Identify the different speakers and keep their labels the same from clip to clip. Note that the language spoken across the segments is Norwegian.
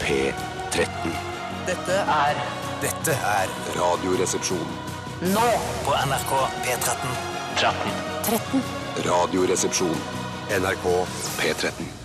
Speaker 1: P13.
Speaker 2: Dette er
Speaker 3: Dette er
Speaker 1: Radioresepsjon.
Speaker 2: nå
Speaker 3: på NRK P13.
Speaker 1: Radioresepsjon. NRK P13.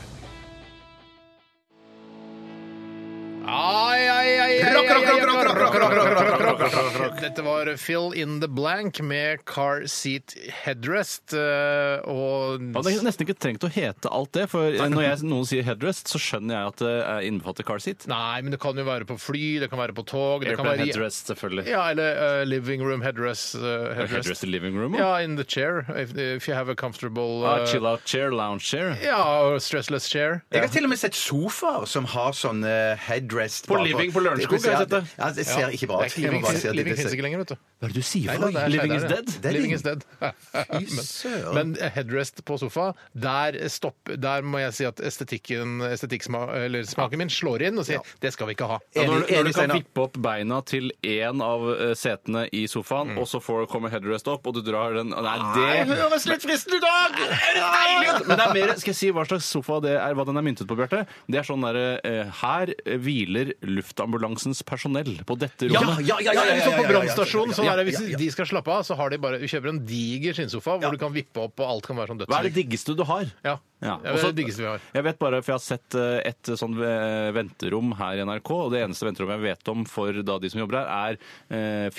Speaker 4: Ai, ai, ai, ai,
Speaker 5: Rock, rock,
Speaker 4: ai, ai,
Speaker 5: rock, rock, rock, rock, rock, rock, rock, rock, rock, rock.
Speaker 4: Dette var Fill in the Blank med Car Seat Headrest. eh, Og
Speaker 6: Jeg hadde nesten ikke trengt å hete alt det, for når jeg, noen sier headrest, så skjønner jeg at det er innbefatter car seat.
Speaker 4: Nei, men det kan jo være på fly, det kan være på tog det kan
Speaker 6: Airplane
Speaker 4: være i-
Speaker 6: headrest, selvfølgelig.
Speaker 4: Ja, eller eh, living room headrest. eh, headrest.
Speaker 6: Headrest i living room. Ja.
Speaker 4: Ja, in the chair. If, if you have a comfortable
Speaker 6: Ah,
Speaker 4: eh,
Speaker 6: chill out chair, lounge chair.
Speaker 4: Ja, og stressless chair.
Speaker 5: Jeg har til og med sett sofaer som har sånn eh, headrest
Speaker 6: På Living på Lørenskog har jeg sett det.
Speaker 5: Ja, det ser ikke bra
Speaker 4: Det er
Speaker 5: ut.
Speaker 4: ikke
Speaker 5: Jeg må
Speaker 4: living,
Speaker 5: bare si at
Speaker 4: living
Speaker 5: det
Speaker 4: finnes
Speaker 5: ser-
Speaker 4: ikke lenger, vet du.
Speaker 6: Hva er det du sier?
Speaker 4: Nei, det er
Speaker 6: living is
Speaker 4: skjedd,
Speaker 6: dead?
Speaker 5: er
Speaker 4: Living
Speaker 5: living.
Speaker 4: is dead.
Speaker 5: søren.
Speaker 4: men, men headrest på sofa, der, stopp, der må jeg si at estetikken, estetikksma- eller smaken min slår inn og sier det skal vi ikke ha.
Speaker 6: Ja, når,
Speaker 5: Enig-
Speaker 6: når du
Speaker 5: enig,
Speaker 6: kan
Speaker 5: Steinar.
Speaker 6: vippe opp beina til én av eh, setene i sofaen, og så får, kommer headrest opp, og du drar den Nei, det
Speaker 4: høres litt fristende ut, Dag!
Speaker 6: men det er mer, Skal jeg si hva slags sofa det er, hva den er myntet på, Bjarte? Det er sånn derre eh, Her hviler luftambulansens personell på dette
Speaker 5: Ja,
Speaker 6: rommet.
Speaker 5: ja,
Speaker 4: Ja,
Speaker 5: ja, ja, ja,
Speaker 4: eller
Speaker 5: ja,
Speaker 4: sånn
Speaker 5: ja,
Speaker 4: på
Speaker 5: ja, ja,
Speaker 4: brannstasjonen.
Speaker 5: ja,
Speaker 4: Sånn
Speaker 5: ja,
Speaker 4: er det,
Speaker 5: ja,
Speaker 4: hvis
Speaker 5: ja.
Speaker 4: de skal slappe av, så har de bare, du kjøper en diger skinnsofa hvor du kan vippe opp, og alt kan være sånn
Speaker 6: Hva er det
Speaker 4: dødsdigg.
Speaker 6: diggeste du har?
Speaker 4: Ja.
Speaker 6: Ja,
Speaker 4: Det er
Speaker 6: også-
Speaker 4: det diggeste vi har.
Speaker 6: Jeg vet bare, for jeg har sett eh, et sånn eh, venterom her i NRK, og det eneste venterommet jeg vet om for da de som jobber her, er eh,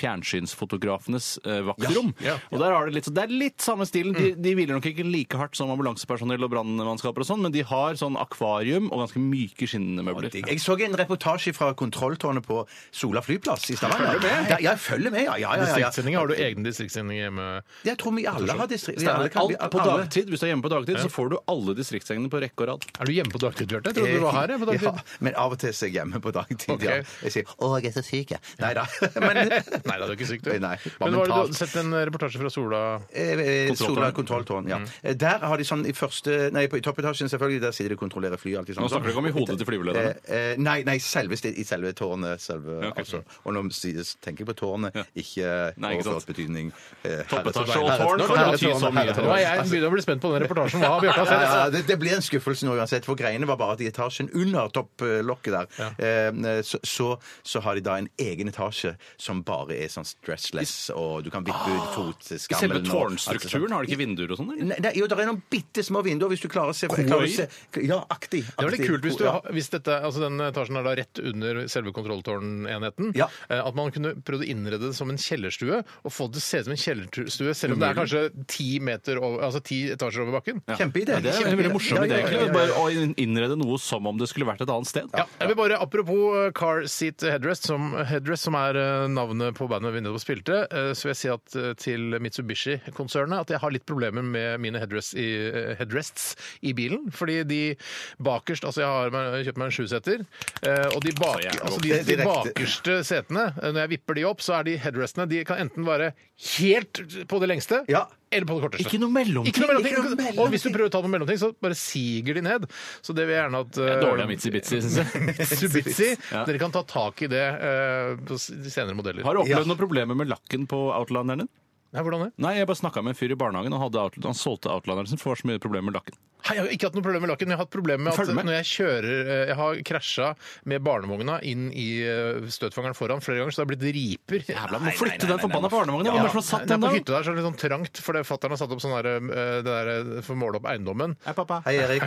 Speaker 6: fjernsynsfotografenes eh, vaktrom.
Speaker 4: Ja, Mm. ja.
Speaker 6: Og der har det litt, så det er litt samme stilen. De, de hviler nok ikke like hardt som ambulansepersonell og brannmannskaper og sånn, men de har sånn akvarium og ganske myke skinnende møbler.
Speaker 5: Digg. Jeg så en reportasje fra kontrolltårnet på Sola flyplass i Stavanger. Følger med? Ja, jeg følger med, ja. ja, ja, ja,
Speaker 4: Distriktssendinger, har du egne distriktssendinger hjemme?
Speaker 5: Jeg tror vi alle har distrikt... vi alle
Speaker 6: Alt
Speaker 5: kan- vi-
Speaker 6: på
Speaker 5: alle-
Speaker 6: dagtid, Hvis du er hjemme på dagtid, så får du alle distriktsengene på rekke og rad.
Speaker 4: Er du hjemme på dagtid, Bjarte? Jeg trodde du var her jeg, på
Speaker 5: Ja,
Speaker 4: dagtid.
Speaker 5: men av og til så er jeg hjemme på dagtid. Ja.
Speaker 4: Ok.
Speaker 5: Jeg sier 'Å, jeg er så syk', jeg. Nei da. Men
Speaker 4: Nei, da, du er ikke syk, du.
Speaker 5: Nei, nei.
Speaker 4: Men var det, du
Speaker 5: Mentalt.
Speaker 4: hadde sett en reportasje fra Sola
Speaker 5: Eh, eh, Sola kontrolltårn,
Speaker 6: Mm.
Speaker 5: ja. Eh, Der har de sånn i første Nei, på i toppetasjen selvfølgelig, der sitter de og kontrolledere fly. Alltid, sånn.
Speaker 6: Nå snakker du ikke om i hodet til flyvelederne.
Speaker 5: Eh, eh, nei, nei selveste, i selve tårnet. Selve,
Speaker 6: Ja, ok.
Speaker 5: altså. Og nå sier- tenker jeg på tårnet, ikke
Speaker 6: Nei, ikke sant.
Speaker 5: overført betydning. eh,
Speaker 6: Toppetasje
Speaker 5: herre-
Speaker 6: og
Speaker 5: herre-
Speaker 6: tårn
Speaker 5: herre-
Speaker 6: kan
Speaker 5: herre-
Speaker 6: bety så mye.
Speaker 5: herre-
Speaker 4: Nå er jeg begynner å bli spent på den reportasjen. Hva har Bjarte
Speaker 5: Ja,
Speaker 4: sett?
Speaker 5: ja, ja, det, det blir en skuffelse nå uansett, for greiene var bare at i etasjen under topplokket der, eh, så, så, så har de da en egen etasje som bare er sånn stressless, og du kan vippe ut
Speaker 6: Ah, Selve
Speaker 5: fotskammelen. og-
Speaker 6: tårnstrukturen, har det ikke vinduer og sånn? eller?
Speaker 5: Nei, nei, jo, det er noen bitte små vinduer, hvis du klarer å se.
Speaker 6: Koi?
Speaker 5: Klarer å se ja, aktig.
Speaker 4: Det er veldig
Speaker 5: aktig.
Speaker 4: kult hvis, du,
Speaker 5: Ja.
Speaker 4: har- hvis dette, altså den etasjen er da rett under selve kontrolltårnenheten.
Speaker 5: Ja.
Speaker 4: eh, At man kunne prøvd å innrede det som en kjellerstue, og få det til å se ut som en kjellerstue, selv om det er kanskje ti, meter over, altså ti etasjer over bakken.
Speaker 6: Ja.
Speaker 5: Kjempeidé.
Speaker 6: Ja, det er en veldig morsom
Speaker 5: Ja,
Speaker 6: idé,
Speaker 5: ja, ja, ja,
Speaker 6: egentlig.
Speaker 5: ja.
Speaker 6: Bare å innrede noe som om det skulle vært et annet sted.
Speaker 4: Ja, jeg vil bare, Apropos eh, Car Seat Headrest, som, headrest, som er eh, navnet på bandet vi nettopp spilte, eh, så vil jeg si at eh, til Mitsubishi-konsernet at jeg har litt problemer med mine headrests i, eh, headrests i bilen. Fordi de bakerst Altså, jeg har meg- kjøpt meg en sjuseter, eh, og de, bak,
Speaker 6: jævlig
Speaker 4: altså
Speaker 6: godt.
Speaker 4: de, de
Speaker 5: Det er direkte.
Speaker 4: bakerste setene, eh, når jeg vipper de opp, så er de headrestene De kan enten være helt på det lengste
Speaker 5: Ja.
Speaker 4: eller på det korteste.
Speaker 6: Ikke noe mellomting.
Speaker 4: Ikke noe mellomting.
Speaker 5: Ikke noe mellomting.
Speaker 4: Og hvis du prøver å ta noe mellomting, så bare siger de ned. Så det vil jeg gjerne at eh,
Speaker 6: Dårlig av Mitsi-Bitsi, syns jeg.
Speaker 4: Subitsi.
Speaker 6: Ja.
Speaker 4: Dere kan ta tak i det eh, på s- de senere modeller.
Speaker 6: Har du opplevd
Speaker 5: Ja.
Speaker 6: noen problemer med lakken på Outlanderen din?
Speaker 4: Nei, hvordan det?
Speaker 6: Nei, jeg bare snakka med en fyr i barnehagen, og hadde outland, han solgte Outlanderen sin for så mye problemer med lakken.
Speaker 4: Hei, Jeg har ikke hatt noe problem med lakken, men jeg har hatt problem med at
Speaker 6: Følg med.
Speaker 4: når jeg kjører eh, Jeg har krasja med barnevogna inn i eh, støtfangeren foran flere ganger, så det har blitt riper.
Speaker 6: Jævla, må flytte den forbanna barnevogna!
Speaker 4: Ja.
Speaker 6: Hvem er det som har
Speaker 4: Nei,
Speaker 6: satt den
Speaker 4: På
Speaker 6: der?
Speaker 4: hytta der så er det litt sånn trangt, for fatter'n har satt opp sånn der, eh, det der eh, for å måle opp eiendommen.
Speaker 6: Hei, pappa.
Speaker 5: Hei, Erik.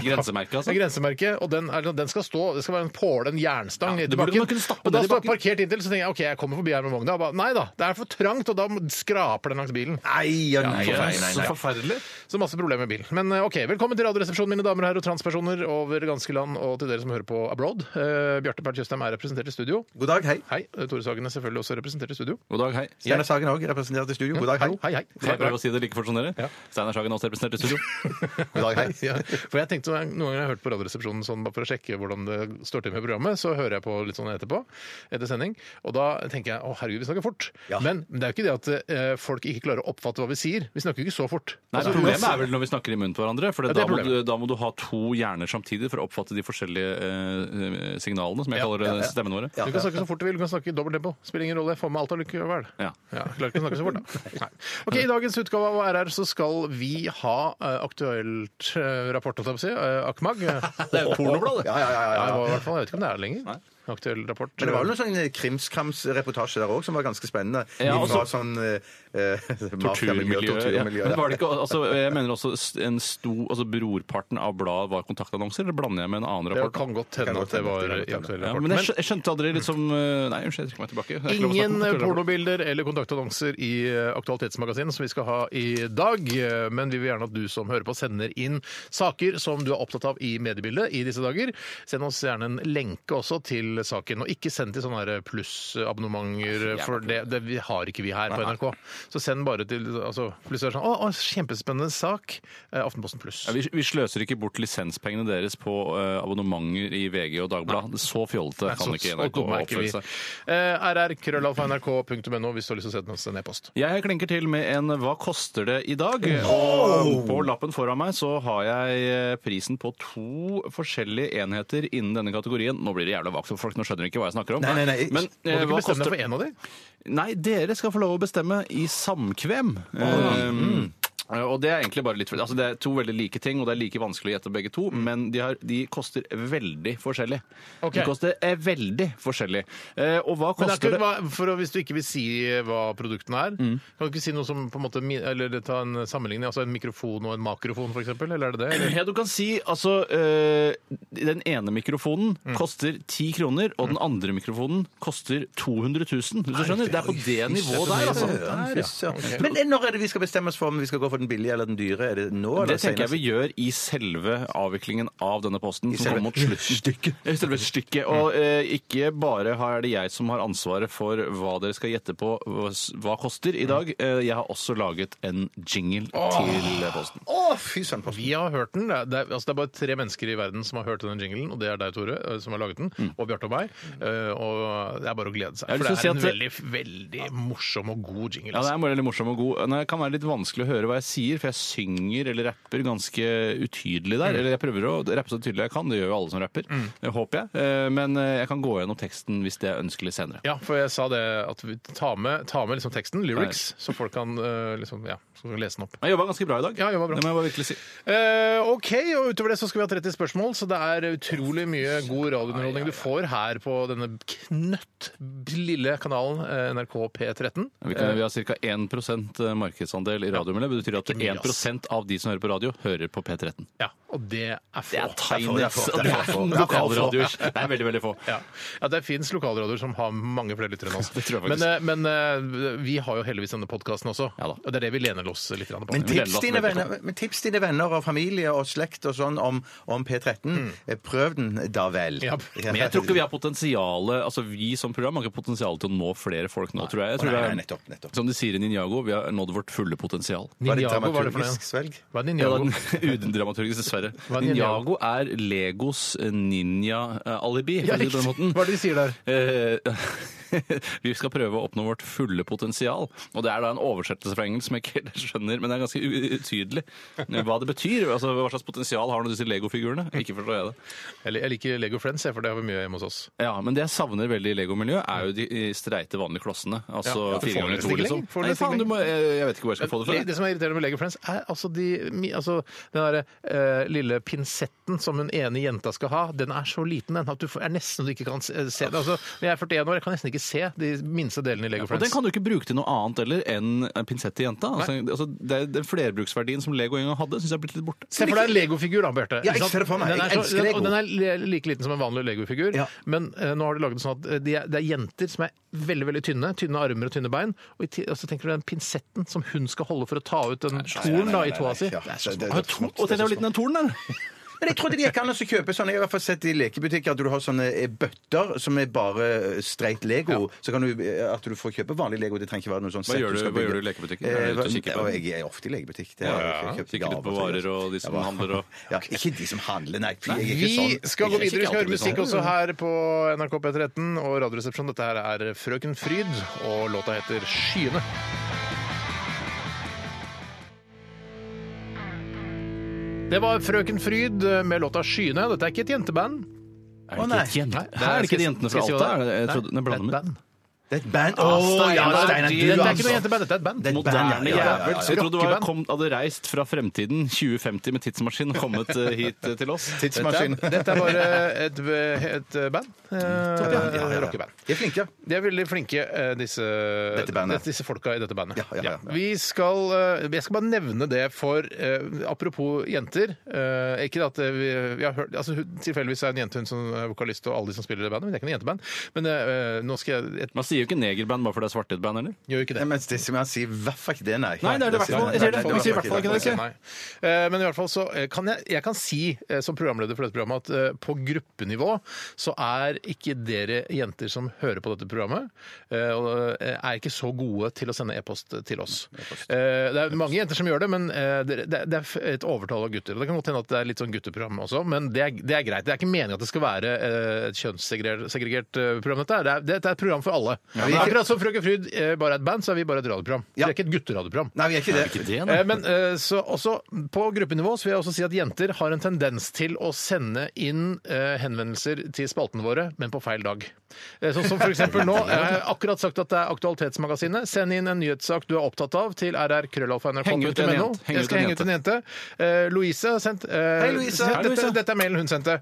Speaker 4: Det er
Speaker 6: Grensemerket, altså.
Speaker 4: grensemerket, og den, er, den skal stå. Det skal være en påle, en jernstang
Speaker 6: Ja,
Speaker 4: ned
Speaker 6: det
Speaker 4: til
Speaker 6: burde
Speaker 4: bakken.
Speaker 6: man kunne stappe
Speaker 4: Og da
Speaker 6: ned i
Speaker 4: står jeg
Speaker 6: bakken.
Speaker 4: parkert inntil, så tenker jeg OK, jeg kommer forbi her med vogna. Og bare, Nei da, det er for trangt, og da skraper den langs bilen.
Speaker 5: Nei, ja, nei,
Speaker 6: Ja,
Speaker 5: nei, nei,
Speaker 6: Så
Speaker 5: nei.
Speaker 6: forferdelig.
Speaker 4: Så masse problemer med bil. Men eh, ok, velkommen til Radioresepsjonen, mine damer og herrer og transpersoner over ganske land, og til dere som hører på abroad. Eh, Bjarte Perl Tjøstheim er representert i studio.
Speaker 5: God dag, hei.
Speaker 4: Hei. eh, Tore Sagen er selvfølgelig også representert i studio.
Speaker 6: God dag, hei.
Speaker 5: Steinar Sagen òg, representert i studio. God dag, hei.
Speaker 4: Hallo, hei, hei.
Speaker 6: Kan jeg prøve å si det like fort som dere?
Speaker 4: Ja.
Speaker 6: Steinar Sagen er også representert i studio.
Speaker 5: God dag, hei.
Speaker 4: Ja, for jeg tenkte Noen ganger har jeg hørt på Radioresepsjonen sånn, bare for å sjekke hvordan det står til med programmet. Så hører jeg på litt sånn etterpå, etter sending. Og da tenker jeg å herregud, vi snakker fort.
Speaker 5: Ja.
Speaker 4: Men det er jo ikke det at eh, folk i ikke klarer å oppfatte hva vi sier. Vi snakker jo ikke så fort.
Speaker 6: Nei,
Speaker 4: Altså,
Speaker 6: Problemet
Speaker 4: uansett-
Speaker 6: er vel når vi snakker i munnen på hverandre. For
Speaker 4: Ja, det
Speaker 6: da,
Speaker 4: er
Speaker 6: må du,
Speaker 4: problemet.
Speaker 6: da må du ha to hjerner samtidig for å oppfatte de forskjellige eh, signalene, som jeg
Speaker 4: Ja,
Speaker 6: kaller det, stemmene våre.
Speaker 4: Du kan snakke så fort du vil, du kan snakke i dobbelt tempo. Spiller ingen rolle. Få med alt allikevel.
Speaker 6: Ja.
Speaker 4: Ja, klarer ikke å snakke så fort, da. Nei. Ok, I dagens utgave av RR så skal vi ha eh, aktuelt eh, rapport, holdt jeg på å si. eh, Akmag. Det er pornobladet.
Speaker 5: Ja, ja, ja, ja, ja.
Speaker 4: i hvert fall, jeg vet ikke om det er det lenger.
Speaker 6: Nei.
Speaker 4: Aktuell rapport.
Speaker 5: Men det var jo noen sånne krimskrams-reportasje der òg som var ganske spennende.
Speaker 6: Ja, og
Speaker 5: Fra sånn eh, eh,
Speaker 6: Torturmiljø.
Speaker 5: mafia-miljø,
Speaker 6: ja.
Speaker 5: torturmiljø,
Speaker 6: Men var det ikke, altså, jeg mener også s- en sto, altså Brorparten av bladet var kontaktannonser, eller blander jeg med en annen
Speaker 4: Det
Speaker 6: rapport?
Speaker 4: kan godt hende
Speaker 5: Kan godt
Speaker 4: at det
Speaker 5: hende,
Speaker 4: var
Speaker 5: det kan godt
Speaker 4: i aktuell
Speaker 6: Ja,
Speaker 4: rapport.
Speaker 6: men jeg skjø- jeg skjønte aldri liksom eh, Nei, unnskyld, jeg trekker meg tilbake. Det er ikke lov å snakke om
Speaker 4: Ingen eh,
Speaker 6: aktuell rapport.
Speaker 4: pornobilder eller kontaktannonser i eh, Aktualitetsmagasinet som vi skal ha i dag, eh, men vi vil gjerne at du som hører på sender inn saker som du er opptatt av i mediebildet i disse dager. Send oss gjerne en lenke også til saken, og ikke send til sånne her plussabonnementer,
Speaker 6: Jævla
Speaker 4: for det, det vi har ikke vi her på NRK. Så send bare til altså, pluss er det sånn, å, å, kjempespennende sak, eh, Aftenposten pluss.
Speaker 6: Ja, vi, vi sløser ikke bort lisenspengene deres på eh, abonnementer i VG og Dagbladet. Så fjollete kan ikke NRK oppføre seg.
Speaker 4: Eh, rr.krøllalfa.nrk.no hvis du har lyst til å sende oss en e-post.
Speaker 6: Jeg klinker til med en 'Hva koster det i dag?' Og på lappen foran meg så har jeg eh, prisen på to forskjellige enheter innen denne kategorien. Nå blir det jævla vagt for folk, nå skjønner de ikke hva jeg snakker om.
Speaker 5: Nei, nei, nei.
Speaker 4: Må
Speaker 6: Men eh,
Speaker 4: du ikke
Speaker 6: hva
Speaker 4: bestemme deg
Speaker 6: koster
Speaker 4: for en av de?
Speaker 6: Nei, dere skal få lov å bestemme i samkvem.
Speaker 4: Mm.
Speaker 6: Eh, Og det er egentlig bare litt altså Det er to veldig like ting, og det er like vanskelig å gjette begge to, men de, har, de koster veldig forskjellig.
Speaker 4: Mm. Ok.
Speaker 6: De koster eh, veldig forskjellig. Eh, og hva
Speaker 4: Men det er ikke,
Speaker 6: koster det? Mm.
Speaker 4: hva- for å- Hvis du ikke vil si eh, hva produktene er, kan du ikke si noe som på en måte, mi- eller ta en sammenligning, altså en mikrofon og en makrofon f.eks.? Eller er det det? Eller?
Speaker 6: Ja, du kan si altså eh, Den ene mikrofonen koster 10 kroner, og den andre mikrofonen koster 200 000. Hvis du skjønner? Mm. Det er på det nivået der, altså.
Speaker 5: Fy søren. Men eh, når er det vi skal bestemme oss for om vi skal gå for den billige eller den dyre? Er det nå eller
Speaker 6: Det tenker jeg vi gjør i selve avviklingen av denne posten. som
Speaker 5: selve
Speaker 6: kommer mot slutten. I selve stykket. Og eh, ikke bare er det jeg som har ansvaret for hva dere skal gjette på hva, s- hva koster i dag. Eh, jeg har også laget en jingle til posten.
Speaker 5: Å, fy søren! posten.
Speaker 4: Vi har hørt den. Det er, det, er, altså det er bare tre mennesker i verden som har hørt denne jinglen, og det er deg, Tore, eh, som har laget den, og Bjarte og meg. Eh, Og det er bare å glede seg. For
Speaker 6: Mm. Jeg har
Speaker 4: det
Speaker 6: lyst
Speaker 4: er
Speaker 6: til å
Speaker 4: en
Speaker 6: si
Speaker 4: veldig, veldig morsom og god jingle.
Speaker 6: Ja, Det
Speaker 4: Altså.
Speaker 6: er veldig morsom og god. Nei, Det kan være litt vanskelig å høre hva jeg sier, for jeg synger eller rapper ganske utydelig
Speaker 5: Mm.
Speaker 6: der. Eller jeg prøver å rappe så tydelig jeg kan. Det gjør jo alle som rapper, eh, håper jeg. Eh, Men eh, jeg kan gå gjennom teksten hvis det er ønskelig senere.
Speaker 4: Ja, for jeg sa det at vi tar med, ta med liksom teksten, lyrics, så folk kan eh, liksom, ja, så kan vi lese den opp.
Speaker 6: Jeg jobba ganske bra i dag.
Speaker 4: Ja, jobba bra.
Speaker 6: Det må jeg bare virkelig si.
Speaker 4: Eh, ok, og utover det så skal vi ha 30 spørsmål, så det er utrolig mye god radiounderholdning du får her på denne knøtt lille kanalen eh, NRK P13.
Speaker 6: Vi, kan, Eh, vi har ca. 1 eh, markedsandel i radiomiljøet. Det betyr at
Speaker 4: mye, ass.
Speaker 6: 1 av de som hører på radio, hører på P13.
Speaker 4: Ja, og det er få.
Speaker 6: tiny
Speaker 5: det er få. Det er få.
Speaker 6: lokalradioer. Det er veldig, veldig få.
Speaker 4: Ja. ja, det fins lokalradioer som har mange flere lyttere enn oss.
Speaker 6: Det tror jeg
Speaker 4: men,
Speaker 6: faktisk.
Speaker 4: eh, men eh, vi har jo heldigvis denne podkasten også,
Speaker 6: Ja da.
Speaker 4: og det er det vi lener oss litt grann på.
Speaker 5: Men
Speaker 6: Vi deler
Speaker 5: tips,
Speaker 6: oss
Speaker 5: dine
Speaker 6: med
Speaker 5: venner, men tips dine venner og familie og slekt og sånn om, om P13. Eh, Prøv den, da vel.
Speaker 4: Ja.
Speaker 6: Men jeg tror ikke vi har potensialet altså vi som program har ikke potensial til å nå flere folk nå, tror jeg. jeg tror
Speaker 5: Nei, nei,
Speaker 6: vi er-
Speaker 5: nettopp, nettopp.
Speaker 6: Som de sier i Ninjago, vi har nådd vårt fulle potensial.
Speaker 5: Var det
Speaker 4: Ninjago, hva er det for
Speaker 5: dramaturgisk
Speaker 4: noe?
Speaker 5: svelg?
Speaker 4: Hva er
Speaker 6: Ja,
Speaker 4: Ninjago?
Speaker 6: den udramaturgisk, dessverre.
Speaker 4: Hva er Ninjago?
Speaker 6: Ninjago er Legos eh, ninja-alibi.
Speaker 4: Ja,
Speaker 6: for å si det på den
Speaker 4: riktig.
Speaker 6: måten.
Speaker 4: Hva er det de sier der?
Speaker 6: Eh, vi skal prøve å oppnå vårt fulle potensial. Og det er da en oversettelse fra engelsk som jeg ikke helt skjønner, men det er ganske u- utydelig hva det betyr. Altså, hva slags potensial har nå disse Lego-figurene? Ikke forstår jeg det.
Speaker 4: Jeg lik- Jeg liker Lego Friends, jeg, for det har vi mye hjemme hos oss.
Speaker 6: Ja, Men det jeg savner veldig i Lego-miljøet, er jo de eh, streite, vanlige klossene.
Speaker 4: Ja,
Speaker 6: Altså
Speaker 4: ja, du får
Speaker 6: fire ganger
Speaker 4: det
Speaker 6: to,
Speaker 4: ikke
Speaker 6: liksom.
Speaker 4: lenger. Får du
Speaker 6: Nei,
Speaker 4: det ikke
Speaker 6: faen, du må, jeg, jeg vet ikke hvor jeg skal få det fra.
Speaker 4: Det, det som er irriterende med Lego Friends, er altså, de, mi- altså den derre eh, lille pinsetten som den ene jenta skal ha. Den er så liten den at du får- er nesten så du ikke kan se se det. Altså, når jeg er 41 år, jeg kan nesten ikke se de minste delene i Lego
Speaker 6: Og den
Speaker 4: Friends.
Speaker 6: kan du ikke bruke til noe annet heller enn en pinsett til jenta. Altså, altså, det, den flerbruksverdien som Lego en gang hadde, syns jeg er blitt litt borte.
Speaker 4: Se for deg en legofigur, da, Bjarte.
Speaker 5: Ja, jeg
Speaker 4: Ikke sant?
Speaker 5: ser det for meg.
Speaker 4: Den er
Speaker 5: Jeg elsker Lego.
Speaker 4: Og den er li- like liten som en vanlig legofigur.
Speaker 5: Ja.
Speaker 4: Men eh, nå har de laget det sånn at eh, de er, det er jenter som er veldig veldig tynne. Tynne armer og tynne bein. Og, i ti- og så tenker du den pinsetten som hun skal holde for å ta ut den torn da, i tåa si.
Speaker 5: Ja, det- det-
Speaker 6: Har
Speaker 5: det-
Speaker 6: du to- Og tenk deg hvor liten den tornen er!
Speaker 5: Men jeg trodde det gikk an å kjøpe sånne. Jeg har i hvert fall sett i lekebutikker at du har sånne eh, bøtter som er bare eh, streit Lego. Så kan du, eh, at du får kjøpe vanlig Lego. Det trenger ikke være noe sånn sett
Speaker 6: gjør du-
Speaker 5: skal
Speaker 6: hva gjør
Speaker 5: bygge.
Speaker 6: du i
Speaker 5: Eh,
Speaker 6: lekebutikken? Er du ute og kikker på
Speaker 5: og
Speaker 6: den?
Speaker 5: Jeg er ofte i lekebutikk. Det har jeg kjøpt
Speaker 6: Kikker litt
Speaker 5: gaver
Speaker 6: på
Speaker 5: til.
Speaker 6: varer og de som
Speaker 5: Ja, hva-
Speaker 6: handler og
Speaker 5: ja, Ikke de som handler, nei. fy, Jeg er ikke
Speaker 4: Vi
Speaker 5: sånn.
Speaker 4: skal gå videre. Vi
Speaker 5: Jeg er ikke
Speaker 4: skal høre
Speaker 5: alltid
Speaker 4: musikk
Speaker 5: sånn.
Speaker 4: også her på NRK P13 og Radioresepsjonen. Dette her er Frøken Fryd, og låta heter 'Skyene'. Det var Frøken Fryd med låta 'Skyene'. Dette er ikke et jenteband.
Speaker 6: Er det
Speaker 5: nei.
Speaker 6: ikke, et jente?
Speaker 4: Nei,
Speaker 6: Hæ, er det ikke de jentene fra
Speaker 4: Skal jeg si
Speaker 6: Alta?
Speaker 4: hva
Speaker 6: Er det- Jeg
Speaker 4: Nei,
Speaker 6: trodde,
Speaker 4: det
Speaker 6: jeg
Speaker 4: er et
Speaker 6: blander med.
Speaker 4: band.
Speaker 5: Det er et band. Å,
Speaker 6: Å,
Speaker 5: ja,
Speaker 6: Ah, Steinar,
Speaker 5: Steinar,
Speaker 4: Det
Speaker 5: du,
Speaker 4: er ikke noe
Speaker 5: altså.
Speaker 4: jenteband, dette er et band.
Speaker 5: Det er et band,
Speaker 6: Moderne
Speaker 5: ja, ja, ja,
Speaker 6: jævel.
Speaker 5: ja.
Speaker 6: Jeg trodde du var
Speaker 4: Rockeband.
Speaker 6: kom, hadde reist fra fremtiden 2050 med tidsmaskin og kommet eh, hit eh, til oss.
Speaker 5: Tidsmaskin.
Speaker 4: Dette er- Dette er bare et, et band.
Speaker 5: ja, ja,
Speaker 4: Eh,
Speaker 5: ja.
Speaker 4: Rockeband.
Speaker 5: De er flinke.
Speaker 4: De er veldig flinke, eh, disse,
Speaker 5: Dette bandet.
Speaker 4: disse folka i dette bandet.
Speaker 5: Ja, ja, ja.
Speaker 4: Vi skal, eh, jeg skal bare nevne det for eh, Apropos jenter. eh, Ikke at eh, vi, vi har hørt altså, hun- Tilfeldigvis er en jente hun som er vokalist, og alle de som spiller i det bandet, men det er ikke noe jenteband. Men eh, nå skal jeg, jeg
Speaker 6: Man sier jo ikke negerband bare fordi det er svarte i et band, eller?
Speaker 4: gjør jo ikke det.
Speaker 5: Nei, men det som jeg sier, i hvert fall ikke det, nei.
Speaker 6: Nei, det er det i hvert fall. Jeg sier det. Vi sier i hvert fall ikke det.
Speaker 4: Nei. Eh, Men i hvert fall så eh, kan jeg, jeg kan si eh, som programleder for dette programmet at eh, på gruppenivå så er ikke dere jenter som hører på dette programmet, eh, og eh, er ikke så gode til å sende e-post til oss. Eh, Det er mange jenter som gjør det, men eh, dere- det det er f- et overtall av gutter. Og det kan godt hende at det er litt sånn gutteprogram også, men det er, det er greit. Det er ikke meningen at det skal være eh, et kjønnssegregert segregert, eh, program, dette er. Det er, det er et program for alle. Akkurat som Frøken Fryd eh, bare er et band, så er vi bare et radioprogram. Vi
Speaker 5: Ja.
Speaker 4: er ikke et gutteradioprogram.
Speaker 5: Nei, vi er ikke det.
Speaker 6: Ikke det,
Speaker 4: Eh,
Speaker 6: nei.
Speaker 4: Men eh, så også på gruppenivå så vil jeg også si at jenter har en tendens til å sende inn eh, henvendelser til spaltene våre, men på feil dag. Eh, Sånn som for eksempel nå. Jeg har akkurat sagt at det er Aktualitetsmagasinet. Send inn en nyhetssak du er opptatt av til
Speaker 6: Heng ut en
Speaker 4: rr.krøllalfa.nrk.no.
Speaker 6: jente. Heng
Speaker 4: Jeg
Speaker 6: ut en
Speaker 4: skal henge ut en jente. Eh, Louise har sendt eh,
Speaker 5: Hei, Louise.
Speaker 4: sendt-
Speaker 5: Hei,
Speaker 4: Dette,
Speaker 5: Louise.
Speaker 4: dette er mailen hun sendte.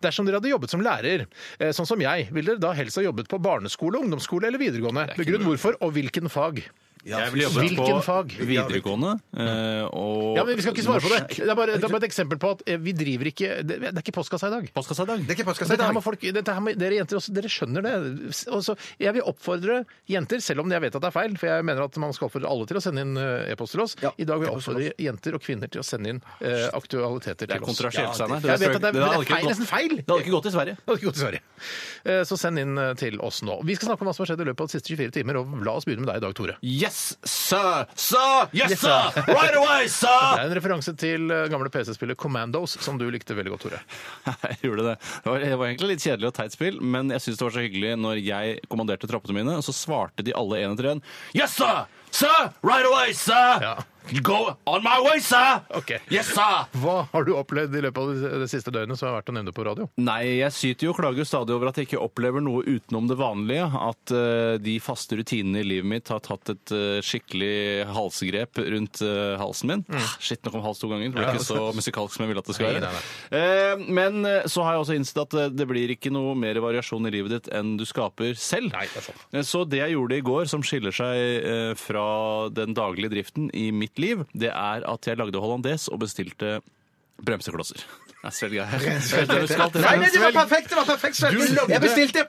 Speaker 4: Dersom dere hadde jobbet som lærer, eh, sånn som jeg, ville dere da helst ha jobbet på barneskole, ungdomsskole eller videregående? Begrunn hvorfor, og hvilken fag?
Speaker 6: Jeg ville jobbet
Speaker 4: Hvilken fag?
Speaker 6: på videregående eh, og
Speaker 4: Ja, men Vi skal ikke svare på det. Det er bare, det er bare et eksempel på at eh, vi driver ikke Det, det er ikke postkassa i dag.
Speaker 6: Postkassa i dag.
Speaker 5: Det er ikke postkassa i
Speaker 4: Dette her
Speaker 5: dag.
Speaker 4: må folk, dette her må, dere jenter også, dere skjønner det. Og så- jeg vil oppfordre jenter, selv om jeg vet at det er feil, for jeg mener at man skal oppfordre alle til å sende inn eh, e-post til oss.
Speaker 5: Ja,
Speaker 4: I dag vil jeg
Speaker 5: e-post til
Speaker 4: oppfordre jenter og kvinner til å sende inn eh, aktualiteter
Speaker 6: Det er
Speaker 4: til oss. Det
Speaker 6: kontrasielt, Steinar.
Speaker 4: Jeg vet at det er- det
Speaker 6: hadde
Speaker 4: er
Speaker 6: ikke
Speaker 4: feil,
Speaker 6: gått-
Speaker 4: nesten feil.
Speaker 6: Det hadde ikke gått i Sverige.
Speaker 4: hadde ikke gått til Sverige. Eh, Så send inn eh, til oss nå. Vi skal snakke om hva som har skjedd i løpet av de siste 24 timer, og la oss begynne med deg i dag, Tore.
Speaker 6: Yes, sir! Sir! Yes, sir! Right away,
Speaker 4: Det
Speaker 6: sir!
Speaker 4: er en referanse til eh, gamle PC-spillet Commandos, som du likte veldig godt, Tore.
Speaker 6: Jeg gjorde det. Det var, det var egentlig litt kjedelig og teit spill, men jeg syns det var så hyggelig når jeg kommanderte troppene mine, og så svarte de alle en etter en. Yes, sir! Sir! Right away, sir!
Speaker 4: Ja.
Speaker 6: Go on my way, sir!
Speaker 4: Ok.
Speaker 6: Yes, sir!
Speaker 4: Hva har du opplevd i løpet av det- det siste døgnet som er verdt å nevne på radio?
Speaker 6: Nei, jeg syter jo og klager jo stadig over at jeg ikke opplever noe utenom det vanlige. At eh, de faste rutinene i livet mitt har tatt et eh, skikkelig halsgrep rundt eh, halsen min. Ah, Shit, nå kom hals to ganger. Det ble ikke så musikalsk som jeg ville at det skulle
Speaker 4: Mm. Nei,
Speaker 6: være. Eh, men eh, så har jeg også innsett at eh, det blir ikke noe mer variasjon i livet ditt enn du skaper selv.
Speaker 4: Nei, det er sant.
Speaker 6: Eh, Så det jeg gjorde i går, som skiller seg eh, fra den daglige driften i mitt liv, det er at jeg lagde hollandes og bestilte bremseklosser. Det er svært greit. Vet du hva du skal til?
Speaker 5: Nei, nei, det var perfekt! Det var perfekt Sverre. Jeg bestilte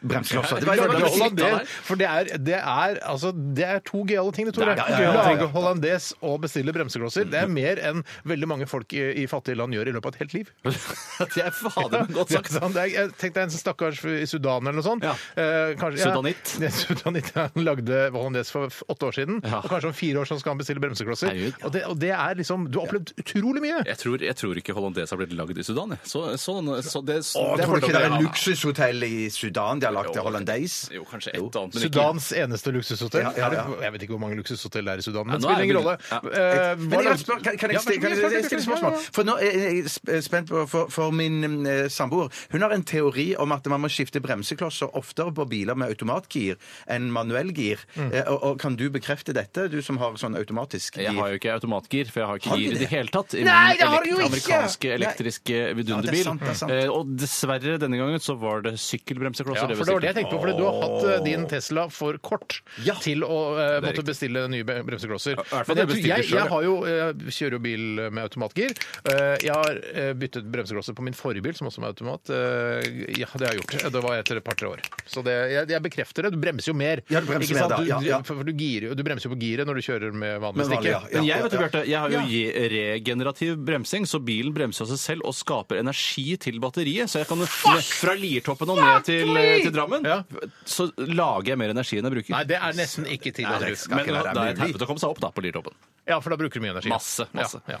Speaker 5: bremseklosser. Det var
Speaker 4: Lage
Speaker 5: det var-
Speaker 4: hollandes, for det er, det, er, altså, det er to gøyale ting, det, Tore.
Speaker 5: Det er to gøyale ting,
Speaker 4: Lage hollandes og bestille bremseklosser. Det er mer enn veldig mange folk i, i fattige land gjør i løpet av et helt liv.
Speaker 6: Det er fader meg godt sagt.
Speaker 4: Sånn, det er, jeg tenkte en stakkars i Sudan eller noe sånt.
Speaker 6: Ja.
Speaker 4: Eh, kanskje, ja.
Speaker 6: Sudanitt.
Speaker 4: Ja, Sudanitt ja, han lagde hollandes for f- åtte år siden.
Speaker 6: Ja.
Speaker 4: Og kanskje om fire år så skal han bestille bremseklosser.
Speaker 6: Herregud, ja.
Speaker 4: Og, det, og det er liksom Du har opplevd utrolig mye!
Speaker 6: Jeg tror, jeg tror ikke hollandes har blitt lagd i Sudan. jeg. Så, sånn, så det,
Speaker 5: Å,
Speaker 6: det
Speaker 5: Tror du ikke det er
Speaker 6: Ja.
Speaker 5: et luksushotell i Sudan de har lagt til hollandeis?
Speaker 6: Jo, kanskje et eller annet, men ikke
Speaker 4: Sudans eneste luksushotell?
Speaker 5: Ja, ja, ja.
Speaker 4: Er det- Jeg vet ikke hvor mange luksushotell det er i Sudan, men
Speaker 6: Ja, nå
Speaker 4: det spiller
Speaker 6: er
Speaker 4: ingen
Speaker 6: det-
Speaker 4: rolle.
Speaker 6: ja.
Speaker 4: Eh, hva
Speaker 5: Men jeg har
Speaker 4: lag-
Speaker 5: et spør- kan, kan
Speaker 4: Ja,
Speaker 5: jeg stille kan
Speaker 4: spørsmål,
Speaker 5: jeg- jeg stille
Speaker 4: spørsmål,
Speaker 5: spørsmål?
Speaker 4: ja, ja.
Speaker 5: For nå er jeg sp- eh, spent på for, for min eh, samboer. Hun har en teori om at man må skifte bremseklosser oftere på biler med automatgir enn manuellgir. Eh, Og, og kan du bekrefte dette, du som har sånn automatisk
Speaker 6: Jeg har jo ikke automatgir, for jeg har ikke
Speaker 5: Har du
Speaker 6: gir i det
Speaker 5: det?
Speaker 6: hele tatt. I
Speaker 5: Nei,
Speaker 6: min
Speaker 5: det har du
Speaker 6: elekt-
Speaker 5: jo ikke!
Speaker 6: Amerikanske
Speaker 5: Nei.
Speaker 6: elektriske
Speaker 5: Ja, det er
Speaker 6: vidunderbil.
Speaker 5: sant, det er sant.
Speaker 6: Eh, og dessverre, denne gangen så var det sykkelbremseklosser.
Speaker 4: Ja, for det var det jeg tenkte på, fordi du har hatt eh, din Tesla for kort
Speaker 5: Ja.
Speaker 4: til å eh, måtte
Speaker 6: riktig.
Speaker 4: bestille nye be- bremseklosser.
Speaker 6: hvert fall
Speaker 4: Men jeg,
Speaker 6: det
Speaker 4: tror-
Speaker 6: bestilte
Speaker 4: jeg,
Speaker 6: selv, ja.
Speaker 4: jeg har jo, eh, kjører jo bil med automatgir. Eh, Jeg har eh, byttet bremseklosser på min forrige bil, som også var automat. Eh, Ja, det har jeg gjort. Det var etter et par-tre år. Så det, jeg, jeg bekrefter det. Du bremser jo mer.
Speaker 5: Ja, du bremser
Speaker 4: Ikke
Speaker 5: mer
Speaker 4: sant?
Speaker 5: da.
Speaker 4: Du,
Speaker 5: Ja, ja.
Speaker 4: For, for du, girer, jo- du bremser jo på giret når du kjører med vanlig
Speaker 5: Med vanlig,
Speaker 4: stikke.
Speaker 5: ja.
Speaker 6: Men jeg, vet du,
Speaker 5: ja.
Speaker 6: Bjarte, jeg har jo je- regenerativ bremsing, så bilen bremser seg selv og skaper energi til batteriet. Så jeg kan jo ned fra Liertoppen og ned til, til Drammen,
Speaker 4: Ja.
Speaker 6: så lager jeg mer energi enn jeg bruker.
Speaker 4: Nei, det er nesten ikke til.
Speaker 6: Nei,
Speaker 4: å
Speaker 6: det
Speaker 4: bruke.
Speaker 6: skal
Speaker 5: ikke
Speaker 6: men
Speaker 5: være
Speaker 6: det er et
Speaker 5: mulig.
Speaker 6: helvete å komme seg opp da på Liertoppen.
Speaker 4: Ja, for da bruker du mye energi.
Speaker 6: Masse, masse.
Speaker 4: Ja, ja.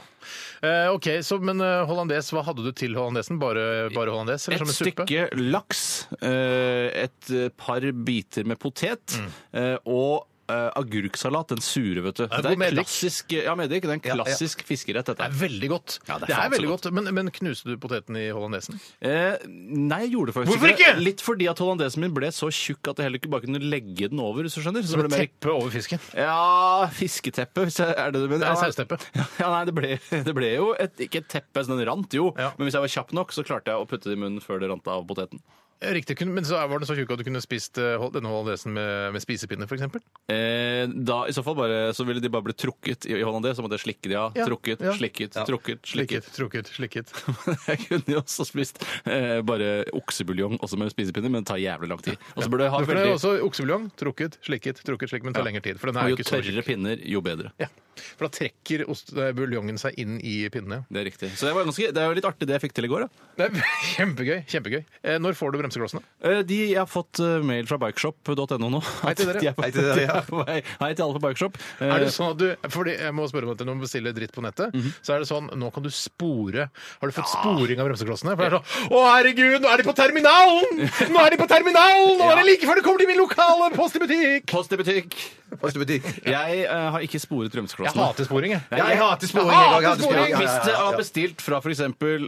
Speaker 4: Eh, ok, så, Men eh, hollandes, hva hadde du til hollandesen? Bare, bare hollandes? Eller
Speaker 6: Et
Speaker 4: som en suppe?
Speaker 6: stykke
Speaker 4: Mm.
Speaker 6: laks, eh, et eh, par biter med potet eh, og eh, agurksalat, den sure, vet du.
Speaker 4: Ja,
Speaker 6: Det er
Speaker 4: Eh, god meddik.
Speaker 6: klassisk, ja, meddik. Det er en
Speaker 5: Ja, ja.
Speaker 6: klassisk fiskerett, dette.
Speaker 4: Det er veldig godt.
Speaker 6: Ja, det er
Speaker 4: det er
Speaker 6: faen så
Speaker 4: veldig godt. Men, men knuste du poteten i hollandesen?
Speaker 6: Eh, nei, jeg gjorde faktisk
Speaker 4: Hvorfor
Speaker 6: det.
Speaker 4: ikke?
Speaker 6: Litt fordi at hollandesen min ble så tjukk at jeg heller ikke bare kunne legge den over, hvis du skjønner. Så
Speaker 4: Som
Speaker 6: ble
Speaker 4: et
Speaker 6: det mer-
Speaker 4: teppe over fisken?
Speaker 6: Ja, fisketeppe, hvis jeg- er det det du mener?
Speaker 4: Det er
Speaker 6: Ja,
Speaker 4: sausteppe.
Speaker 6: Ja, nei, det ble, det ble jo et, ikke et teppe, sånn den rant jo.
Speaker 4: Ja.
Speaker 6: Men hvis jeg var kjapp nok, så klarte jeg å putte det i munnen før det rant av poteten.
Speaker 4: Ja, Riktig, kun- men så var den så tjukk at du kunne spist eh, hol- denne hollandesen med, med spisepinne, f.eks.?
Speaker 6: Eh, da, I så fall bare, så ville de bare blitt trukket i, i hollandés, så måtte jeg slikke de av.
Speaker 4: Ja,
Speaker 6: Trukket,
Speaker 4: ja.
Speaker 6: slikket, trukket, slikket.
Speaker 4: Slikket, trukket, slikket.
Speaker 6: jeg kunne jo også spist eh, bare oksebuljong også med spisepinner, men det tar jævlig lang tid. Og så burde jeg ha
Speaker 4: Du kan
Speaker 6: veldig...
Speaker 4: jo også oksebuljong. Trukket, slikket, trukket, slikket, men tar lengre tid. For den er
Speaker 6: Og
Speaker 4: jo
Speaker 6: jo
Speaker 4: ikke så
Speaker 6: tørrere pinner, jo bedre.
Speaker 4: Ja, For da trekker ost, eh, buljongen seg inn i pinnene.
Speaker 6: Det er riktig. Så det, var ganske, det er jo litt artig det jeg fikk til i går. Da.
Speaker 4: Det er kjempegøy. kjempegøy. Eh, Når får du bremseklossene?
Speaker 6: Eh, De, jeg har fått eh, mail fra bikeshop.no nå.
Speaker 4: Hei til dere.
Speaker 6: De er på-
Speaker 5: Hei til dere, ja.
Speaker 6: de er på vei. Hei til alle på bikeshop.
Speaker 4: Er det
Speaker 6: Eh,
Speaker 4: sånn at du, fordi jeg må spørre om dette når man bestiller dritt på nettet, så er det sånn nå kan du spore Har du fått sporing av bremseklossene? For det er sånn Å, herregud, nå er de på terminalen! Nå er de på terminalen! Nå er det like før det kommer til min lokale post i butikk!
Speaker 6: Post i butikk!
Speaker 5: Post og butikk.
Speaker 6: Jeg eh, har ikke sporet
Speaker 4: Jeg
Speaker 6: rømseklossene.
Speaker 4: hater sporing, jeg.
Speaker 5: Ja, jeg hater sporing.
Speaker 4: Jeg
Speaker 5: Jeg
Speaker 4: hater
Speaker 5: også, jeg hater
Speaker 4: sporing.
Speaker 5: sporing. Ja, ja,
Speaker 6: Hvis
Speaker 5: ja,
Speaker 6: jeg
Speaker 5: ja.
Speaker 6: har bestilt fra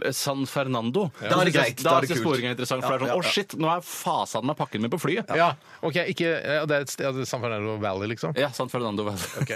Speaker 6: f.eks. San Fernando
Speaker 5: Da er det
Speaker 6: synes jeg-
Speaker 5: greit.
Speaker 6: Da
Speaker 5: Da er
Speaker 6: er
Speaker 5: det
Speaker 6: det
Speaker 5: kult.
Speaker 6: sporingen interessant. For det er sånn, å shit, nå er fasen meg pakken min på flyet.
Speaker 4: Ja, ok, ikke, ja, Det er et sted, San Fernando Valley, liksom.
Speaker 6: Ja, San Fernando.
Speaker 4: Ok.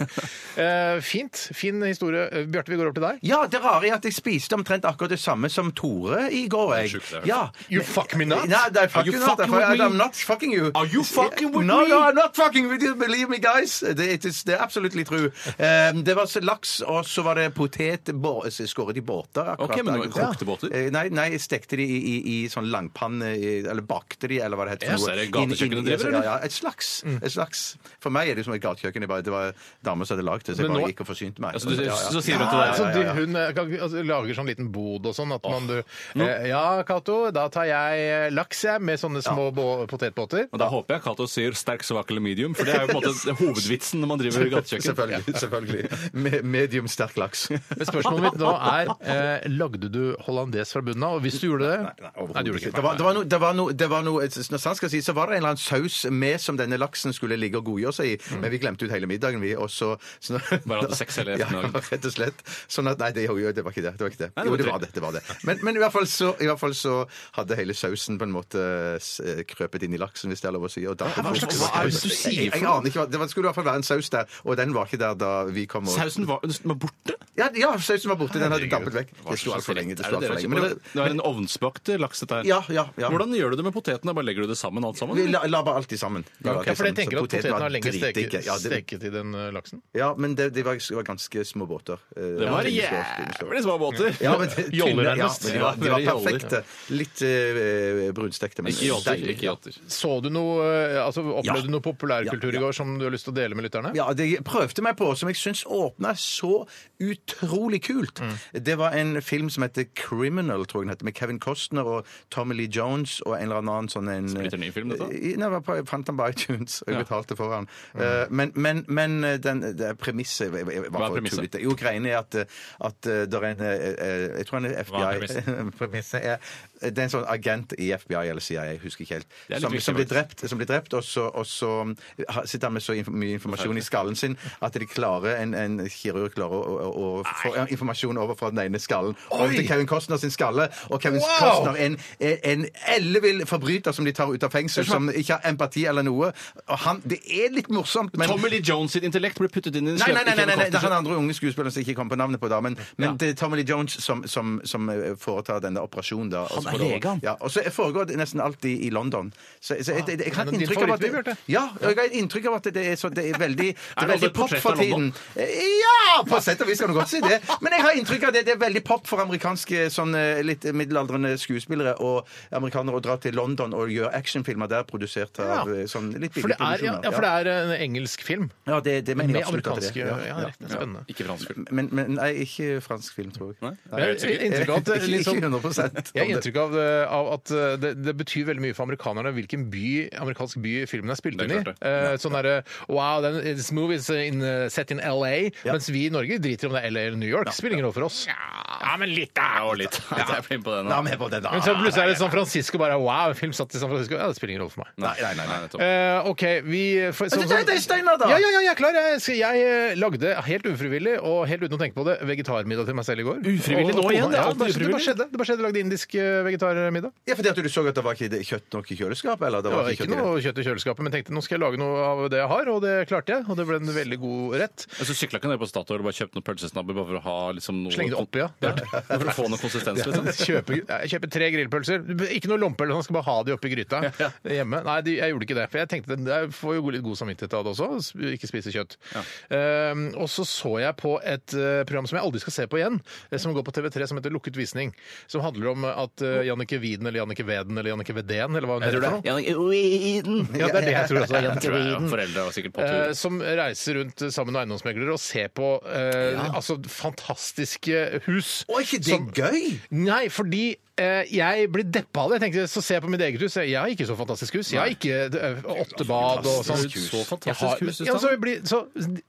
Speaker 4: Eh, fint. Fin historie. Eh, Bjarte, vi går over til deg.
Speaker 5: Ja, det rare er at jeg spiste omtrent akkurat det samme som Tore i går. Jeg.
Speaker 6: sjukt, det er.
Speaker 5: Ja.
Speaker 4: You fuck me not?
Speaker 5: Nei, det er fuck
Speaker 6: you
Speaker 5: you not.
Speaker 6: fucking with me?
Speaker 5: I'm not fucking you.
Speaker 6: Are you fucking with
Speaker 5: no,
Speaker 6: me?
Speaker 5: No, I'm not fucking with you. Believe me, guys. Det, it is, det er absolutt litt tru. Eh, det var så laks, og så var det potet bå- så skåret i båter. akkurat.
Speaker 6: Ok, men det var kokte båter?
Speaker 5: Eh, Nei, nei, jeg stekte de i, i, i sånn langpanne, i- eller bakte de, eller hva det heter.
Speaker 6: Ja,
Speaker 5: for noe.
Speaker 6: så er det
Speaker 5: Inn-
Speaker 6: gatekjøkkenet
Speaker 5: inn-
Speaker 6: driver, Mm.
Speaker 5: Ja, ja, et slags. Et slags. For meg er det jo som et gatekjøkken. jeg bare- Det var damer som hadde lagd det, så jeg
Speaker 4: Men
Speaker 5: bare
Speaker 4: nå-
Speaker 5: gikk og forsynte meg.
Speaker 6: Altså, du,
Speaker 5: Ja, ja.
Speaker 6: så sier du til deg
Speaker 4: Altså, du- Hun eh, kan- altså, lager sånn liten bod og sånn. At man, du, eh, ja, Cato, da tar jeg eh, laks jeg, med sånne små bå- potetbåter.
Speaker 6: Og Da håper jeg Cato sier sterk, svak eller medium, for det er jo på en måte hovedvitsen når man driver gatekjøkken.
Speaker 5: Selvfølgelig. selvfølgelig. Me- medium sterk laks.
Speaker 4: Men spørsmålet mitt nå er eh, lagde du hollandes fra bunnen av? Og hvis du gjorde det Nei, du gjorde ikke
Speaker 5: Det var, det var noe, det var noe, det var noe Når sant skal sies, så var det en eller annen saus med som denne laksen skulle ligge og godgjøre seg i, men vi glemte ut hele middagen, vi. Og så, så når-
Speaker 6: Mm. Bare hadde sex hele
Speaker 5: ja,
Speaker 6: ettermiddagen.
Speaker 5: rett og slett. Sånn at Nei, det, jo, jo, det var ikke det. det, var ikke det.
Speaker 6: Nei, det
Speaker 5: Jo,
Speaker 6: var
Speaker 5: det
Speaker 6: tre.
Speaker 5: var det. det, var det. Men, men i, hvert fall så, i hvert fall så hadde hele sausen på en måte s- eh, krøpet inn i laksen, hvis det er lov å si. Og da,
Speaker 4: hva slags saus du sier
Speaker 5: Jeg, jeg aner ikke hva Det var- skulle i hvert fall være en saus der, og den var ikke der da vi kom. Og,
Speaker 6: Sausen var, den var borte.
Speaker 5: ja, ja, sausen var borte. Den hadde
Speaker 4: Herregud.
Speaker 5: dampet vekk. Det sto altfor lenge. Det sto
Speaker 6: Er det
Speaker 5: alt for lenge.
Speaker 6: dere som-
Speaker 5: Men
Speaker 6: det, det er en ovnsbakte laks, dette her.
Speaker 5: Ja, ja, ja.
Speaker 6: Hvordan gjør du det med potetene? Bare legger du det sammen, alt sammen?
Speaker 5: Vi la, la bare alltid sammen. La bare
Speaker 4: Ja,
Speaker 5: alltid
Speaker 4: for jeg
Speaker 5: sammen.
Speaker 4: tenker
Speaker 5: Så
Speaker 4: at poteten
Speaker 5: var
Speaker 4: har lenger
Speaker 5: dritdigg.
Speaker 4: steket,
Speaker 5: Ja, det,
Speaker 4: steket i den eh, laksen.
Speaker 5: ja, men det, det, var, det var ganske små båter. Eh,
Speaker 6: Det var
Speaker 5: tynne skår, tynne skår.
Speaker 6: jævlig små båter.
Speaker 5: Ja, men det,
Speaker 4: Joller
Speaker 5: tynne, ja,
Speaker 4: nærmest.
Speaker 5: men de var, de
Speaker 6: Ja,
Speaker 5: var
Speaker 6: det var joller.
Speaker 5: perfekte. Litt eh, brunstekte, men
Speaker 6: Ikke yachter.
Speaker 5: deilig.
Speaker 6: Ikke yachter.
Speaker 4: Så du noe, eh, altså Opplevde
Speaker 5: Ja.
Speaker 4: du noe populærkultur
Speaker 5: Ja, ja.
Speaker 4: i går som du har lyst til å dele med lytterne?
Speaker 5: Ja, det jeg prøvde meg på, som jeg syns åpna så utrolig kult.
Speaker 6: Mm.
Speaker 5: Det var en film som heter Criminal, tror jeg den heter, med Kevin Costner og Tommy Lee Jones og en eller annen sånn en eh,
Speaker 6: Splitter ny film, dette? Mm.
Speaker 5: I- Nei, jeg bare fant den på iTunes, og jeg betalte for den. Eh, Men, men, men eh, den, det er premisset var
Speaker 6: Hva er
Speaker 5: for
Speaker 6: premisset?
Speaker 5: tullete. Jo, greiene er at, at det er en eh, eh, Jeg tror han er
Speaker 6: Hva er
Speaker 5: FBI. Premisset er Det er en sånn agent i FBI eller CIA, jeg husker ikke helt,
Speaker 6: Det er litt
Speaker 5: som,
Speaker 6: viktig,
Speaker 5: som blir
Speaker 6: faktisk.
Speaker 5: drept, som blir drept og så, og så eh, ha- sitter han med så inf mye informasjon i skallen sin at de klarer, en, en kirurg klarer å, å, å få ja, informasjon over fra den ene skallen over til Kevin Costner sin skalle. Og Kevin
Speaker 4: Wow!
Speaker 5: Costner er en, er en ellevill forbryter som de tar ut av fengsel, som ikke har empati eller noe. Og han, det er litt morsomt, men
Speaker 6: Tommy Lee Jones sitt intellekt ble puttet inn i en
Speaker 5: Nei, nei,
Speaker 6: slem-
Speaker 5: nei, nei, nei, nei, det er
Speaker 6: ikke
Speaker 5: han
Speaker 6: en
Speaker 5: andre unge skuespilleren som jeg ikke kom på navnet på, da. Men, men det er Tommy Lee Jones som, som, som eh, foretar denne operasjonen, da. og så
Speaker 6: er
Speaker 5: får det over.
Speaker 6: lege, han.
Speaker 5: Ja, og så foregår det nesten alltid i London. Så, så jeg, jeg, jeg, har
Speaker 4: Men
Speaker 5: et
Speaker 4: din
Speaker 5: inntrykk av at
Speaker 4: favorittby, Bjarte?
Speaker 5: Ja, jeg har et inntrykk av at det er, så, det er veldig, det
Speaker 6: Er
Speaker 5: er
Speaker 6: det
Speaker 5: veldig
Speaker 6: også et
Speaker 5: pop
Speaker 6: portrett
Speaker 5: for
Speaker 6: av
Speaker 5: tiden.
Speaker 6: London?
Speaker 5: Ja, på sett og vis kan du godt si det. Men jeg har inntrykk av det. Det er veldig pop for amerikanske sånn eh, litt middelaldrende skuespillere og amerikanere å dra til London og gjøre actionfilmer der, produsert av
Speaker 4: Ja.
Speaker 5: eh, sånn litt
Speaker 4: For
Speaker 5: billige
Speaker 4: det, er, ja,
Speaker 5: produksjoner.
Speaker 4: ja, for det er en engelsk film
Speaker 5: Ja, det, det mener
Speaker 4: med
Speaker 5: jeg absolutt at det
Speaker 4: amerikanske
Speaker 5: er.
Speaker 4: ja,
Speaker 5: Ja, ja.
Speaker 4: rett, Spennende.
Speaker 6: Ikke fransk film.
Speaker 5: Men, men nei, ikke fransk film, tror jeg. Nei.
Speaker 4: Jeg har inntrykk av at det er Eh, litt
Speaker 5: Ikke
Speaker 4: sånn- Jeg
Speaker 5: 100
Speaker 4: har
Speaker 5: om det.
Speaker 4: inntrykk av, det- av at eh, det, det betyr veldig mye for amerikanerne hvilken by, amerikansk by filmen er spilt
Speaker 6: Det er
Speaker 4: inn i.
Speaker 6: klart det.
Speaker 4: Eh, Sånn derre Wow, den, this movie is in, eh, set in LA. Mens vi i Norge driter om det er LA eller New York. Spiller ingen rolle for oss. Ja, men litt, da!
Speaker 6: Ja, litt. Jeg blir på det nå.
Speaker 5: La meg på det, da.
Speaker 4: Men så plutselig er det San Francisco bare Wow, en film satt i San Francisco. Ja, det spiller ingen rolle for meg.
Speaker 6: Nei, nei, nei. nettopp.
Speaker 4: Eh, OK, vi for,
Speaker 5: Men du tar det, Steinar, da!
Speaker 4: Ja, ja, ja, jeg er klar. Jeg, skal- jeg eh, lagde helt ufrivillig og helt uten å tenke på det vegetarmiddag til meg selv i går.
Speaker 6: Ufrivillig
Speaker 4: Og-
Speaker 6: nå igjen? Det er
Speaker 4: Ja,
Speaker 6: alt
Speaker 4: det,
Speaker 6: ufrivillig.
Speaker 4: det bare skjedde. Det bare skjedde. Jeg lagde indisk eh, vegetarmiddag.
Speaker 5: Ja, fordi at du så at det var ikke kjøtt nok i kjøleskapet? Eller det
Speaker 4: Det
Speaker 5: var
Speaker 4: var ikke
Speaker 5: kjøtt i det?
Speaker 4: noe kjøtt i kjøleskapet, men tenkte nå skal jeg lage noe av det jeg har, og det klarte jeg. Og det ble en veldig god rett.
Speaker 6: Og så sykla ikke ned på Statoil og bare kjøpte noen pølsesnabber bare for å ha liksom noe
Speaker 4: Slenge det oppi, ja.
Speaker 6: For å få noe konsistens, liksom.
Speaker 4: Kjøpe, jeg kjøper tre grillpølser. Ikke noe lompe, eller noe, jeg skal bare ha de oppi gryta hjemme. Nei, de, jeg gjorde ikke det. For jeg tenkte jeg får jo litt god samvittighet av det også, sp- ikke spise kjøtt. Um, og så så jeg på et eh, program som jeg aldri skal se på igjen, eh, som går på TV3 som heter Lukket visning. Som handler om at eh, Jannicke Widen eller Jannicke Veden eller Jannicke Vedén eller hva hun heter for noe. Ja, det er det jeg tror også. Jannicke
Speaker 6: Tror jeg,
Speaker 4: Widen.
Speaker 6: ja. Foreldre var sikkert på tur.
Speaker 4: Eh, som reiser rundt sammen med eiendomsmeglere og ser på eh, altså, fantastiske hus.
Speaker 5: Å, er ikke det
Speaker 4: som-
Speaker 5: gøy?
Speaker 4: Nei, fordi eh, jeg blir deppa av det. Jeg tenkte, Så ser jeg på mitt eget hus. Jeg har ikke så fantastisk hus. Jeg har ikke eh, åtte bad og sånn.
Speaker 6: Fantastisk hus. Så fantastisk
Speaker 4: Jeg har-
Speaker 6: hus, liksom. Øystein.
Speaker 4: ja, så jeg blir, så,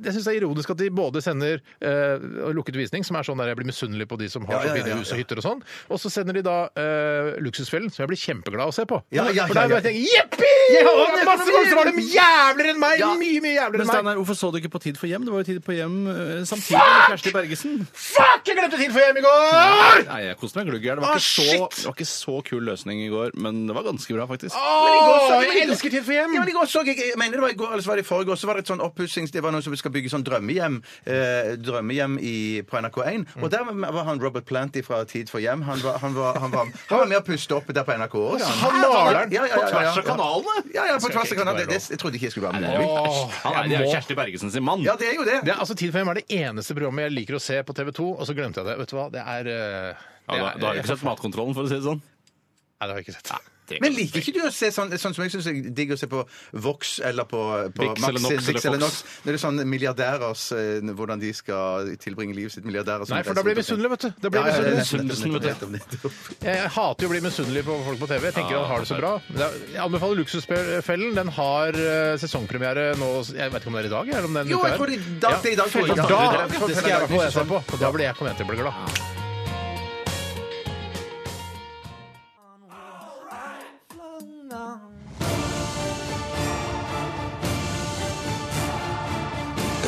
Speaker 4: jeg syns det er ironisk at de både sender eh, lukket visning, som er sånn der jeg blir misunnelig på de som har
Speaker 5: Ja, ja,
Speaker 4: så
Speaker 5: ja,
Speaker 4: fine
Speaker 5: ja,
Speaker 4: hus og hytter og sånn, og så sender de da eh, Luksusfellen, som jeg blir kjempeglad av å se på.
Speaker 5: Ja, ja,
Speaker 4: For
Speaker 5: ja,
Speaker 4: der
Speaker 5: ja.
Speaker 4: bare tenker jeg jippi! Jeg har masse folk som har dem jævligere enn meg!
Speaker 2: Ja.
Speaker 4: Mye, mye jævligere
Speaker 6: Men
Speaker 4: enn meg!
Speaker 6: Steinar, hvorfor så du ikke på Tid for hjem? Det var jo Tid for hjem eh, samtidig med Kjersti Bergesen.
Speaker 4: Fuck, jeg glemte tid for hjem i går!
Speaker 6: Nei, jeg koste meg gluggjern. Det, var
Speaker 4: Ah,
Speaker 6: ikke så-
Speaker 4: shit! Ah,
Speaker 6: det var ikke så kul løsning i går, men det var ganske bra, faktisk.
Speaker 4: Åh, jeg elsker tid for hjem!
Speaker 5: Ja, men i går så jeg, jeg mener det var i går, eller så var det i forrige år, så var det et sånn oppussings... Det var noen som skal bygge sånn drømmehjem, eh, drømmehjem i, på NRK1. Og der var han Robert Planty fra Tid for hjem. Han var, han var, han var, han var med å puste opp der på NRK også.
Speaker 4: Han maleren
Speaker 5: Ja, ja, ja, ja, ja.
Speaker 6: På tvers av kanalene?
Speaker 5: Ja, ja, på
Speaker 4: Skal
Speaker 5: tvers
Speaker 4: ikke
Speaker 5: av kanalene.
Speaker 4: være
Speaker 5: Det, det, jeg trodde ikke jeg skulle være
Speaker 6: Det er
Speaker 5: med.
Speaker 6: jo
Speaker 4: Åh,
Speaker 6: Kjersti- Han er, det er jo
Speaker 4: jeg må-
Speaker 6: Kjersti Bergesen sin mann.
Speaker 5: Ja, det er jo det.
Speaker 4: Det er, altså, Tid for hjem er det eneste programmet jeg liker å se på TV 2, og så glemte jeg det. Vet du hva, det er eh,
Speaker 6: Ja, da,
Speaker 4: det er-
Speaker 6: da har du ikke sett Matkontrollen, for å si det sånn.
Speaker 4: Nei, det har jeg ikke sett.
Speaker 5: Men liker ikke du å se sånn, sånn som jeg syns er digg å se på Vox eller på, på
Speaker 6: Bix eller Nox eller
Speaker 5: Bix eller
Speaker 6: Fox.
Speaker 5: Nox? Når det er sånn milliardærers eh, Hvordan de skal tilbringe livet sitt milliardærer som
Speaker 4: Nei, for da blir jeg
Speaker 5: reiser rundt
Speaker 4: misunnelig, vet du. Da blir
Speaker 5: omkring.
Speaker 4: jeg
Speaker 5: Ja, ja, ja,
Speaker 4: misunnelig.
Speaker 5: nettopp,
Speaker 6: Misunnelsen,
Speaker 5: nettopp,
Speaker 6: vet du.
Speaker 5: nettopp, nettopp.
Speaker 4: Jeg hater jo å bli misunnelig på folk på TV. Jeg tenker han har det
Speaker 5: Ah,
Speaker 4: så bra. Men det er- Jeg anbefaler Luksusfellen. Den har eh, sesongpremiere nå Jeg vet ikke om det er i dag? Eller om den
Speaker 5: Jo,
Speaker 4: uka
Speaker 5: jeg
Speaker 4: her.
Speaker 5: tror det- da- det er i dag, tror jeg.
Speaker 4: Da,
Speaker 5: Ja,
Speaker 4: da skal jeg i hvert fall se på. Da blir jeg kommer jeg til å bli glad.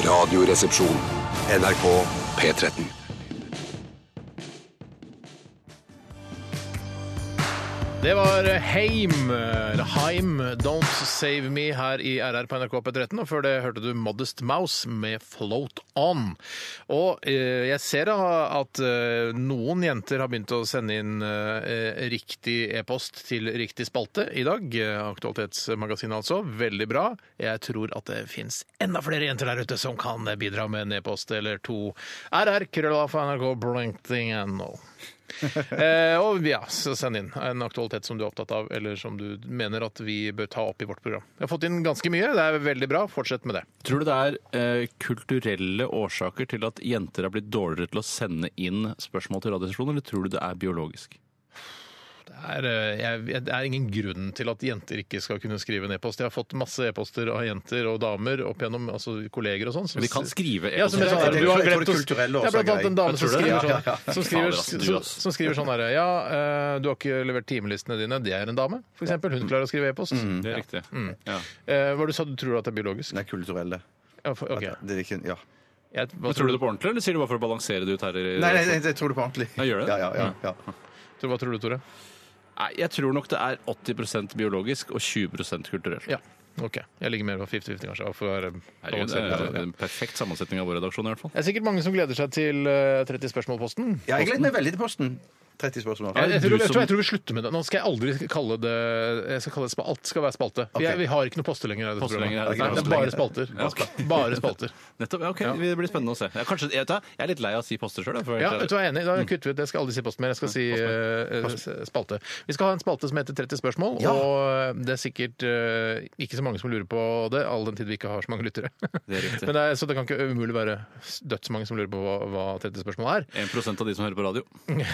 Speaker 1: Radioresepsjon. NRK P13.
Speaker 4: Det var Heim, eller Heim, Don't Save Me her i RR på NRK P13. Og før det hørte du Modest Mouse med Float On. Og eh, jeg ser da at eh, noen jenter har begynt å sende inn eh, riktig e-post til riktig spalte i dag. Eh, Aktualitetsmagasinet altså. Veldig bra. Jeg tror at det fins enda flere jenter der ute som kan bidra med en e-post eller to. RR, krølla, nrk, blankting, no. Eh, og ja, så send inn en aktualitet som du er opptatt av, eller som du mener at vi bør ta opp i vårt program. Jeg har fått inn ganske mye, det er veldig bra. Fortsett med det.
Speaker 6: Tror du det er eh, kulturelle årsaker til at jenter har blitt dårligere til å sende inn spørsmål til Radioresepsjonen, eller tror du det er biologisk?
Speaker 4: Det er, eh, jeg, jeg- det er ingen grunn til at jenter ikke skal kunne skrive en e-post. Jeg har fått masse e-poster av jenter og damer opp gjennom altså kolleger og sånn. som-
Speaker 6: De kan skrive
Speaker 4: Ja, som jeg sa,
Speaker 5: Jeg tror-
Speaker 4: du har
Speaker 5: jeg tror
Speaker 4: glemt
Speaker 5: det
Speaker 4: å-
Speaker 5: kulturelle
Speaker 4: Ja,
Speaker 5: også
Speaker 4: blant
Speaker 5: er
Speaker 4: annet en
Speaker 5: grei.
Speaker 4: dame som
Speaker 6: tror det,
Speaker 4: skriver
Speaker 6: ja.
Speaker 4: sånn, som skriver,
Speaker 6: Fader, ass, du,
Speaker 4: som,
Speaker 6: ass.
Speaker 4: som skriver sånn herre Ja, eh, du har ikke levert timelistene dine. Det er en dame, for eksempel. Hun klarer å skrive e-post.
Speaker 6: Mm, Det er riktig. Ja.
Speaker 4: Eh, Hva du sa du tror at det er biologisk?
Speaker 5: Nei, kulturelle.
Speaker 4: Ja, for- ok.
Speaker 5: Det er ikke, ja.
Speaker 4: Jeg, hva
Speaker 6: Men tror du det på ordentlig, eller sier du bare for å balansere det ut her?
Speaker 5: Nei,
Speaker 6: i-
Speaker 5: nei, nei, jeg tror det på ordentlig.
Speaker 6: Ja, gjør det?
Speaker 5: Ja, ja, ja, ja.
Speaker 4: tror- Hva tror du, Tore?
Speaker 6: Nei, jeg tror nok det er 80 biologisk og 20 kulturelt.
Speaker 4: Ja. Ok. Jeg ligger mer på 50-50, kanskje. for å være
Speaker 6: Herregud, det
Speaker 4: balansert.
Speaker 6: er en perfekt sammensetning av vår redaksjon, i hvert fall.
Speaker 4: Det er sikkert mange som gleder seg til eh, 30 spørsmål-posten.
Speaker 5: ja jeg gleder meg veldig til posten. 30 spørsmål.
Speaker 4: Jeg, jeg,
Speaker 6: du
Speaker 4: tror, jeg,
Speaker 6: som-
Speaker 4: tror, jeg tror vi slutter med det. Nå skal jeg aldri kalle det jeg skal kalle det spal- Alt skal være spalte. Vi, er, vi har ikke noe poster lenger. i dette
Speaker 6: Poster lenger,
Speaker 4: programmet.
Speaker 6: ja,
Speaker 4: Nei, det er bare spalter.
Speaker 6: Ja, ok.
Speaker 4: Bare spalter.
Speaker 6: Nettopp, ja, ok, Det blir spennende å se. Jeg, kanskje, jeg, vet hva, jeg er litt lei av å si poster sjøl.
Speaker 4: Ja, vet du hva jeg er enig i? Da kutter vi ut. Jeg skal aldri si post mer. Jeg skal si eh, eh, spalte. Vi skal ha en spalte som heter 30 spørsmål,
Speaker 5: Ja.
Speaker 4: og det er sikkert eh, ikke så mange som lurer på det, all den tid vi ikke har så mange lyttere.
Speaker 6: Det er riktig.
Speaker 4: Men det er, så det kan ikke umulig være dødsmange som lurer på hva, hva 30 spørsmål er.
Speaker 6: 1 av de som hører på radio.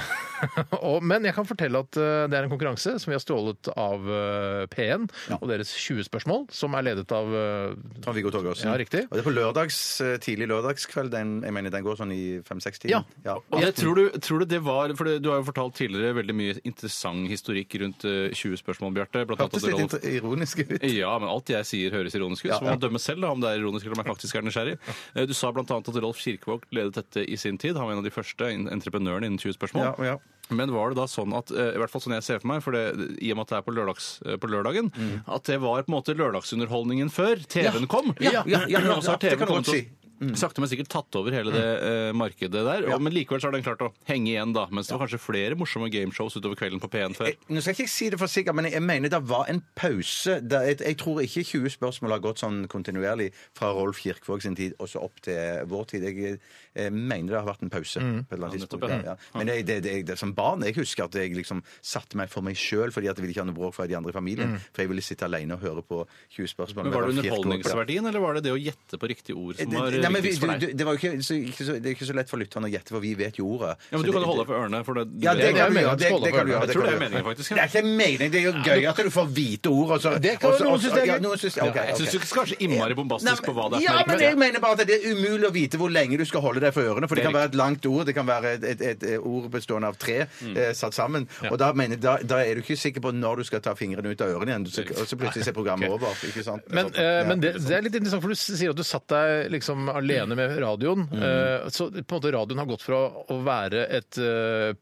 Speaker 4: Og, men jeg kan fortelle at eh, det er en konkurranse som vi har stjålet av eh, P1 og deres 20 spørsmål, som er ledet av eh,
Speaker 5: Trond-Viggo Torgersen.
Speaker 4: Ja, riktig.
Speaker 5: Og det er på lørdags, eh, tidlig lørdagskveld. Den, jeg mener den går sånn i fem-seks-tiden.
Speaker 4: Ja.
Speaker 6: Og det, tror, du, tror du det var For det- du har jo fortalt tidligere veldig mye interessant historikk rundt eh, 20 spørsmål, Bjarte. blant annet at
Speaker 5: Hørtes litt
Speaker 6: Rolf-
Speaker 5: inter- ironisk ut.
Speaker 6: Ja, men alt jeg sier høres ironisk ut. Så må man dømme selv da, om det er ironisk eller om jeg faktisk er nysgjerrig. Eh, Du sa bl.a. at Rolf Kirkevåg ledet dette i sin tid. Han var en av de første in- entreprenørene innen 20 spørsmål.
Speaker 5: Ja, ja.
Speaker 6: Men var det da sånn at eh, i hvert fall sånn jeg ser for meg, for det, i og med at det er på, lørdags, eh, på lørdagen,
Speaker 5: Mm.
Speaker 6: at det var på en måte lørdagsunderholdningen før TV-en kom?
Speaker 5: ja, ja, ja, ja,
Speaker 6: Og så har
Speaker 5: det
Speaker 6: TV-en
Speaker 5: kan du
Speaker 6: kommet
Speaker 5: godt Mm.
Speaker 6: og sakte, men sikkert tatt over hele det eh, markedet der. Og, men likevel så har den klart å henge igjen, da. Mens det var kanskje flere morsomme gameshows utover kvelden på P1 før.
Speaker 5: Jeg, nå skal ikke jeg si det for sikkert, men jeg, jeg mener det var en pause. Da- jeg, jeg tror ikke 20 spørsmål har gått sånn kontinuerlig fra Rolf Kirkvåg sin tid og så opp til vår tid. Jeg, eh, mener det har vært en pause på et eller annet tidspunkt. Ja, ja. Men jeg, det, det, det, som barn jeg husker at jeg liksom satte meg for meg sjøl fordi at jeg ville ikke ha noe bråk fra de andre i familien. For jeg ville sitte alene og høre på 20 spørsmål.
Speaker 6: Men Var det
Speaker 5: med Rolf Kirkvaag.
Speaker 6: underholdningsverdien, eller var det det å gjette på riktig ord som var
Speaker 5: Eh, Nei, men vi-
Speaker 6: viktigst for
Speaker 5: du-
Speaker 6: deg?
Speaker 5: du- Det var jo ikke så, ikke så, det er ikke så lett for lytterne å gjette, for vi vet jo ordet.
Speaker 6: Ja, men
Speaker 5: Så
Speaker 6: Du kan
Speaker 5: det-
Speaker 6: jo holde deg for ørene. for det...
Speaker 5: ja, det
Speaker 4: Jeg
Speaker 5: kan
Speaker 4: mener
Speaker 5: du gjøre.
Speaker 4: at
Speaker 5: Det,
Speaker 4: skål
Speaker 5: det kan
Speaker 4: over.
Speaker 5: du gjøre.
Speaker 4: Jeg
Speaker 5: det
Speaker 6: tror
Speaker 5: kan du
Speaker 6: det er
Speaker 5: gjøre.
Speaker 6: meningen, faktisk, ja.
Speaker 5: Det er ikke meningen. Det er jo gøy at du får vite ord. Og så,
Speaker 4: Det kan-
Speaker 5: og så-
Speaker 4: noen
Speaker 5: og så-
Speaker 4: synes det er
Speaker 5: ja,
Speaker 4: gøy.
Speaker 5: noen synes- ok,
Speaker 6: Jeg syns
Speaker 5: ok.
Speaker 6: du ikke skal være så innmari bombastisk på hva det er.
Speaker 5: ja,
Speaker 6: som er
Speaker 5: men
Speaker 6: riktig.
Speaker 5: jeg mener bare at det er umulig å vite hvor lenge du skal holde deg for ørene. For det
Speaker 6: Det er
Speaker 5: kan være et langt ord, det kan være et, et, et ord bestående av tre
Speaker 6: Mm.
Speaker 5: eh, satt sammen. Og da, mener, jeg- da, da er du ikke sikker på når du skal ta fingrene ut av ørene igjen. Du, skal- og så plutselig er programmet over. Ikke sant?
Speaker 4: Men,
Speaker 5: Ja.
Speaker 4: eh, men det, det er litt interessant, for du sier at du satt deg liksom alene med radioen.
Speaker 5: Mm.
Speaker 4: Eh, så på en måte radioen har gått fra å være et eh,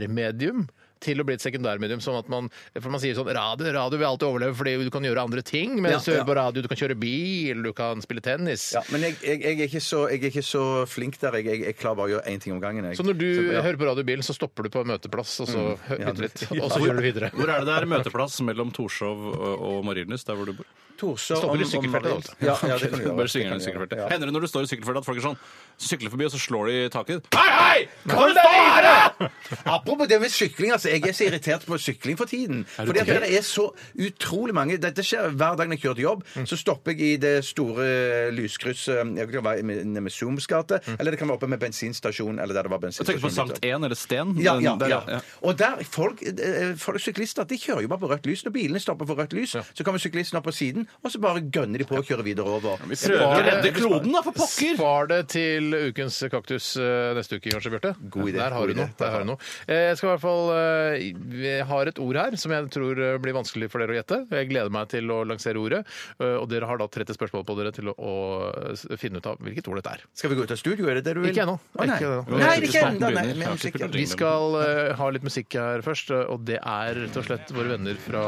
Speaker 4: primærmedium til å bli et sekundærmedium. sånn at man, for man sier sånn Radio radio vil alltid overleve fordi du kan gjøre andre ting mens du
Speaker 5: Ja, ja.
Speaker 4: hører på radio. Du kan kjøre bil, du kan spille tennis.
Speaker 5: ja, men jeg, jeg, jeg, er ikke så, jeg er ikke så flink der. Jeg, jeg, jeg klarer bare å gjøre én ting om gangen. Jeg.
Speaker 4: Så når du
Speaker 5: ja. Mm.
Speaker 4: hører på radio i bilen, så stopper du på en møteplass, og så hører
Speaker 5: Ja,
Speaker 4: du litt,
Speaker 5: ja.
Speaker 4: og så kjører du videre.
Speaker 6: Hvor er det det er møteplass mellom Torshov og og Marienlyst, der hvor du bor?
Speaker 5: Torshov
Speaker 4: Stopper i
Speaker 5: om- om
Speaker 4: sykkelfeltet,
Speaker 5: Marienlyst.
Speaker 4: da,
Speaker 5: Ja, ja, det kan du gjøre.
Speaker 6: altså. Bare
Speaker 5: Det
Speaker 6: synger
Speaker 5: kan
Speaker 6: i
Speaker 5: du gjøre.
Speaker 6: sykkelfeltet.
Speaker 5: Ja.
Speaker 6: Hender det når du står i sykkelfeltet at folk er sånn Sykler forbi, og så slår de i taket. Hei, hei! Kan du stå her?!
Speaker 5: Apropos det med sykling, altså. Jeg er så irritert på sykling for tiden. Fordi at det er så utrolig mange Dette skjer hver dag når jeg kjører til jobb.
Speaker 6: Mm.
Speaker 5: Så stopper jeg i det store lyskrysset jeg kan være med- nede med Zooms gate, eller det kan være oppe med bensinstasjon, eller der det var
Speaker 6: Mm. Jeg tenker på
Speaker 5: bensinstasjon.
Speaker 6: Sankt 1 eller Sten.
Speaker 5: Ja,
Speaker 6: den
Speaker 5: ja,
Speaker 6: der,
Speaker 5: ja. Og der, folk, eh, folk syklister de kjører jo bare på rødt lys. Når bilene stopper for rødt lys, så kommer syklisten opp på siden, og så bare gønner de på og kjører videre over.
Speaker 6: Vi prøver å
Speaker 4: Spar-
Speaker 6: redde kloden, da, for pokker!
Speaker 4: Spar det til ukens kaktus eh, neste uke, kanskje, Bjarte.
Speaker 5: God idé,
Speaker 4: Der har
Speaker 5: god
Speaker 4: du
Speaker 5: idé.
Speaker 4: noe. Der har du noe. Eh, Jeg skal i hvert fall eh, Vi har et ord her som jeg tror eh, blir vanskelig for dere å gjette. Jeg gleder meg til å lansere ordet. eh, Og dere har da 30 spørsmål på dere til å, å s- finne ut av hvilket ord dette er.
Speaker 5: Skal vi gå ut av studio, er det det du vil?
Speaker 4: Ikke ennå.
Speaker 5: Å, nei.
Speaker 4: Ikke ennå.
Speaker 5: nei, det er ikke ennå. Nei,
Speaker 6: Begynner.
Speaker 5: men
Speaker 6: Ja,
Speaker 5: sikkert.
Speaker 6: sikkert.
Speaker 4: Vi skal eh, ha litt musikk her først, eh, og det er rett og slett våre venner fra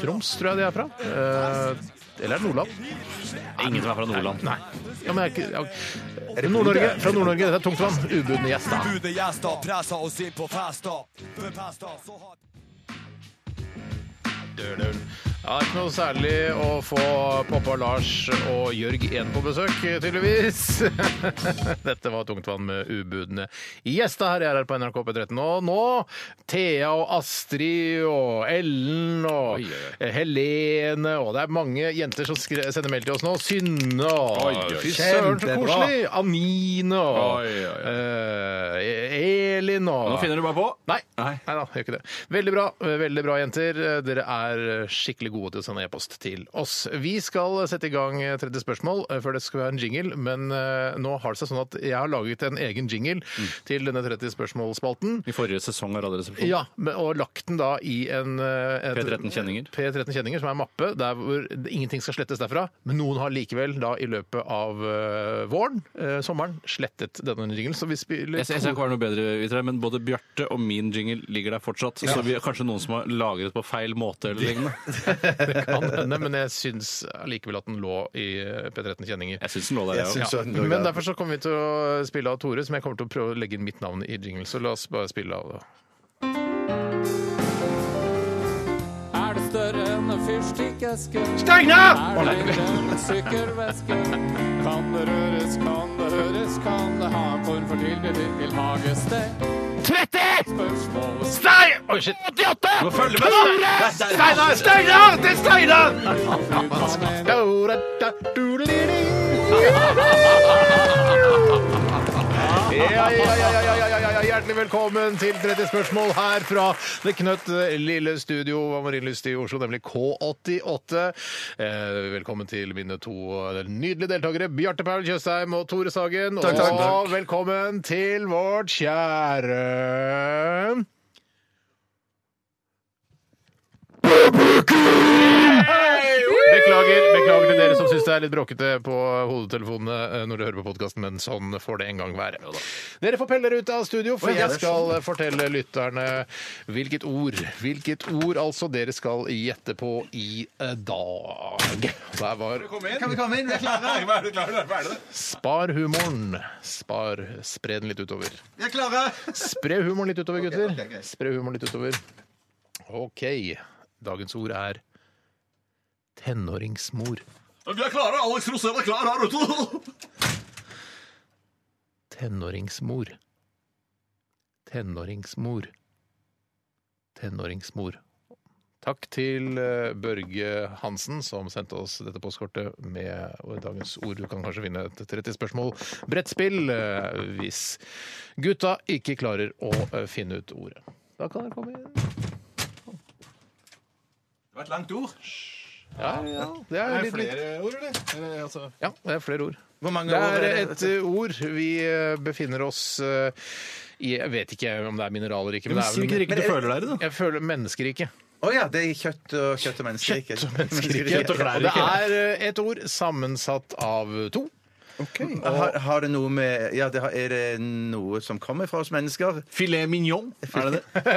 Speaker 4: Troms, tror jeg de er fra. Eh, eller er det Nordland?
Speaker 6: Ingen som er fra Nordland.
Speaker 4: Nei. Ja, men jeg, er ikke- ja. Nord-Norge. Fra Nord-Norge. Dette er tungtvann. Ubudne gjester.
Speaker 7: Ubudet gjester presser oss inn på fester. Bepester, så har
Speaker 4: Ja, ikke noe særlig å få pappa Lars og Jørg igjen på besøk, tydeligvis. Dette var Tungtvann med ubudne gjester her. Jeg er her på NRK P13. Og nå Thea og Astrid og Ellen og Helene og Det er mange jenter som skre- sender mail til oss nå. Synne
Speaker 6: Oi,
Speaker 4: og
Speaker 6: oi,
Speaker 4: Fy søren, så
Speaker 5: kjempebra.
Speaker 4: koselig! Anine og
Speaker 6: Oi, oi, oi.
Speaker 4: eh, Elin og
Speaker 6: Nå finner du bare på.
Speaker 4: Nei. Nei.
Speaker 6: Nei.
Speaker 4: da, gjør ikke det. Veldig bra, eh, veldig bra jenter. Eh, Dere er skikkelig gode til å sende e-post til oss. Vi skal sette i gang 30 spørsmål eh, før det skal være en jingle, men eh, nå har det seg sånn at jeg har laget en egen jingle
Speaker 6: Mm.
Speaker 4: til denne 30 spørsmål-spalten.
Speaker 6: I forrige sesong av Radioresepsjonen.
Speaker 4: Ja, men- og lagt den da i en eh, et-
Speaker 6: P13 kjenninger.
Speaker 4: P13 Kjenninger, som er en mappe der hvor det- ingenting skal slettes derfra. Men noen har likevel da i løpet av eh, våren, eh, sommeren, slettet denne jinglen. Så vi spiller
Speaker 6: Jeg, ser- jeg ser ikke hva er noe bedre, Vitre, men både Bjarte og min jingle ligger der fortsatt. Så vi er kanskje noen som har lagret på feil måte eller lignende.
Speaker 4: Det kan hende, men jeg syns allikevel at den lå i eh, P13 Kjenninger.
Speaker 6: Jeg syns den lå der,
Speaker 5: Jeg
Speaker 6: jeg
Speaker 5: synes
Speaker 6: òg.
Speaker 5: også den lå
Speaker 4: Men
Speaker 5: der.
Speaker 4: derfor så kommer vi til å spille av Tore, som jeg kommer til å prøve å legge inn mitt navn i jingle. Så la oss bare spille av. da.
Speaker 8: Er det større enn en fyrstikkeske? Er det mindre enn en sykkelveske? Kan det røres, kan det høres, kan det ha en form for tilknytning til hagested? 30! Spørsmålet
Speaker 6: Du må følge med, da!
Speaker 4: Steinar! Steinar! Det er Steinar!
Speaker 8: er
Speaker 4: Ja, ja, ja, ja, ja, ja, ja, ja, ja, hjertelig velkommen til 30 spørsmål her fra det knøtt lille studio av Marienlyst i Oslo, nemlig K88. Eh, Velkommen til mine to nydelige deltakere, Bjarte Paul Tjøstheim og Tore Sagen.
Speaker 5: Takk, takk.
Speaker 4: Og velkommen til vårt kjære Beklager, beklager til dere som syns det er litt bråkete på hodetelefonene eh, når dere hører på podkasten, men sånn får det en gang være. Dere får pelle dere ut av studio, for jeg skal eh, fortelle lytterne hvilket ord Hvilket ord altså dere skal gjette på i eh, dag. Der var
Speaker 5: Kan vi komme inn? Vi er klare!
Speaker 4: Spar humoren. Spar, Spre den litt utover.
Speaker 5: Vi er klare!
Speaker 4: Spre humoren litt utover, gutter.
Speaker 5: ok, greit.
Speaker 4: Spre humoren litt utover. OK. Dagens ord er tenåringsmor.
Speaker 7: Vi er klare! Alex Rosén er klar her ute!
Speaker 4: Tenåringsmor. Tenåringsmor. Tenåringsmor. Takk til eh, Børge Hansen som sendte oss dette postkortet med dagens ord. Du kan kanskje finne et 30 spørsmål brettspill eh, hvis gutta ikke klarer å eh, finne ut ordet. Da kan dere komme inn.
Speaker 5: Det var et langt ord.
Speaker 4: Ja, ja. Det er, litt, litt.
Speaker 6: ord, eller? eller altså.
Speaker 4: Ja, det er flere ord.
Speaker 5: Hvor mange
Speaker 4: Det
Speaker 5: ord
Speaker 4: er
Speaker 5: er
Speaker 4: et eh, ord. Vi eh, befinner oss eh, i Jeg vet ikke om det er mineraler eller ikke. Men det er vel-
Speaker 6: du føler deg i, da.
Speaker 4: Jeg føler menneskeriket.
Speaker 5: Å ja, det er kjøtt og kjøtt og menneskeriket. Kjøtt og
Speaker 4: Menneskeriket.
Speaker 6: og klær,
Speaker 4: Og det er eh, et ord sammensatt av to.
Speaker 5: Har, har det noe med Ja, det har, er det noe som kommer fra oss mennesker?
Speaker 6: Filet mignon, er det det?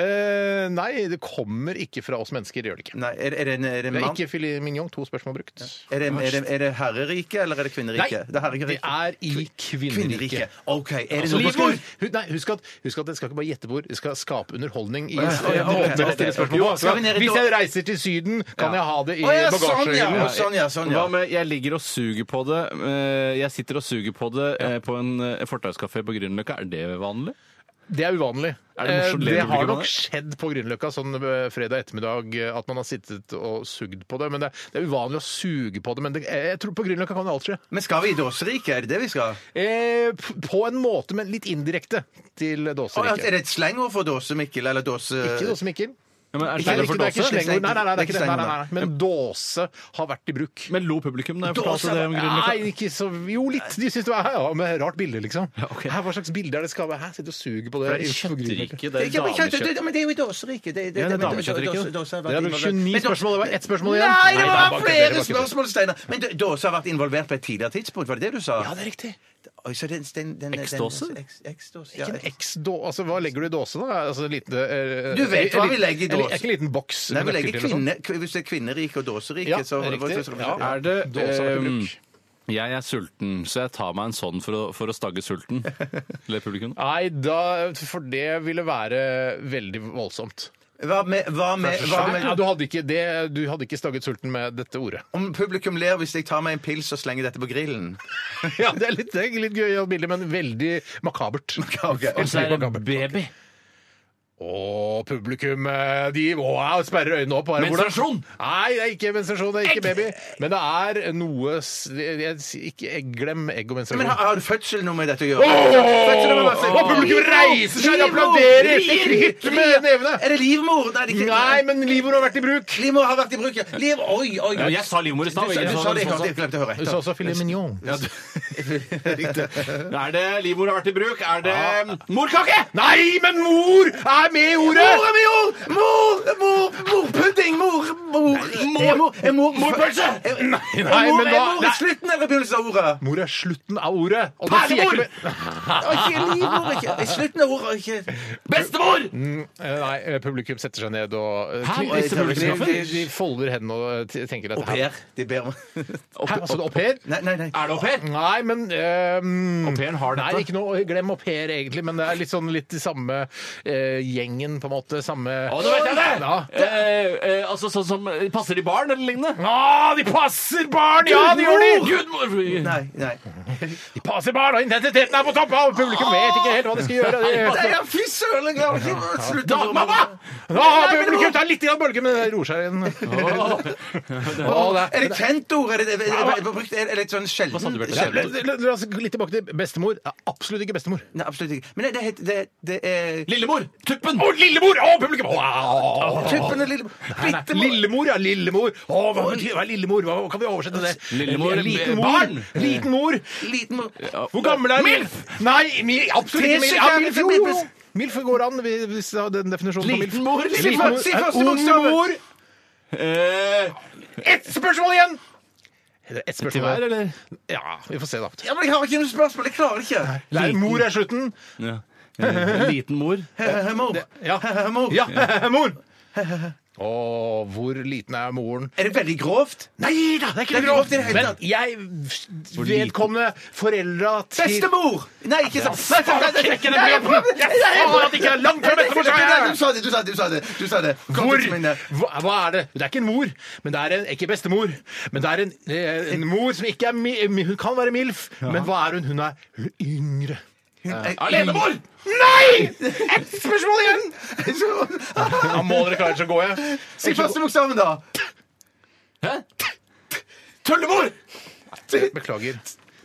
Speaker 4: Eh, nei, det kommer ikke fra oss mennesker. Det gjør det ikke.
Speaker 5: Nei, er, er det en er det en
Speaker 4: Det er
Speaker 5: mann?
Speaker 4: ikke filet mignon. To spørsmål brukt. Altså,
Speaker 5: Er det, er, det, er det herrerike eller er det
Speaker 4: Nei,
Speaker 5: kvinneriket?
Speaker 4: det er
Speaker 5: herrerike.
Speaker 4: i
Speaker 5: Kvinneriket.
Speaker 4: kvinneriket.
Speaker 5: OK. Er det
Speaker 4: Altså,
Speaker 5: noe på
Speaker 4: husk,
Speaker 5: skor?
Speaker 4: hu- nei, husk, at, husk at det skal ikke bare gjette bord, det skal skape underholdning. I,
Speaker 5: ja, ja, ok,
Speaker 4: måten å
Speaker 5: ok,
Speaker 4: stille
Speaker 5: ok.
Speaker 4: spørsmål
Speaker 5: Jo,
Speaker 4: på.
Speaker 5: skal vi ned i
Speaker 4: Hvis
Speaker 5: do-
Speaker 4: jeg reiser til Syden, kan jeg ha det i
Speaker 5: Å ja, sånn ja!
Speaker 4: bagasjehylla.
Speaker 5: Sånn ja, sånn ja.
Speaker 6: Hva med 'jeg ligger og suger på det'? eh, Jeg sitter og suger på det eh, på en eh, fortauskafé på Grünerløkka. Er det vanlig?
Speaker 4: Det er uvanlig.
Speaker 6: Er det morsomt
Speaker 4: Eh, det
Speaker 6: levebruk
Speaker 4: har
Speaker 6: man
Speaker 4: nok
Speaker 6: har?
Speaker 4: skjedd på Grünerløkka sånn eh, fredag ettermiddag eh, at man har sittet og sugd på det. Men det er, det er uvanlig å suge på det. Men det, eh, jeg tror på Grünerløkka kan det alt skje.
Speaker 5: Men skal vi i dåseriket? Er det det vi skal?
Speaker 4: Eh, p- på en måte, men litt indirekte til
Speaker 5: Å, ja, er
Speaker 4: dåseriket.
Speaker 5: det et slengord for dåse, Mikkel? Eller dåse
Speaker 4: Ikke dåse, Mikkel.
Speaker 6: Ja, men,
Speaker 4: Nei,
Speaker 6: er
Speaker 4: det er ikke,
Speaker 6: det for
Speaker 4: det er ikke
Speaker 6: dåse?
Speaker 5: slekt.
Speaker 4: slengord. Nei, nei, nei, det er
Speaker 5: Det
Speaker 4: ikke
Speaker 5: er
Speaker 4: det.
Speaker 5: ikke
Speaker 4: Nei, nei, nei, nei. Men dåse har vært i bruk.
Speaker 6: Men lo publikum da jeg
Speaker 5: Dåse
Speaker 6: fortalte det om Grünerløkka?
Speaker 4: Nei, ikke så Jo, litt. De syns det var ja, men rart bilde, liksom.
Speaker 6: ok.
Speaker 4: Hæ, hva slags bilde er det skal være? Hæ, sitter og suger på det.
Speaker 6: Det er
Speaker 4: på Grünerløkka.
Speaker 6: kjøttriket,
Speaker 5: Det er
Speaker 6: det er
Speaker 5: ikke- men kjøtt-
Speaker 6: damekjøtt.
Speaker 5: det- men det er jo i dåseriket. Det,
Speaker 6: Ja, det er
Speaker 5: men-
Speaker 6: damekjøttriket.
Speaker 5: dåse- dåse har
Speaker 4: Dere
Speaker 5: vært
Speaker 4: har brukt
Speaker 5: involvert.
Speaker 4: 29
Speaker 5: Men dåse-
Speaker 4: spørsmål. Det var ett spørsmål igjen.
Speaker 5: Nei, det
Speaker 4: Nei,
Speaker 5: var
Speaker 4: bare kødder, det
Speaker 5: flere
Speaker 4: bare kødder.
Speaker 5: spørsmål, Steinar! Men d- dåse har vært involvert på et tidligere tidspunkt, var det det du sa?
Speaker 4: Ja, det er riktig.
Speaker 5: Oi, så den- den- den- den-
Speaker 6: Eksdåse?
Speaker 5: eks- Eksdåse, ja.
Speaker 4: Ikke en X-då... Altså, hva legger du i dåse, da? Altså, en liten, eh,
Speaker 5: Du vet hva vi legger i
Speaker 4: en- en-
Speaker 5: dåse.
Speaker 4: en- En liten boks.
Speaker 5: Nei, vi
Speaker 4: med
Speaker 5: legger
Speaker 4: nøkkel til og sånt.
Speaker 5: kvinne, kv- hvis det er kvinnerike og dåserike,
Speaker 4: Ja,
Speaker 5: så
Speaker 4: riktig.
Speaker 5: så-
Speaker 4: Ja. eh,
Speaker 5: ja.
Speaker 6: Er det
Speaker 4: Dåse har vært i
Speaker 6: ehm,
Speaker 4: bruk.
Speaker 6: Jeg er sulten, så jeg tar meg en sånn for å, for å stagge sulten. Ler publikum.
Speaker 4: Nei, da, for det ville være veldig voldsomt.
Speaker 5: Hva med, hva med, Eh,
Speaker 4: Ja,
Speaker 5: hva med
Speaker 4: du, hadde ikke det, du hadde ikke stagget sulten med dette ordet.
Speaker 5: Om publikum ler hvis jeg tar meg en pils og slenger dette på grillen?
Speaker 4: Ja, Det er litt, det er litt gøy bilde, men veldig makabert.
Speaker 6: Og så er det baby.
Speaker 4: Og publikum eh, de wow, sperrer øynene opp. Bare, hvordan-
Speaker 6: Menstruasjon!
Speaker 4: Nei, det er ikke menstruasjon, det er ikke baby. Men det er noe s- jeg, jeg, ikke, jeg, Glem egg og menstruasjon.
Speaker 5: Men har, har du fødsel noe med dette å gjøre? Fødsel har masse-
Speaker 4: Og publikum reiser seg og applauderer! Hytter med nevene!
Speaker 5: Er det livmor? Nei, det er ikke
Speaker 4: Nei, men livmor har vært i bruk.
Speaker 5: Livmor har vært i bruk, ja. Liv, oi, oi.
Speaker 6: Ja, jeg sa livmor i
Speaker 5: Du sa-
Speaker 6: stad. ikke
Speaker 5: du
Speaker 6: sant?
Speaker 5: sa det, jeg hørte- jeg glemte å høre
Speaker 4: Du sa
Speaker 5: etter.
Speaker 4: også filet mignon.
Speaker 6: Er det livmor har vært i bruk? Er det morkake?
Speaker 4: Nei, men mor er med i ordet!
Speaker 5: Mor er med jord! Mor, mor, morpudding! Mor, mor Er mor, er mor
Speaker 6: Morpølse!
Speaker 5: Er, er mor,
Speaker 4: nei, men
Speaker 5: er
Speaker 4: da-
Speaker 5: mor
Speaker 4: nei.
Speaker 5: i slutten eller begynnelsen av ordet?
Speaker 4: Mor er slutten av ordet. Og det sier jeg
Speaker 6: Perlemor!
Speaker 4: ikke med-
Speaker 5: Å, Ikke livmor, ikke I slutten av ordet, ikke
Speaker 6: Bestemor!
Speaker 4: Eh, Nei, eh, publikum setter seg ned og eh,
Speaker 6: Hæ?
Speaker 4: kli-
Speaker 6: Mister
Speaker 4: de,
Speaker 6: publikumskaffen?
Speaker 4: de, de folder hendene og eh, t- tenker dette
Speaker 5: Au pair. De ber om
Speaker 4: Hæ, altså, det er au pair?
Speaker 5: Nei, nei, nei.
Speaker 6: Er det au pair?
Speaker 4: Nei, men eh,
Speaker 6: Au pairen har
Speaker 4: Nei,
Speaker 6: dette.
Speaker 4: ikke noe glem au pair, egentlig, men det er litt sånn litt i samme eh, gjengen, på en måte. Samme
Speaker 6: Å, nå vet jeg det!
Speaker 4: Ja.
Speaker 6: Eh, eh, altså sånn som Passer de barn eller lignende?
Speaker 4: Ah, de passer barn! Ja, de gjør de!
Speaker 6: Gudmor!
Speaker 5: Nei, nei.
Speaker 4: De passer bare, og intensiteten er på topp! Og publikum vet ikke helt hva de skal gjøre. De-
Speaker 5: Nei, ja, fy søren! Jeg klarer ikke å slutte
Speaker 4: Da,
Speaker 5: å-
Speaker 4: mamma! Nå har publikum tar litt grann bølger, men det roer seg igjen. Å, det
Speaker 5: Er det kjent ord? Er det, er det, er det, er det, er det litt sånn sjelden?
Speaker 6: sa du, Bjarte?
Speaker 5: sjelden?
Speaker 4: er- La la oss gå litt tilbake til bestemor. Ja, Absolutt ikke bestemor.
Speaker 5: Nei, absolutt ikke. Men det, det, heter- det, det er
Speaker 6: Lillemor! Tuppen!
Speaker 4: Å, lillemor! Å, publikum! Wow.
Speaker 5: Tuppen er lille... Bitte
Speaker 4: Lillemor, ja. Lillemor. Å, hva betyr hva er lillemor? Hva kan vi oversette til det?
Speaker 6: Lillemor,
Speaker 4: liten
Speaker 6: eh,
Speaker 4: mor.
Speaker 6: barn.
Speaker 4: Liten mor.
Speaker 5: liten mor.
Speaker 4: Hvor gammel er MILF? Nei, mi, absolutt ikke MILF. Ja,
Speaker 5: Tese-
Speaker 4: MILF, jo, jo. MILF går an, vi- hvis det har den definisjonen på MILF.
Speaker 6: Liten mor?
Speaker 4: Liten
Speaker 5: Si først- si først i
Speaker 4: En ung
Speaker 5: bokstaven.
Speaker 4: mor.
Speaker 6: Eh,
Speaker 4: Ett spørsmål igjen! Er det Ett
Speaker 6: til
Speaker 4: spørsmål
Speaker 6: hver, eller?
Speaker 4: Ja, vi får se, da.
Speaker 5: Ja, men jeg har ikke noe spørsmål. Jeg klarer det ikke.
Speaker 4: Nei, mor er slutten.
Speaker 6: Ja. Eh, Liten mor.
Speaker 5: He-he, mor.
Speaker 4: Ja.
Speaker 5: He-he, mor.
Speaker 4: Ja, mor! Å, hvor liten er moren?
Speaker 5: Er det veldig grovt?
Speaker 4: Nei da, det er ikke
Speaker 5: Det er grovt i det hele
Speaker 4: Men
Speaker 5: tatt.
Speaker 4: jeg vedkommende foreldra til
Speaker 5: Bestemor! Nei, ikke sant. Nei, nei, nei, nei,
Speaker 4: Trekk i den
Speaker 5: nei, jeg
Speaker 4: bjørnen!
Speaker 5: prøvde-
Speaker 4: Jeg sa at det ikke er langt fra bestemor! sa
Speaker 5: Nei, Du
Speaker 4: jeg.
Speaker 5: sa det, du sa det, du sa det. Du sa det. Kom
Speaker 4: Hvor?
Speaker 5: til mine.
Speaker 4: Hva, hva er det? Det er ikke en mor, men det er en, ikke bestemor. Men det er en, eh, en mor som ikke er mi, mi- Hun kan være MILF, men hva er hun? Hun er yngre.
Speaker 5: Alenemor!
Speaker 4: Nei! Ett spørsmål igjen! Ja, må dere klare, så går jeg.
Speaker 5: Si første bokstaven, da.
Speaker 6: Tullemor!
Speaker 4: Beklager.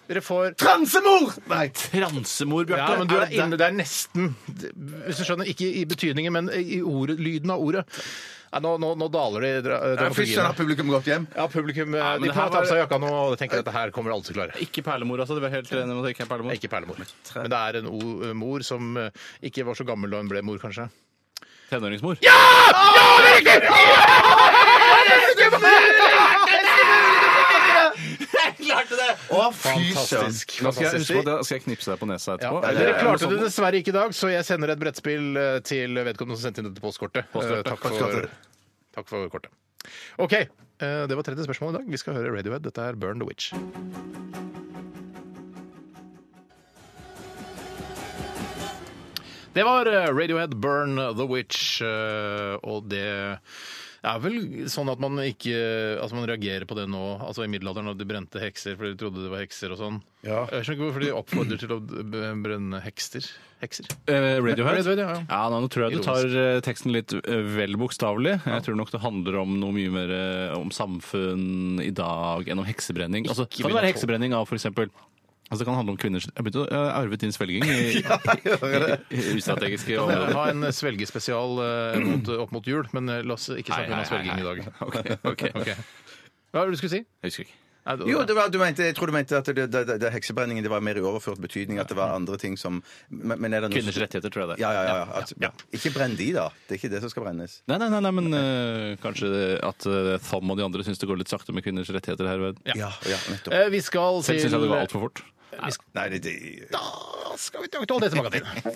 Speaker 4: Dere får
Speaker 5: Transemor! Nei.
Speaker 6: Transemor,
Speaker 4: ja,
Speaker 6: Bjarte.
Speaker 4: men du er
Speaker 6: det-
Speaker 4: inne, Det er nesten Hvis du skjønner, ikke i betydningen, men i ordet, lyden av ordet. Nei, nå, nå, nå daler det i dra-
Speaker 5: Fy
Speaker 4: dramaturgien.
Speaker 5: søren, har publikum gått hjem?
Speaker 4: Ja, publikum
Speaker 6: men
Speaker 4: de
Speaker 6: det
Speaker 4: tar
Speaker 6: her
Speaker 4: ta på
Speaker 6: var-
Speaker 4: seg jakka nå og tenker at det her kommer alle til å klare.
Speaker 6: Ikke perlemor, altså. Du er helt enig med at det ikke er perlemor?
Speaker 4: Ikke perlemor. Men det er en o mor som eh, ikke var så gammel da hun ble mor, kanskje.
Speaker 6: Tenåringsmor?
Speaker 5: Å, fy søren.
Speaker 4: Fantastisk.
Speaker 6: Nå skal jeg, husk på at
Speaker 4: Fantastisk.
Speaker 6: jeg- skal jeg knipse deg på nesa
Speaker 4: Ja,
Speaker 6: etterpå.
Speaker 4: Dere klarte det dessverre ikke i dag, så jeg sender et brettspill eh, til vedkommende som sendte inn dette postkortet. Eh, Takk for, takk for kortet. OK. eh, Det var tredje spørsmål i dag. Vi skal høre Radiohead. Dette er Burn the Witch. Det var eh, Radiohead, Burn the Witch, eh, og det er vel sånn at man ikke altså man reagerer på det nå, altså i middelalderen, da de brente hekser fordi de trodde det var hekser og sånn.
Speaker 5: Ja.
Speaker 4: Jeg skjønner ikke hvorfor de oppfordrer til å b- brenne hekster. Hekser.
Speaker 6: Eh, Radiohead?
Speaker 4: Radiohead, ja, ja.
Speaker 6: Ja, nå tror jeg du tar eh, teksten litt eh, vel bokstavelig. Jeg tror nok det handler om noe mye mer eh, om samfunn i dag enn om heksebrenning. Altså, kan det være heksebrenning av f.eks. Altså, det kan handle om kvinners Jeg begynte å jeg har arvet din svelging i, i, i ustrategiske
Speaker 4: Vi
Speaker 6: områder.
Speaker 4: ha en svelgespesial eh, mot, opp mot jul, men eh, la oss ikke
Speaker 6: Nei,
Speaker 4: snakke om
Speaker 6: nei,
Speaker 4: svelging
Speaker 6: nei,
Speaker 4: i
Speaker 6: nei.
Speaker 4: dag.
Speaker 6: Ok, ok.
Speaker 4: Ok. Hva var det du skulle si?
Speaker 6: Jeg husker ikke.
Speaker 4: Nei, det-
Speaker 5: Jo, det var, du mente, jeg tror du mente at det, det, det, det heksebrenningen det var mer i overført betydning. At det var andre ting som men, men er det noe-
Speaker 6: Kvinners rettigheter, tror jeg det er.
Speaker 5: Ja, ja, ja. ja. At, Ikke brenn de, da. Det er ikke det som skal brennes.
Speaker 6: Nei, nei, nei, nei men eh, kanskje det- at eh, Thom og de andre syns det går litt sakte med kvinners rettigheter her i verden.
Speaker 5: Ja, ja nettopp.
Speaker 4: Eh, Vi skal til
Speaker 6: Selv syns jeg det går altfor fort.
Speaker 5: Nei, det, det,
Speaker 4: Da skal vi til Aktualitets magasinet.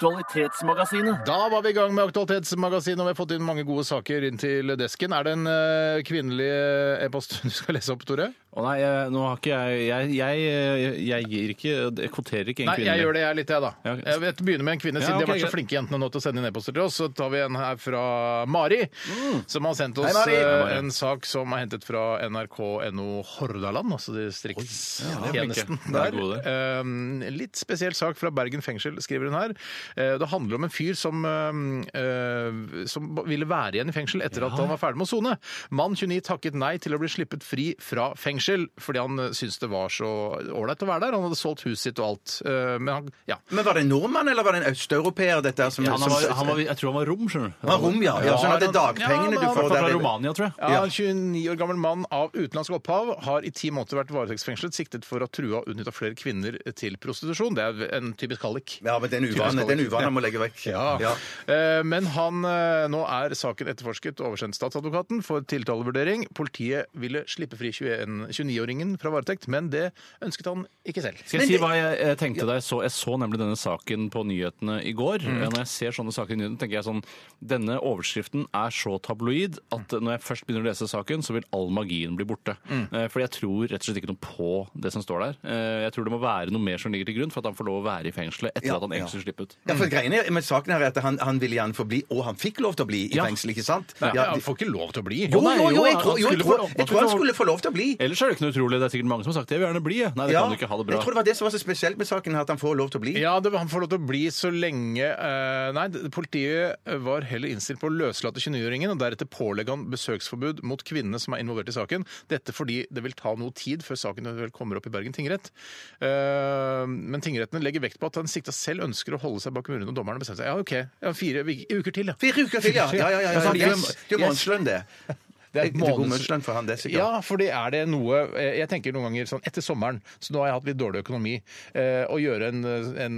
Speaker 4: Da var vi i gang med Aktualitetsmagasinet, og vi har fått inn mange gode saker inn til desken. Er det en eh, kvinnelig eh, e-post du skal lese opp, Tore?
Speaker 6: Å nei, jeg, nå har ikke jeg Jeg, jeg, jeg gir ikke Jeg kvoterer ikke en
Speaker 4: Nei,
Speaker 6: kvinne.
Speaker 4: jeg gjør det jeg litt, jeg, da.
Speaker 6: Ja, ok.
Speaker 4: Jeg vet, begynner med en kvinne,
Speaker 6: Ja,
Speaker 4: siden de har
Speaker 6: ok,
Speaker 4: vært så
Speaker 6: greit.
Speaker 4: flinke jentene nå til å sende inn e-poster til oss. Så tar vi en her fra Mari, som har sendt oss
Speaker 5: Mari.
Speaker 4: eh,
Speaker 6: Mm. Hei, Mari.
Speaker 4: en sak som er hentet fra nrk.no Hordaland, altså distriktstjenesten
Speaker 6: flinke.
Speaker 4: der.
Speaker 6: Det er gode.
Speaker 4: Eh, litt spesiell sak fra Bergen fengsel, skriver hun her. Eh, det handler om en fyr som, eh, eh, som ville være igjen i fengsel etter at han var ferdig med å sone. Mann 29 takket nei til å bli sluppet fri fra fengsel fordi han eh, syntes det var så ålreit å være der. Han hadde solgt huset sitt og alt. Eh, men han, ja.
Speaker 5: Men var det en nordmann, eller var det en østeuropeer? Dette her, som,
Speaker 6: Han
Speaker 5: som,
Speaker 6: var, han var, jeg tror han var rom, skjønner du.
Speaker 5: Han var rom, ja. ja sånn at det er dagpengene
Speaker 4: Ja,
Speaker 5: du
Speaker 4: han
Speaker 5: får
Speaker 4: var
Speaker 6: Fra
Speaker 5: der.
Speaker 6: Romania, tror jeg.
Speaker 4: Ja, En 29 år gammel mann av utenlandsk opphav har i ti måneder vært varetektsfengslet siktet for å ha trua og utnytta flere kvinner til prostitusjon. Det er en typisk hallik.
Speaker 5: Ja, men det er en
Speaker 4: Typisk
Speaker 5: uvane. Den uvanen må legge vekk.
Speaker 4: Ja.
Speaker 5: Ja.
Speaker 4: Eh, Men han, eh, nå er saken etterforsket og oversendt statsadvokaten for tiltalevurdering. Politiet ville slippe fri 21 29-åringen fra varetekt, men det ønsket han ikke selv.
Speaker 6: Skal jeg si hva jeg, eh, tenkte da jeg så Jeg så nemlig denne saken på nyhetene i går.
Speaker 5: Mm.
Speaker 6: Eh, Når jeg ser sånne saker i nyhetene, tenker jeg sånn Denne overskriften er så tabloid at eh, når jeg først begynner å lese saken, så vil all magien bli borte.
Speaker 5: Mm.
Speaker 6: Eh, Fordi jeg tror rett og slett ikke noe på det som står der. Eh, Jeg tror det må være noe mer som ligger til grunn for at han får lov å være i fengselet etter
Speaker 5: Ja,
Speaker 6: at han
Speaker 5: ja.
Speaker 6: egentlig skulle slippe ut.
Speaker 5: Ja, for greiene med saken her er at han, han ville gjerne få bli, og han fikk lov til å bli i
Speaker 6: Ja.
Speaker 5: fengsel, ikke sant?
Speaker 4: Ja,
Speaker 5: Ja,
Speaker 4: han
Speaker 5: de-
Speaker 4: får ikke lov til å bli.
Speaker 5: Jo,
Speaker 6: Å, nei,
Speaker 5: jo, jo, jeg
Speaker 6: han
Speaker 5: tror, jo, jeg
Speaker 6: skulle få
Speaker 5: tror,
Speaker 6: lov-
Speaker 5: jeg tror han skulle få lov til å bli.
Speaker 6: Ellers er det ikke noe utrolig. Det er sikkert mange som har sagt jeg vil gjerne bli. jeg». Nei, det
Speaker 5: Ja.
Speaker 6: kan du ikke ha det bra.
Speaker 5: Jeg tror det var det som var så spesielt med saken, her, at han får lov til å bli.
Speaker 4: Ja, det, han får lov til å bli så lenge eh, Nei, det- politiet var heller innstilt på å løslate 29-åringen og deretter pålegge han besøksforbud mot kvinnene som er involvert i saken. Dette fordi det vil ta noe tid før saken eventuelt kommer opp i Bergen tingrett. Eh, men tingrettene legger vekt på at den sikta selv ønsker å holde seg bak murene, og dommerne bestemmer seg. Ja, OK, jeg har fire vik- uker til, ja.
Speaker 5: Fire uker til, ja. ja, ja, ja, ja,
Speaker 4: Ja,
Speaker 5: ja.
Speaker 4: yes,
Speaker 5: Det er jo
Speaker 4: yes.
Speaker 5: månedslønn, det. Det er god månedslønn for han, det, sikkert.
Speaker 4: Ja, fordi er det noe eh, Jeg tenker noen ganger sånn etter sommeren, så nå har jeg hatt litt dårlig økonomi, eh, å gjøre en, en,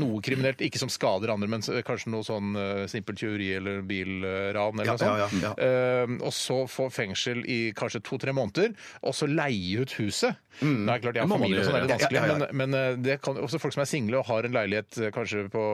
Speaker 4: noe kriminelt, ikke som skader andre, men s- kanskje noe sånn eh, simpelt tyveri eller bilran eller
Speaker 5: Ja,
Speaker 4: noe sånt.
Speaker 5: ja, ja, ja.
Speaker 4: Eh, og så få fengsel i kanskje to-tre måneder, og så leie ut huset.
Speaker 5: Mm.
Speaker 4: Det er klart, jeg har
Speaker 6: må man
Speaker 4: familie, og sånn er det
Speaker 5: gjøre.
Speaker 4: vanskelig,
Speaker 5: Ja, ja, ja.
Speaker 4: men, men eh, det kan også folk som er single og har en leilighet eh, kanskje på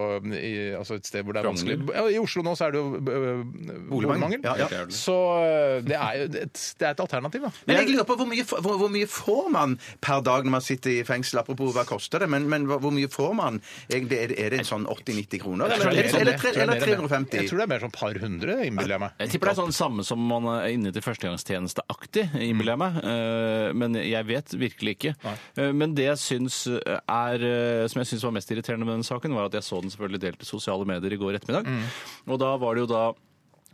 Speaker 4: i, altså et sted hvor det er vanskelig. Ja, I Oslo nå så er det jo eh, boligmangel.
Speaker 5: Ja, ja.
Speaker 4: Så øh, det er jo et, det er et alternativ, da.
Speaker 5: Men jeg lurer på hvor mye, hvor, hvor mye får man per dag når man sitter i fengsel? Apropos hva koster det, men, men hvor hvor mye får man? Egentlig, er, det- er det en sånn 80-90 kroner?
Speaker 4: Jeg
Speaker 5: Eller,
Speaker 4: tror det er mer
Speaker 5: eller,
Speaker 4: sånn-
Speaker 5: eller,
Speaker 4: jeg
Speaker 5: tre-
Speaker 4: tror det er mer-
Speaker 5: eller
Speaker 4: Jeg
Speaker 5: 350?
Speaker 4: tror det er mer sånn par hundre, innbiller jeg meg.
Speaker 6: Jeg tipper det er sånn samme som man er inne til førstegangstjeneste-aktig, innbiller jeg meg. Eh, Men jeg vet virkelig ikke. Eh, Men det jeg syns er eh, Som jeg syns var mest irriterende med den saken, var at jeg så den selvfølgelig delt i sosiale medier i går ettermiddag.
Speaker 5: Mm.
Speaker 6: Og da var det jo da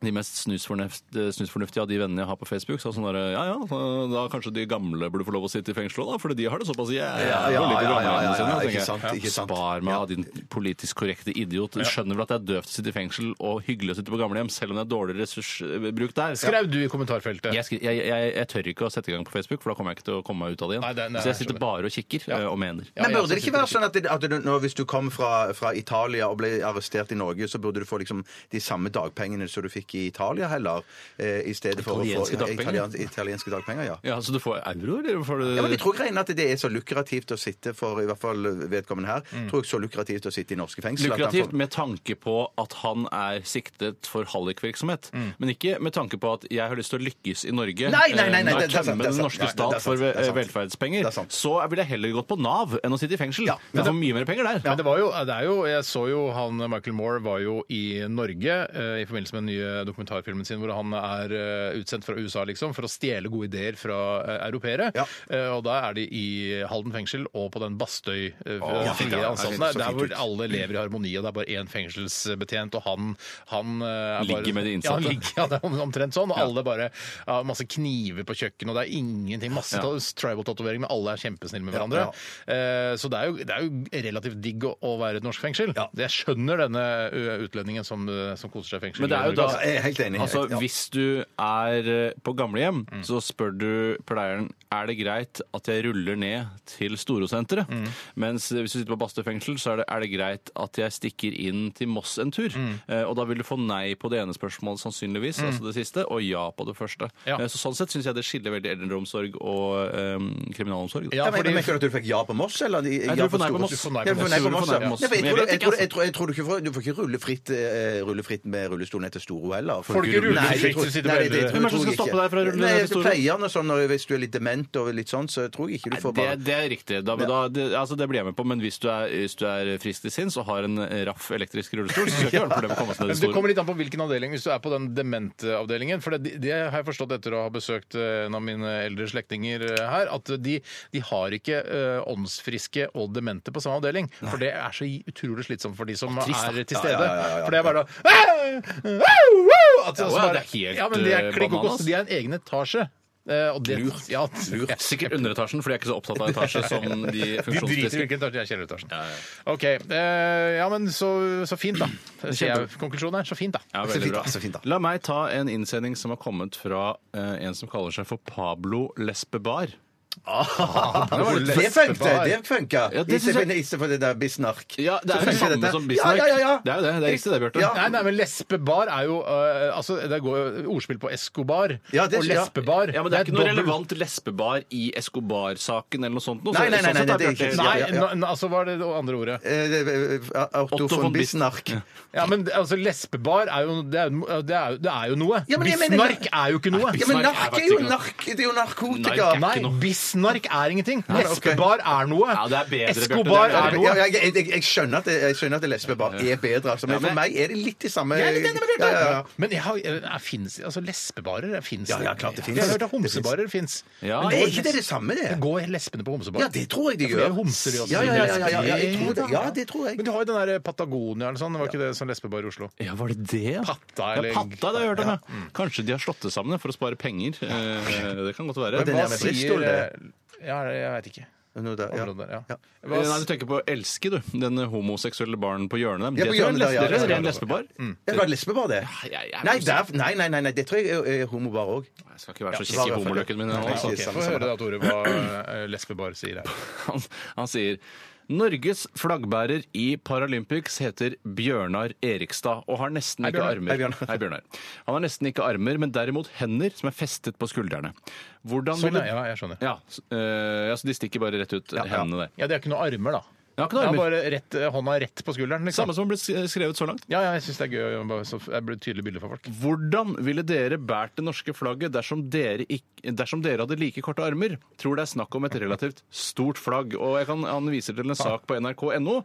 Speaker 6: de mest snusfornuft, snusfornuftige av de vennene jeg har på Facebook, sa sånn derre Ja ja, da kanskje de gamle burde få lov å sitte i fengsel òg, da, fordi de har det såpass jævlig
Speaker 5: ja, ja,
Speaker 6: på
Speaker 5: ja, ja,
Speaker 6: gamlehjemmene
Speaker 5: ja,
Speaker 6: sine.
Speaker 5: ja,
Speaker 6: tenker
Speaker 5: ikke
Speaker 6: jeg.
Speaker 5: sant, ikke sant.
Speaker 6: Spar meg av din politisk korrekte idiot. Du skjønner vel at det er døvt å sitte i fengsel og hyggelig å sitte på gamlehjem, selv om det er dårlig ressursbruk der.
Speaker 4: Skrev du i kommentarfeltet.
Speaker 6: Jeg, skri- jeg, jeg, jeg tør ikke å sette i gang på Facebook, for da kommer jeg ikke til å komme meg ut av det igjen.
Speaker 4: Nei, det- nei,
Speaker 6: så jeg
Speaker 4: jeg skjønner.
Speaker 6: sitter bare og kikker eh, og mener.
Speaker 4: Ja,
Speaker 5: Men
Speaker 4: jeg
Speaker 5: burde det
Speaker 4: synes
Speaker 5: ikke være sånn at, det, at du, nå, hvis du kom fra, fra Italia og ble arrestert i Norge, så burde du få liksom de samme dagpengene som du fikk i Italia heller? Eh, I stedet for
Speaker 6: Italienske
Speaker 5: å få
Speaker 6: dagpenger?
Speaker 5: italiensk, italienske dagpenger, ja.
Speaker 6: Ja, Så du får euro, eller? Får du...
Speaker 5: Ja, men jeg tror greiene at det er så lukrativt å sitte for i hvert fall vedkommende her,
Speaker 4: Mm.
Speaker 5: tror jeg så lukrativt å sitte i norske fengsel. at han får-
Speaker 6: Lukrativt med tanke på at han er siktet for hallikvirksomhet. Men ikke med tanke på at jeg har lyst til å lykkes i Norge.
Speaker 5: Mm. Nei, nei, nei, nei,
Speaker 6: eh,
Speaker 5: det- det er
Speaker 6: og
Speaker 5: sant,
Speaker 6: tømme
Speaker 5: det er
Speaker 6: den
Speaker 5: sant. Nei,
Speaker 6: norske
Speaker 5: det er
Speaker 6: stat
Speaker 5: sant,
Speaker 6: for
Speaker 5: det er
Speaker 6: eh,
Speaker 5: sant.
Speaker 6: velferdspenger.
Speaker 5: Det er sant.
Speaker 6: Så jeg ville heller gått på Nav enn å sitte i fengsel.
Speaker 5: Ja,
Speaker 6: Jeg får mye mer penger der.
Speaker 4: Men det var jo, det er jo, jeg så jo han Michael Moore var jo i Norge eh, i forbindelse med den nye dokumentarfilmen sin, hvor han er eh, utsendt fra USA liksom, for å stjele gode ideer fra eh, europeere.
Speaker 5: Ja.
Speaker 4: Eh, og da er de i Halden fengsel og på den Bastøy eh,
Speaker 5: ja,
Speaker 4: frie
Speaker 5: ja,
Speaker 4: anstalten
Speaker 5: det
Speaker 4: der,
Speaker 5: ser så
Speaker 4: der
Speaker 5: fint
Speaker 4: hvor
Speaker 5: ut.
Speaker 4: alle lever i harmoni, og det er bare én fengselsbetjent, og han, han eh, er bare,
Speaker 6: Ligger med de innsatte.
Speaker 4: Ja, han ligger, ja, det er om- omtrent sånn, og alle bare ja, masse kniver på kjøkkenet, og det er ingenting, masse
Speaker 6: Ja.
Speaker 4: ja. tribal-tatoveringer, men alle er kjempesnille med
Speaker 5: Ja,
Speaker 4: hverandre.
Speaker 5: ja.
Speaker 4: Eh, Så det er, jo, det er jo relativt digg å, å være i et norsk fengsel. Jeg skjønner denne ø, utlendingen som, ø, som koser seg i fengsel.
Speaker 6: Men det er jo
Speaker 4: i
Speaker 6: da
Speaker 4: Norge, altså.
Speaker 5: Ja, jeg er helt enig.
Speaker 6: Altså,
Speaker 5: Ja.
Speaker 6: Hvis du er eh, på gamlehjem,
Speaker 4: Mm.
Speaker 6: så spør du pleieren er det greit at jeg ruller ned til Storosenteret.
Speaker 4: Mm.
Speaker 6: Mens eh, hvis du sitter på Bastø fengsel, så er det, er det greit at jeg stikker inn til Moss en tur.
Speaker 4: Mm.
Speaker 6: Eh, og da vil du få nei på det ene spørsmålet sannsynligvis, altså det siste, og ja på det første.
Speaker 4: Ja.
Speaker 6: Eh, så sånn sett syns jeg det skiller veldig eldreomsorg og eh, kriminalomsorg. da.
Speaker 4: Ja,
Speaker 5: Ja, men,
Speaker 4: fordi-
Speaker 5: men Føler du at du fikk ja på Moss? Eller de, ja
Speaker 6: Nei, du får nei på
Speaker 5: Store-
Speaker 6: Moss.
Speaker 5: Du får
Speaker 4: Du får nei
Speaker 5: på
Speaker 4: på
Speaker 5: Moss.
Speaker 4: Moss,
Speaker 5: Ja,
Speaker 4: ja.
Speaker 5: Ja, for jeg
Speaker 6: Men jeg
Speaker 5: tror-
Speaker 6: vet
Speaker 5: jeg tror-
Speaker 6: ikke, altså.
Speaker 5: jeg tror- jeg tror du ikke får du får ikke rulle fritt, eh, rulle fritt med rullestol ned til Storo heller.
Speaker 4: Får du ikke rulle
Speaker 5: Nei, jeg
Speaker 4: fritt
Speaker 5: tror-
Speaker 4: hvis du sitter
Speaker 5: nei,
Speaker 4: på
Speaker 5: det- det
Speaker 4: eldre?
Speaker 5: tror jeg
Speaker 6: Hvem er det som skal
Speaker 5: ikke.
Speaker 6: stoppe deg fra å rulle ned til Storo?
Speaker 5: Nei, Pleierne og sånn, og hvis du er litt dement og litt sånn, så tror jeg ikke du får
Speaker 6: Det,
Speaker 5: bare
Speaker 6: det er riktig. Da, da, det, altså det blir jeg med på. Men hvis du er, hvis du er frisk til sinns og har en raff elektrisk rullestol, så skal ikke være noe problem å komme seg ned i
Speaker 4: Men Det
Speaker 6: Storo.
Speaker 4: kommer litt an på hvilken avdeling, hvis du er på den dementeavdelingen. For det, det har jeg forstått etter å ha besøkt ø, en av mine eldre slektninger ø, her, at de, de har ikke ø, åndsfriske og demente på samme avdeling. For det er så utrolig slitsomt for de som er til stede.
Speaker 5: ja, ja, ja, ja.
Speaker 4: For det er bare å at,
Speaker 6: Ja,
Speaker 4: altså,
Speaker 6: ja,
Speaker 4: bare-
Speaker 6: det er helt,
Speaker 4: Ja, men de er
Speaker 6: ø,
Speaker 4: klikk og
Speaker 6: bananas.
Speaker 4: koste. De er en egen etasje. Eh, og det,
Speaker 6: Lurt.
Speaker 4: Ja,
Speaker 6: Lurt. Sikkert underetasjen, for de er ikke så opptatt av etasje som de
Speaker 4: De driter i
Speaker 6: funksjonsfriske.
Speaker 4: hvilken etasje, de er kjelleretasjen.
Speaker 6: Ja, ja.
Speaker 4: Ok, eh, ja, men så, så fint, da. Sier jeg konklusjonen er så fint, da.
Speaker 6: Ja,
Speaker 5: Så
Speaker 6: veldig
Speaker 5: fint,
Speaker 6: bra.
Speaker 5: da, så fint da.
Speaker 6: La meg ta en innsending som har kommet fra eh, en som kaller seg for Pablo Lesbebar.
Speaker 4: Det var litt
Speaker 5: Det funka!
Speaker 4: festbar.
Speaker 5: Det funka.
Speaker 6: Ja, det
Speaker 5: I
Speaker 6: synes jeg-
Speaker 5: stedet- I stedet for det der bisnark.
Speaker 6: Ja, det er jo det
Speaker 5: funker
Speaker 6: samme
Speaker 5: dette.
Speaker 6: som bisnark.
Speaker 5: Ja, ja, ja, ja.
Speaker 6: Det er jo det. Det er riktig det, Bjarte.
Speaker 5: Ja.
Speaker 4: Nei, nei, men lesbebar er jo øh, altså, Det går jo ordspill på Escobar
Speaker 5: Ja, det-
Speaker 4: og lesbebar.
Speaker 6: Ja, men Det er ikke noe
Speaker 4: dobbelt-
Speaker 6: relevant lesbebar i Escobar-saken eller noe sånt. Noe.
Speaker 5: Nei, nei, nei, nei,
Speaker 6: sånn sett
Speaker 5: det er
Speaker 6: Bjarte-
Speaker 5: ikke-
Speaker 4: Nei,
Speaker 5: Ja, ja, ja.
Speaker 4: n- altså hva er det andre ordet?
Speaker 5: Eh, eh, eh, Otto von Bisnark.
Speaker 4: Ja, men det- altså, lesbebar er jo Det er, jo- det er, jo- det er jo noe.
Speaker 5: Ja, men jeg mener-
Speaker 4: bisnark er jo ikke noe.
Speaker 5: Ja, men
Speaker 6: Bisnark er
Speaker 5: nark er
Speaker 6: faktisk
Speaker 5: jo
Speaker 6: ikke noe.
Speaker 5: nark. Det er jo narkotika.
Speaker 6: Nark er
Speaker 4: Nei, bisnark er ingenting. Lesbebar er noe.
Speaker 6: Ja, det er bedre, Bjarte,
Speaker 4: Escobar
Speaker 6: det er
Speaker 4: er
Speaker 5: Ja,
Speaker 4: noe.
Speaker 5: jeg, jeg, jeg, jeg skjønner at, jeg skjønner at lesbebar er bedre, altså, men
Speaker 6: Ja, men-
Speaker 5: for meg er det litt det samme
Speaker 4: Jeg er litt enig med Bjarte.
Speaker 5: Ja, ja, ja.
Speaker 4: Men jeg har, jeg finnes, altså, lesbebarer fins.
Speaker 5: Ja, ja, klart det finnes.
Speaker 4: Jeg har hørt at homsebarer fins.
Speaker 6: Ja,
Speaker 5: Men det er ikke det det samme, det?
Speaker 4: Går lesbene på homsebar?
Speaker 5: Ja, det tror jeg de
Speaker 4: For det
Speaker 5: gjør.
Speaker 4: er homser de også.
Speaker 5: Ja, ja, ja, ja, ja, ja, jeg tror det. ja, det tror jeg.
Speaker 4: Men du har jo den der Patagonia eller sånn. Var ikke det sånn lesbebar i Oslo?
Speaker 6: Ja, var det det?
Speaker 4: Patta,
Speaker 6: ja,
Speaker 4: eller-
Speaker 6: patta det har jeg hørt om, ja. Kanskje de har slått det sammen for å spare penger. Eh, Det kan godt være.
Speaker 5: Men den
Speaker 4: Hva
Speaker 5: er med
Speaker 4: sier
Speaker 5: Bristol, det.
Speaker 4: Ja, jeg veit ikke.
Speaker 5: Nå da, ja.
Speaker 4: Området der, ja.
Speaker 5: Ja.
Speaker 4: Hva
Speaker 6: Nei, du tenker på Elske, du. Den homoseksuelle baren på hjørnet
Speaker 5: Ja,
Speaker 6: der.
Speaker 5: på
Speaker 6: Det tror jeg er en
Speaker 5: hjørnet der, ja,
Speaker 6: lesbe- det er
Speaker 5: ja, Mm.
Speaker 6: en
Speaker 5: ja.
Speaker 6: lesbebar.
Speaker 5: Ja, Det var lesbebar, det.
Speaker 6: Ja, jeg er
Speaker 5: Nei,
Speaker 6: usikker.
Speaker 5: der, nei, nei, nei, nei, det tror jeg er- er homobar òg.
Speaker 6: Jeg skal ikke være så
Speaker 5: Ja,
Speaker 6: kjekk i
Speaker 5: det var i hvert fall det.
Speaker 6: homoløkken min.
Speaker 5: Nei,
Speaker 6: Altså.
Speaker 5: ok.
Speaker 4: Ok, Få høre da, Tore, hva eh, lesbebar sier her.
Speaker 6: Han, han sier Norges flaggbærer i Paralympics heter Bjørnar Erikstad og har nesten ikke
Speaker 4: Bjørnar.
Speaker 6: armer.
Speaker 5: Hei, Bjørnar.
Speaker 6: Hei, Bjørnar. Han har nesten ikke armer, men derimot hender som er festet på skuldrene. Hvordan
Speaker 4: Sånn,
Speaker 6: ville-
Speaker 4: ja, jeg skjønner.
Speaker 6: Ja, s- eh, ja, så de stikker bare rett ut hendene der.
Speaker 4: Ja, det er ikke noe armer, da.
Speaker 6: Jeg har ikke
Speaker 4: Det
Speaker 6: noen
Speaker 4: er
Speaker 6: armer.
Speaker 4: bare rett, eh, hånda rett på skulderen. Liksom.
Speaker 6: Samme som ble sk- skrevet så langt.
Speaker 4: Ja, ja, jeg syns det er gøy. å bare Så det blir et tydelig bilde for folk.
Speaker 6: Hvordan ville dere båret det norske flagget dersom dere, ikk- dersom dere hadde like korte armer? Tror det er snakk om et relativt stort flagg. Og jeg kan, han viser til en sak på nrk.no.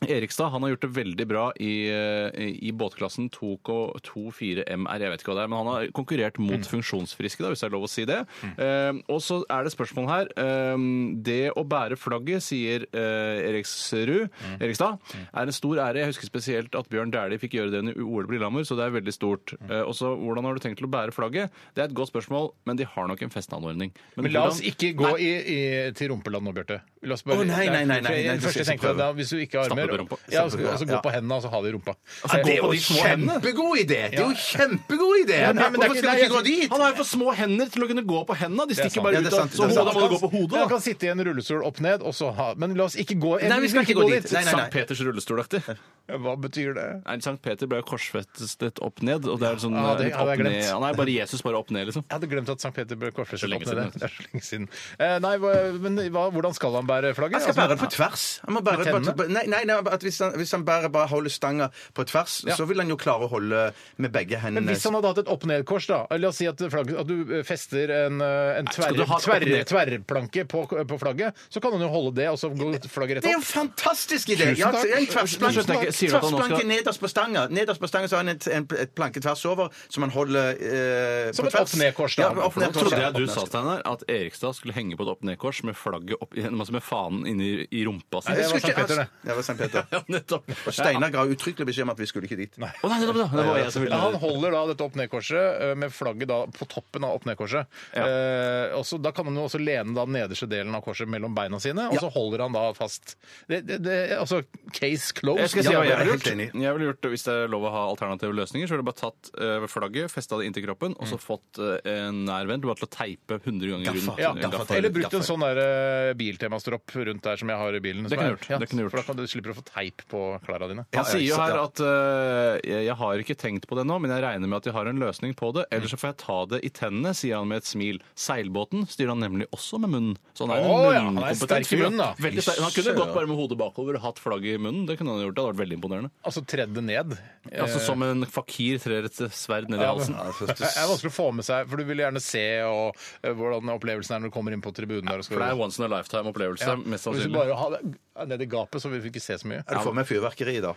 Speaker 6: Erikstad han har gjort det veldig bra i, eh, i båtklassen 2K24 MR. Jeg vet ikke hva det er, men han har konkurrert mot funksjonsfriske, da, hvis det er lov å si det. Eh, og så er det spørsmål her. Eh, det å bære flagget, sier eh, Eriksrud, Erikstad, er en stor ære. Jeg husker spesielt at Bjørn Dæhlie fikk gjøre det under OL på Lillehammer, så det er veldig stort. Eh, og så hvordan har du tenkt til å bære flagget? Det er et godt spørsmål, men de har nok en festanordning.
Speaker 4: Men la oss
Speaker 6: hvordan-
Speaker 4: ikke gå i, i, til rumpeland nå, Bjarte. La oss bare-
Speaker 5: Å, nei, nei, nei, nei,
Speaker 4: for jeg-
Speaker 5: nei,
Speaker 4: det
Speaker 5: du
Speaker 4: første jeg
Speaker 5: skal ikke
Speaker 4: tenkte,
Speaker 5: prøve.
Speaker 4: da, Hvis du ikke har
Speaker 6: Stappe
Speaker 4: armer,
Speaker 6: på rumpa.
Speaker 4: ja, så, altså, gå
Speaker 5: Ja.
Speaker 4: på hendene og så ha det i rumpa.
Speaker 5: Altså, det er jo
Speaker 6: de små hendene.
Speaker 5: kjempegod idé! Det er jo kjempegod idé!
Speaker 4: Ja, nei, men det er
Speaker 5: Hvorfor
Speaker 4: ikke-
Speaker 5: skal vi ikke gå
Speaker 4: nei,
Speaker 5: dit?
Speaker 6: Han har jo for små hender til å kunne gå på hendene. De
Speaker 4: Det er
Speaker 6: stikker
Speaker 4: sant.
Speaker 6: bare
Speaker 5: Ja,
Speaker 6: ut.
Speaker 5: det er
Speaker 6: av-
Speaker 5: sant, det
Speaker 6: Så
Speaker 5: er sant.
Speaker 6: hodet må du gå på hodet,
Speaker 4: Jeg
Speaker 6: da.
Speaker 4: kan sitte i en rullestol opp ned, og så ha Men la oss ikke gå
Speaker 5: Nei, vi skal ikke gå dit. Nei, nei, nei.
Speaker 6: Sankt Peters rullestolaktig.
Speaker 4: Hva betyr det?
Speaker 6: Nei, Sankt Peter ble jo korsfestet opp ned. Og det er sånn
Speaker 4: Ja, det
Speaker 6: litt
Speaker 4: hadde
Speaker 6: opp
Speaker 4: jeg
Speaker 6: ned.
Speaker 4: glemt.
Speaker 6: Han er bare Jesus, bare opp ned, liksom.
Speaker 4: Jeg hadde glemt at St. Peter ble korsfestet
Speaker 6: Så lenge
Speaker 4: opp ned det.
Speaker 6: siden,
Speaker 4: Det er så lenge siden. Eh, nei, hva, men hva, hvordan skal han bære flagget?
Speaker 5: Han skal
Speaker 4: Altså,
Speaker 5: bære på tvers. Han må bære
Speaker 4: Med
Speaker 5: på, nei, nei, nei, at hvis, han, hvis han bærer bare holder stanga på tvers, så vil han jo klare å holde med begge
Speaker 4: men
Speaker 5: hendene.
Speaker 4: hvis han hadde hatt et opp-ned-kors, da La oss si at, flagget, at du eh, fester en, eh, en
Speaker 6: skal
Speaker 4: tverr,
Speaker 6: du ha et
Speaker 4: tverr,
Speaker 6: opp-ned-
Speaker 4: tverrplanke på, på flagget, så kan han jo holde det, og så går flagget rett
Speaker 5: Det er jo
Speaker 4: opp.
Speaker 5: en fantastisk idé!
Speaker 4: Tusen
Speaker 5: Ja,
Speaker 4: takk.
Speaker 5: en tversplanke
Speaker 6: Skjønner jeg ikke. Sier du at han nå skal-
Speaker 5: tversplanke nederst på stanga. Nederst på stanga så har han et, en, et planke tvers over som han holder eh,
Speaker 4: Som
Speaker 5: på
Speaker 4: et
Speaker 5: tvers.
Speaker 4: opp-ned-kors, da.
Speaker 5: Ja, men
Speaker 6: Nå
Speaker 5: opp-ned-kors,
Speaker 6: trodde
Speaker 5: ja.
Speaker 6: jeg du sa
Speaker 5: Opp-ned-kors.
Speaker 6: Steinar, at Erikstad skulle henge på et opp ned-kors med flagget opp, altså med fanen inni i rumpa si.
Speaker 4: Nei, det
Speaker 5: Jeg
Speaker 4: var
Speaker 5: skulle
Speaker 4: Sankt Peter, det.
Speaker 5: ikke- Ja, det var Sankt Peter.
Speaker 6: Ja, nettopp.
Speaker 5: Og Steinar ga uttrykkelig beskjed om at vi skulle ikke dit.
Speaker 6: Å nei, nettopp, da. det var jeg som
Speaker 4: Ja,
Speaker 6: ville
Speaker 4: han holder da dette opp-ned-korset eh, med flagget da på toppen av opp-ned-korset. Eh, og så- da kan han jo også lene da den nederste delen av korset mellom beina sine, og så holder han da fast. Det, det, det, altså case closed.
Speaker 6: Jeg skal si
Speaker 5: Ja,
Speaker 6: hva
Speaker 5: jeg
Speaker 6: jeg
Speaker 5: er
Speaker 6: ville
Speaker 5: helt
Speaker 6: gjort.
Speaker 5: enig.
Speaker 6: Jeg ville gjort, det Hvis det er lov å ha alternative løsninger, så ville jeg bare tatt eh, flagget, festa det inntil kroppen, og så fått eh, en nær venn til bare til å teipe 100 ganger rundt.
Speaker 4: Ja,
Speaker 6: eh, gaffel.
Speaker 4: Eller brukt en sånn der eh, biltemastropp rundt der som jeg har i bilen.
Speaker 6: Det
Speaker 4: som
Speaker 6: kunne
Speaker 4: er-
Speaker 6: gjort, det kunne gjort.
Speaker 4: For da kan du slipper å få teip på klærne dine.
Speaker 6: Han sier jo
Speaker 5: ja,
Speaker 6: her
Speaker 5: ja.
Speaker 6: at eh, jeg jeg har ikke tenkt på det nå, men jeg regner med at jeg har en løsning på det. Ellers så får jeg ta det i tennene, sier han med et smil. Seilbåten styrer han nemlig også med munnen. Så han er en
Speaker 4: Å, ja, han er sterk i
Speaker 6: munnkompetent fyr.
Speaker 4: munnen, da.
Speaker 6: Veldig sterk. Han kunne gått bare med hodet bakover og hatt flagget i munnen. Det kunne han gjort. Det hadde vært veldig imponerende.
Speaker 4: Altså tredde ned. Eh,
Speaker 6: Altså Som en fakir trer et sverd ned i
Speaker 4: ja, men-
Speaker 6: halsen.
Speaker 5: Altså,
Speaker 4: det er vanskelig å få med seg, for du vil gjerne se og, eh, hvordan opplevelsen er når du kommer inn på tribunen. der og skal...
Speaker 6: For det er once in a lifetime-opplevelse,
Speaker 4: Ja.
Speaker 6: mest
Speaker 4: Og Hvis du
Speaker 6: sannsynlig.
Speaker 4: bare har det ned i gapet, så vil vi ikke se så mye.
Speaker 5: Ja, Du får med fyrverkeri, da.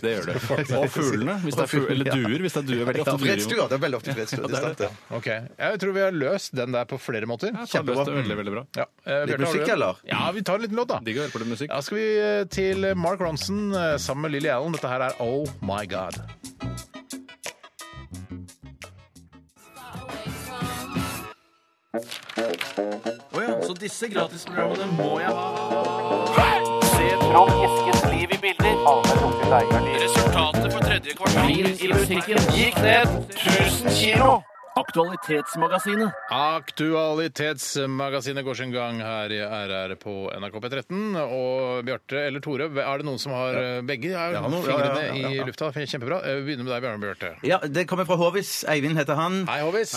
Speaker 6: Det gjør det. Og fuglene, hvis det er fugl, eller duer. hvis det er duer, veldig ofte duer. jo.
Speaker 5: Fredstua. Det er veldig ofte fredstua. Det er sant, det.
Speaker 4: Ok, Jeg tror vi har løst den der på flere måter.
Speaker 6: Ja, Kjempebra. Veldig, veldig bra.
Speaker 4: Ja. Eh, Bjarte, har du
Speaker 5: musikk,
Speaker 4: en?
Speaker 5: eller?
Speaker 4: Ja, vi tar en liten låt, da.
Speaker 6: Digg å høre på litt musikk.
Speaker 4: Ja, skal vi eh, til Mark Ronson eh, sammen med Lily Allen. Dette her er Oh My God.
Speaker 9: Resultatet på tredje kvartal i musikken gikk ned 1000 kilo. Aktualitetsmagasinet.
Speaker 4: Aktualitetsmagasinet går sin gang her i RR på NRK P13. Og Bjarte eller Tore, er det noen som har eh, Begge er
Speaker 5: Ja, noen- ja,
Speaker 4: fingrene
Speaker 5: ja, ja, ja, ja.
Speaker 4: i lufta. Kjempebra. Eh, Vi begynner med deg, Bjarne Bjarte.
Speaker 5: Ja, Det kommer fra Håvis. Eivind heter han.
Speaker 4: Hei, Håvis.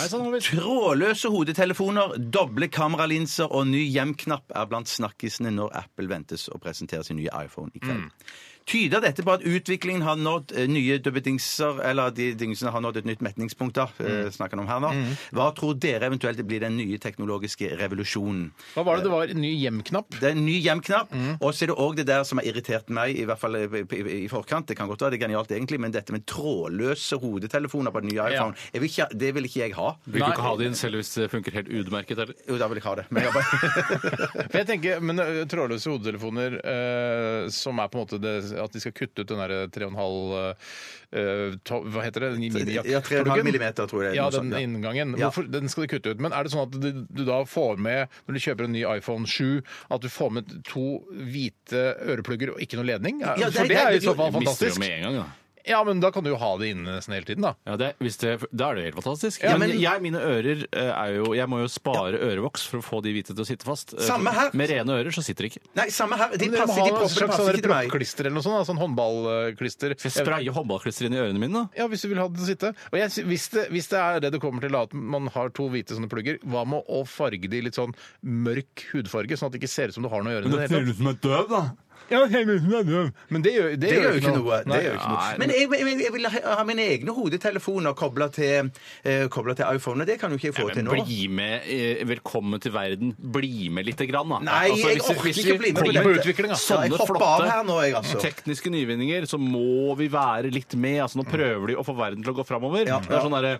Speaker 5: Trådløse hodetelefoner, doble kameralinser og ny hjem-knapp er blant snakkisene når Apple ventes å presentere sin nye iPhone i kveld.
Speaker 6: Mm.
Speaker 5: Tyder dette på at utviklingen har nådd eh, nye dubbedingser, eller de dingsene har nådd et nytt metningspunkt, da, eh,
Speaker 6: Mm.
Speaker 5: snakker han om her nå? Hva tror dere eventuelt blir den nye teknologiske revolusjonen?
Speaker 4: Hva var det det var? Ny hjem-knapp?
Speaker 5: Det er en ny hjem-knapp,
Speaker 6: Mm.
Speaker 5: og så er det òg det der som har irritert meg, i hvert fall eh, i, i, i forkant. Det kan godt være det er genialt egentlig, men dette med trådløse hodetelefoner på den nye iPhone, jeg vil ikke, det vil ikke jeg ha.
Speaker 6: Vil du
Speaker 4: Nei.
Speaker 6: ikke ha det inn selv hvis det funker helt utmerket? Eller?
Speaker 5: Jo, da vil jeg ha det. Men jeg bare...
Speaker 4: For jeg tenker, men ø, Trådløse hodetelefoner eh, som er på en måte det, at de skal kutte ut den derre 3,5 uh, Hva heter det? Minijakk-
Speaker 5: Ja, 3,5 millimeter, tror jeg.
Speaker 4: Ja,
Speaker 5: noe
Speaker 4: den
Speaker 5: sånt, ja.
Speaker 4: inngangen.
Speaker 5: Ja.
Speaker 4: Hvorfor, den skal de kutte ut. Men er det sånn at du, du da får med, når du kjøper en ny iPhone 7, at du får med to hvite øreplugger og ikke noe ledning?
Speaker 5: Ja, det-
Speaker 4: For det er jo i
Speaker 5: det-
Speaker 4: så fall
Speaker 6: Jeg mister det jo
Speaker 4: fantastisk.
Speaker 6: med en gang, da.
Speaker 4: Ja, men da kan du jo ha det inne nesten hele tiden, da.
Speaker 6: Ja, det, hvis det, da er det helt fantastisk.
Speaker 5: Ja,
Speaker 6: men
Speaker 5: men-
Speaker 6: jeg, mine ører eh, er jo Jeg må jo spare ørevoks for å få de hvite til å sitte fast. Eh,
Speaker 5: Samme her.
Speaker 6: Med rene ører så sitter de ikke.
Speaker 5: Nei, samme her. De
Speaker 4: Men dere må
Speaker 5: passer,
Speaker 4: ha
Speaker 5: de
Speaker 4: en
Speaker 5: propper, de
Speaker 4: slags
Speaker 5: passer
Speaker 4: sånn
Speaker 5: ikke til meg.
Speaker 4: proppklister eller noe sånt, da, sånn håndballklister.
Speaker 6: Skal jeg spraye håndballklister inn i ørene mine, da?
Speaker 4: Ja, hvis du vil ha det til å sitte. Og jeg, sy- hvis, det, hvis det er det det kommer til, da, at man har to hvite sånne plugger, hva med å farge de litt sånn mørk hudfarge, sånn at det ikke ser ut som du har noe å gjøre? i det hele tatt?
Speaker 6: ut som en døv, da.
Speaker 4: Ja, det ser ut som du er døv. Men det gjør, det
Speaker 5: Det
Speaker 4: gjør
Speaker 5: gjør jo ikke noe. Det
Speaker 4: Nei.
Speaker 5: gjør jo ikke noe.
Speaker 6: Nei,
Speaker 5: Men jeg, jeg, jeg vil ha ha mine egne hodetelefoner kobla til, eh, koblet til iPhone, og det kan jo ikke jeg få til nå.
Speaker 6: Bli med. eh, Velkommen til verden. Bli med lite grann, da. Altså,
Speaker 5: Nei, jeg
Speaker 6: hvis vi-
Speaker 5: orker
Speaker 6: hvis
Speaker 5: ikke
Speaker 6: vi
Speaker 5: bli med på
Speaker 6: kommer
Speaker 5: dette.
Speaker 6: utvikling, da.
Speaker 5: Ja, jeg
Speaker 6: Sånne
Speaker 5: hopper
Speaker 6: flotte
Speaker 5: av her nå, jeg, altså.
Speaker 6: tekniske nyvinninger, så må vi være litt med. Altså, nå prøver de å få verden til å gå framover.
Speaker 5: Ja,
Speaker 6: Det er
Speaker 5: ja.
Speaker 6: sånn derre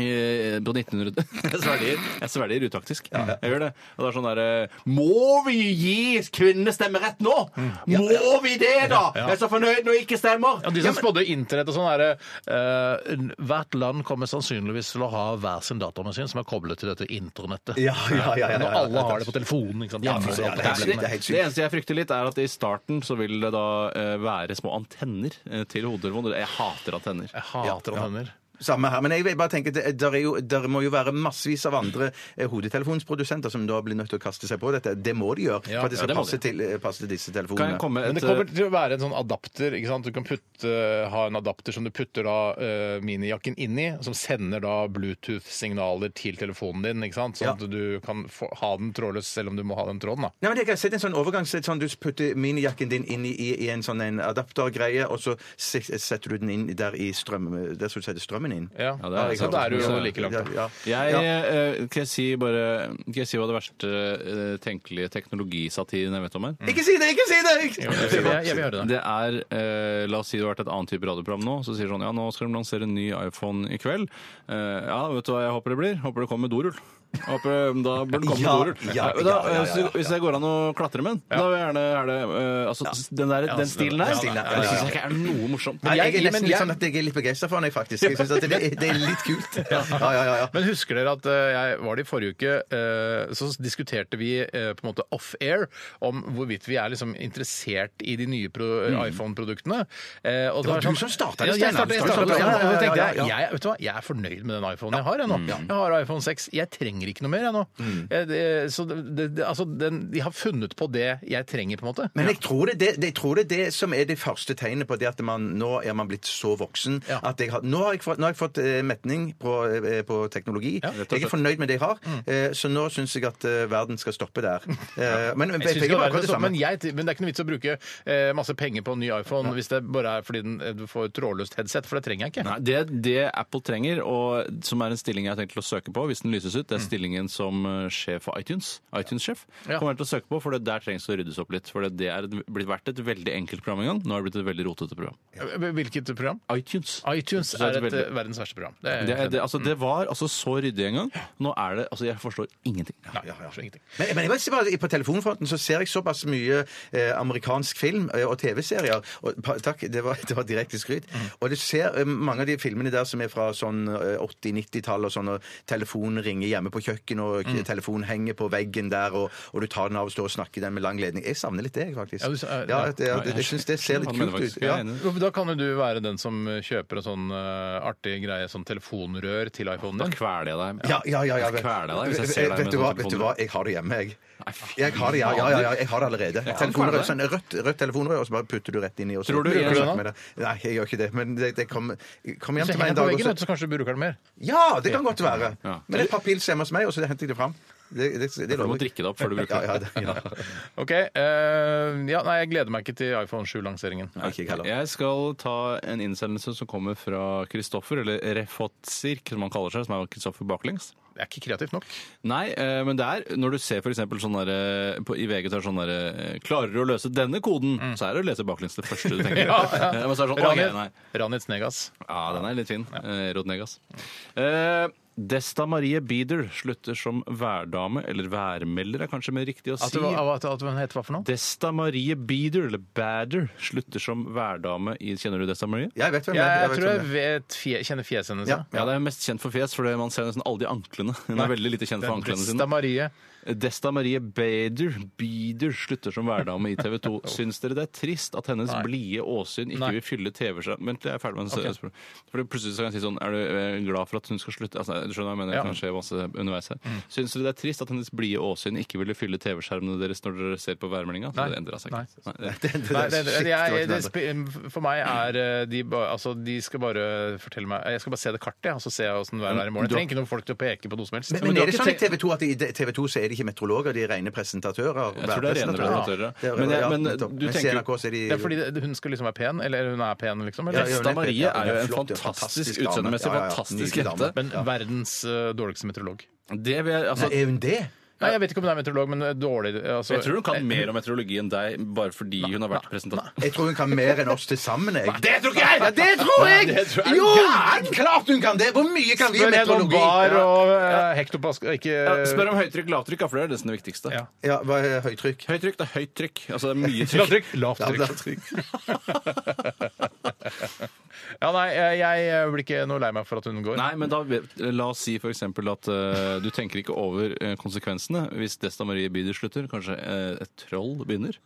Speaker 6: eh, på 1900 Jeg svelger, jeg svelger utaktisk. Jeg gjør det. Og det er sånn derre Må vi gi kvinnene stemmerett nå?!
Speaker 5: Mm.
Speaker 6: Må vi det, da?! Jeg er så fornøyd når jeg ikke stemmer!
Speaker 4: Ja, de som spådde internett og sånn, er det eh, Hvert land kommer sannsynligvis til å ha hver sin datamaskin som er koblet til dette internettet.
Speaker 5: Ja, ja, ja, ja, ja,
Speaker 4: Når
Speaker 5: ja,
Speaker 4: alle
Speaker 5: ja,
Speaker 4: har det på telefonen. ikke sant? Hjemme, sånn,
Speaker 5: ja,
Speaker 4: så alt
Speaker 5: det er
Speaker 4: tablettene.
Speaker 5: sykt, det er helt sykt.
Speaker 6: Det eneste jeg frykter litt, er at i starten så vil det da eh, være små antenner eh, til hodetelefonen. Jeg hater antenner.
Speaker 4: Jeg hater antenner.
Speaker 5: Samme her. Men jeg vil bare tenke, det, der, er jo, der må jo være massevis av andre eh, hodetelefonsprodusenter som da blir nødt til å kaste seg på dette. Det må de gjøre
Speaker 4: Ja,
Speaker 5: for at det
Speaker 6: ja,
Speaker 5: skal
Speaker 6: det må
Speaker 5: passe,
Speaker 6: de.
Speaker 5: til, eh, passe til disse
Speaker 6: Kan jeg
Speaker 5: telefonene.
Speaker 6: komme
Speaker 4: Men det
Speaker 6: et eh,
Speaker 4: kommer til å være en sånn adapter. ikke sant? Du kan putte, ha en adapter som du putter da eh, minijakken inn i, som sender da Bluetooth-signaler til telefonen din. ikke sant? Sånn
Speaker 5: Ja.
Speaker 4: at du kan få, ha den trådløs selv om du må ha den tråden. da.
Speaker 5: Nei, men Jeg har sett en sånn overgang. så er det Sånn, du putter minijakken din inn i, i en sånn en adaptergreie, og så se- setter du den inn der i strøm, der skal du sette strømmen inn.
Speaker 4: Ja,
Speaker 6: det er-
Speaker 4: Så da er du jo
Speaker 6: Ja.
Speaker 4: like langt. da.
Speaker 5: Ja, ja.
Speaker 6: Jeg,
Speaker 5: Ja.
Speaker 6: eh, kan, jeg si bare, kan jeg si hva det verste eh, tenkelige teknologisatiren jeg vet om er?
Speaker 5: Ikke si det! Ikke si det! Ikke-
Speaker 4: Jeg, jeg vil høre det.
Speaker 6: Det er, eh, La oss si det har vært et annet type radioprogram nå. Så sier de sånn ja, nå skal de lansere en ny iPhone i kveld. Eh, ja, vet du hva jeg håper det blir? Håper det kommer med dorull. Håper, eh, da bør den komme
Speaker 5: Ja,
Speaker 6: med dorull.
Speaker 5: ja,
Speaker 6: Eh,
Speaker 5: ja,
Speaker 6: da,
Speaker 5: ja, ja,
Speaker 6: hvis-
Speaker 5: ja, ja.
Speaker 6: Hvis det går an å klatre med den, da vil jeg gjerne er det, eh, altså, den, der, den stilen der,
Speaker 5: stilen der, ja, ja,
Speaker 6: det
Speaker 5: ja.
Speaker 6: syns jeg ikke er noe morsomt.
Speaker 5: Nei, jeg
Speaker 4: jeg-
Speaker 5: er
Speaker 4: men
Speaker 5: nesten litt
Speaker 4: jeg-
Speaker 5: sånn at jeg er litt begeistra for den, faktisk. Jeg synes at det, det er litt kult. Ja, ja, ja. ja.
Speaker 4: Men husker dere at eh, jeg var det i forrige uke, eh, så diskuterte vi eh, på en måte off-air om hvorvidt vi er liksom interessert i de nye pro iPhone-produktene. Eh, og
Speaker 5: var
Speaker 4: så er
Speaker 5: du som startet Mm.
Speaker 4: ja,
Speaker 5: det,
Speaker 4: jeg
Speaker 5: Steinar.
Speaker 4: startet, jeg
Speaker 5: Du
Speaker 4: startet,
Speaker 5: startet, ja, ja,
Speaker 4: og da tenkte
Speaker 5: ja,
Speaker 4: jeg,
Speaker 5: ja, Mm. ja.
Speaker 4: jeg, vet du hva, jeg er fornøyd med den iPhonen jeg har jeg nå. Jeg har iPhone 6. Jeg trenger ikke noe mer jeg nå.
Speaker 5: Mm.
Speaker 4: Eh, det, så det, det, altså, den, de har funnet på det jeg trenger, på en måte.
Speaker 5: Men jeg tror det, det, jeg tror det er det som er det første tegnet på det at man, nå er man blitt så voksen
Speaker 4: Ja.
Speaker 5: at jeg har, nå, har jeg fått, nå har jeg fått eh, metning på, eh, på teknologi. jeg er fornøyd med det jeg har, eh, så nå syns jeg at eh, verden skal stoppe der. Eh, Men
Speaker 4: Mm. Jeg synes
Speaker 5: penger
Speaker 4: det
Speaker 5: er
Speaker 4: var
Speaker 5: akkurat
Speaker 4: det
Speaker 5: det
Speaker 4: samme, men,
Speaker 5: samme.
Speaker 4: jeg, men det er ikke noe vits å bruke eh, masse penger på en ny iPhone hvis det bare er fordi den, eh, du får et trådløst headset, for det trenger jeg ikke.
Speaker 6: Nei, det, det Apple trenger, og som er en stilling jeg har tenkt til å søke på hvis den lyses ut,
Speaker 5: Mm.
Speaker 6: det er stillingen som eh, sjef for iTunes. iTunes-sjef
Speaker 4: Ja.
Speaker 6: kommer jeg til å søke på, for det der trengs å ryddes opp litt. For det, det er et- blitt vært et veldig enkelt program en gang. Nå har det blitt et veldig rotete program.
Speaker 4: Eh, Hvilket program?
Speaker 6: iTunes.
Speaker 4: iTunes
Speaker 6: Så
Speaker 4: er et
Speaker 6: det er veldig-
Speaker 4: eh, verdens verste program. Det er,
Speaker 6: Det, er- det, altså, det
Speaker 5: Mm.
Speaker 6: var altså så ryddig en gang. Nå er det Altså, jeg forstår ingenting.
Speaker 4: Nei, jeg forstår ingenting.
Speaker 5: Men, men jeg må si bare, på telefonfronten så ser jeg såpass mye eh, amerikansk film eh, og TV-serier. og pa- Takk, det var, det var direkte skryt.
Speaker 6: Mm.
Speaker 5: Og du ser eh, mange av de filmene der som er fra sånn eh, 80-90-tall, og sånn og telefonen ringer hjemme på kjøkkenet, og
Speaker 6: Mm.
Speaker 5: k- telefonen henger på veggen der, og, og du tar den av og står og snakker i den med lang ledning. Jeg savner litt det, jeg, faktisk.
Speaker 4: Ja,
Speaker 5: Ja,
Speaker 4: du sa-
Speaker 5: det, jeg, jeg, jeg syns det ser litt
Speaker 6: Han mener
Speaker 5: kult
Speaker 6: faktisk-
Speaker 5: ut.
Speaker 6: jeg
Speaker 5: Ja.
Speaker 6: er enig.
Speaker 4: Jo, men Da kan jo du være den som kjøper en sånn eh, artig greie, sånn telefonrør til iPhonen din.
Speaker 6: kveler jeg deg.
Speaker 5: Ja, ja, ja. ja.
Speaker 6: Jeg kveler deg hvis jeg ser deg
Speaker 5: vet,
Speaker 6: med
Speaker 5: du
Speaker 6: en
Speaker 5: hva,
Speaker 6: sånn
Speaker 5: vet du
Speaker 6: telefonrør.
Speaker 5: hva, jeg har det hjemme, jeg.
Speaker 6: Nei, fy
Speaker 5: Jeg har det, ja, ja, ja, ja, jeg har det allerede. Telefonrør,
Speaker 6: kveler
Speaker 5: sånn rødt, rødt telefonrør, og så bare putter du rett inn i og så
Speaker 6: Tror du
Speaker 5: Bruker
Speaker 6: jeg
Speaker 4: gjør
Speaker 5: med det? Nei, jeg gjør ikke det. Men det, det kom, kom hjem
Speaker 4: Hvis jeg henger
Speaker 5: til meg en
Speaker 4: på
Speaker 5: dag og
Speaker 4: veggen,
Speaker 5: så
Speaker 4: vet du, sånn? så kanskje du bruker den mer.
Speaker 5: Ja, det kan godt være.
Speaker 6: Ja.
Speaker 5: Men det er et par pils hjemme hos meg, og så henter jeg det fram. Det, det, det,
Speaker 6: Du må
Speaker 5: lover jeg.
Speaker 6: drikke det opp før du bruker
Speaker 5: Ja, ja,
Speaker 6: det.
Speaker 5: det. Ja.
Speaker 4: Ok, eh, ja, nei, Jeg gleder meg ikke til iPhone 7-lanseringen.
Speaker 5: Nei, ikke jeg heller.
Speaker 6: Jeg skal ta en innsendelse som kommer fra Kristoffer, eller Refotsirk, som han kaller seg, som er Kristoffer baklengs.
Speaker 4: Det er ikke kreativt nok.
Speaker 6: Nei, eh, men det er når du ser f.eks. sånn der eh, på- I VG så er det sånn der eh, Klarer du å løse denne koden? Så er det å lese baklengs det første du tenker.
Speaker 4: Mm. ja.
Speaker 6: Eh, Men så er det sånn,
Speaker 4: Ranit,
Speaker 6: «Å, nei, nei.
Speaker 4: Ranit Snegas.
Speaker 6: Ja, den er litt fin. Eh, Rod Negas. Eh, Desta Marie Bieder slutter som værdame, eller værmelder er kanskje mer riktig å
Speaker 4: At,
Speaker 6: si.
Speaker 4: det var- at, at hun heter hva for noe?
Speaker 6: Desta Marie Bieder, eller Bader, slutter som værdame i Kjenner du Desta Marie?
Speaker 5: Jeg vet hvem det
Speaker 4: Jeg,
Speaker 5: er.
Speaker 4: jeg
Speaker 5: vet
Speaker 4: tror jeg
Speaker 5: hvem det er.
Speaker 4: vet, fje- kjenner fjeset hennes.
Speaker 5: Ja.
Speaker 4: Ja.
Speaker 6: Ja, det er mest kjent for fjes, for det- man ser nesten alle de anklene. Hun er veldig lite kjent for anklene
Speaker 4: Desta
Speaker 6: sine.
Speaker 4: Marie.
Speaker 6: Desta Marie Bader, Bieder slutter som værdame i TV 2. Syns dere det er trist at hennes
Speaker 4: Oh. Nei.
Speaker 6: blide åsyn ikke
Speaker 4: Nei.
Speaker 6: vil fylle TV-skjermen Vent, jeg er ferdig med okay. For Plutselig så kan jeg si sånn Er du eh, glad for at hun skal slutte? Altså, du skjønner hva jeg mener?
Speaker 4: Ja. Mm.
Speaker 6: Det kan skje masse underveis her. Syns dere det er trist at hennes blide åsyn ikke ville fylle TV-skjermene deres når dere ser på værmeldinga? Så
Speaker 4: Nei.
Speaker 6: Det endra seg
Speaker 4: Nei.
Speaker 6: ikke. Nei, det-
Speaker 5: Det- det-
Speaker 4: Nei, det,
Speaker 5: det- shit,
Speaker 4: det, jeg,
Speaker 5: det var
Speaker 4: det,
Speaker 5: ikke noe.
Speaker 4: sp- for meg er eh, de, ba- altså, de skal bare fortelle meg Jeg skal bare se det kartet, jeg, og så ser jeg åssen været er i morgen. Jeg
Speaker 6: Du har-
Speaker 4: trenger ikke noen folk til å peke på noe som helst.
Speaker 5: Men, men er det sånn i TV 2 at i TV 2 så er de ikke meteorologer, de er rene presentatører?
Speaker 6: Jeg tror det er rene presentatører.
Speaker 5: Ja, det er-
Speaker 6: Men, jeg,
Speaker 5: ja,
Speaker 6: men
Speaker 5: nettopp.
Speaker 6: du
Speaker 5: Mens i
Speaker 6: tenker jo
Speaker 5: NRK så er de
Speaker 4: det er fordi det, hun skal liksom være pen, eller hun er pen, liksom. Eller?
Speaker 5: Ja, ja.
Speaker 6: Desta Marie
Speaker 5: Ja,
Speaker 6: er
Speaker 5: ja,
Speaker 6: jo en
Speaker 5: flott, ja,
Speaker 6: fantastisk,
Speaker 5: fantastisk dame.
Speaker 6: utseendemessig
Speaker 5: Ja, ja, ja.
Speaker 6: fantastisk
Speaker 5: Nydelig dame.
Speaker 6: jente.
Speaker 4: Men verdens eh, dårligste meteorolog.
Speaker 6: Det vil jeg, altså,
Speaker 5: Nei, er hun det?
Speaker 4: Nei, jeg vet ikke om hun er meteorolog, men eh, dårlig eh, altså,
Speaker 6: jeg tror hun kan mer om meteorologi enn deg, bare fordi hun har vært presentat.
Speaker 5: Jeg tror hun kan mer enn oss til sammen, jeg.
Speaker 6: Det tror ikke jeg!
Speaker 5: Ja, det tror jeg!
Speaker 6: Det tror jeg.
Speaker 5: Jo, klart hun kan det! Hvor mye kan vi
Speaker 4: Spør henne om
Speaker 5: meteorologi?
Speaker 4: bar
Speaker 5: Ja.
Speaker 4: og eh, hektopask Ikke
Speaker 6: Ja, Eh, Spør om høytrykk, lavtrykk, ja, for det er nesten det viktigste.
Speaker 4: Ja.
Speaker 5: Ja, hva er høytrykk?
Speaker 6: Høytrykk, det er høyt trykk. Altså det er mye trykk.
Speaker 4: Lavtrykk. Lavtrykk. Ja, nei, jeg, jeg blir ikke noe lei meg for at hun går.
Speaker 6: Nei, men da, vet- La oss si f.eks. at eh, du tenker ikke over eh, konsekvensene hvis Desta Marie Bieder slutter. Kanskje eh, et troll begynner?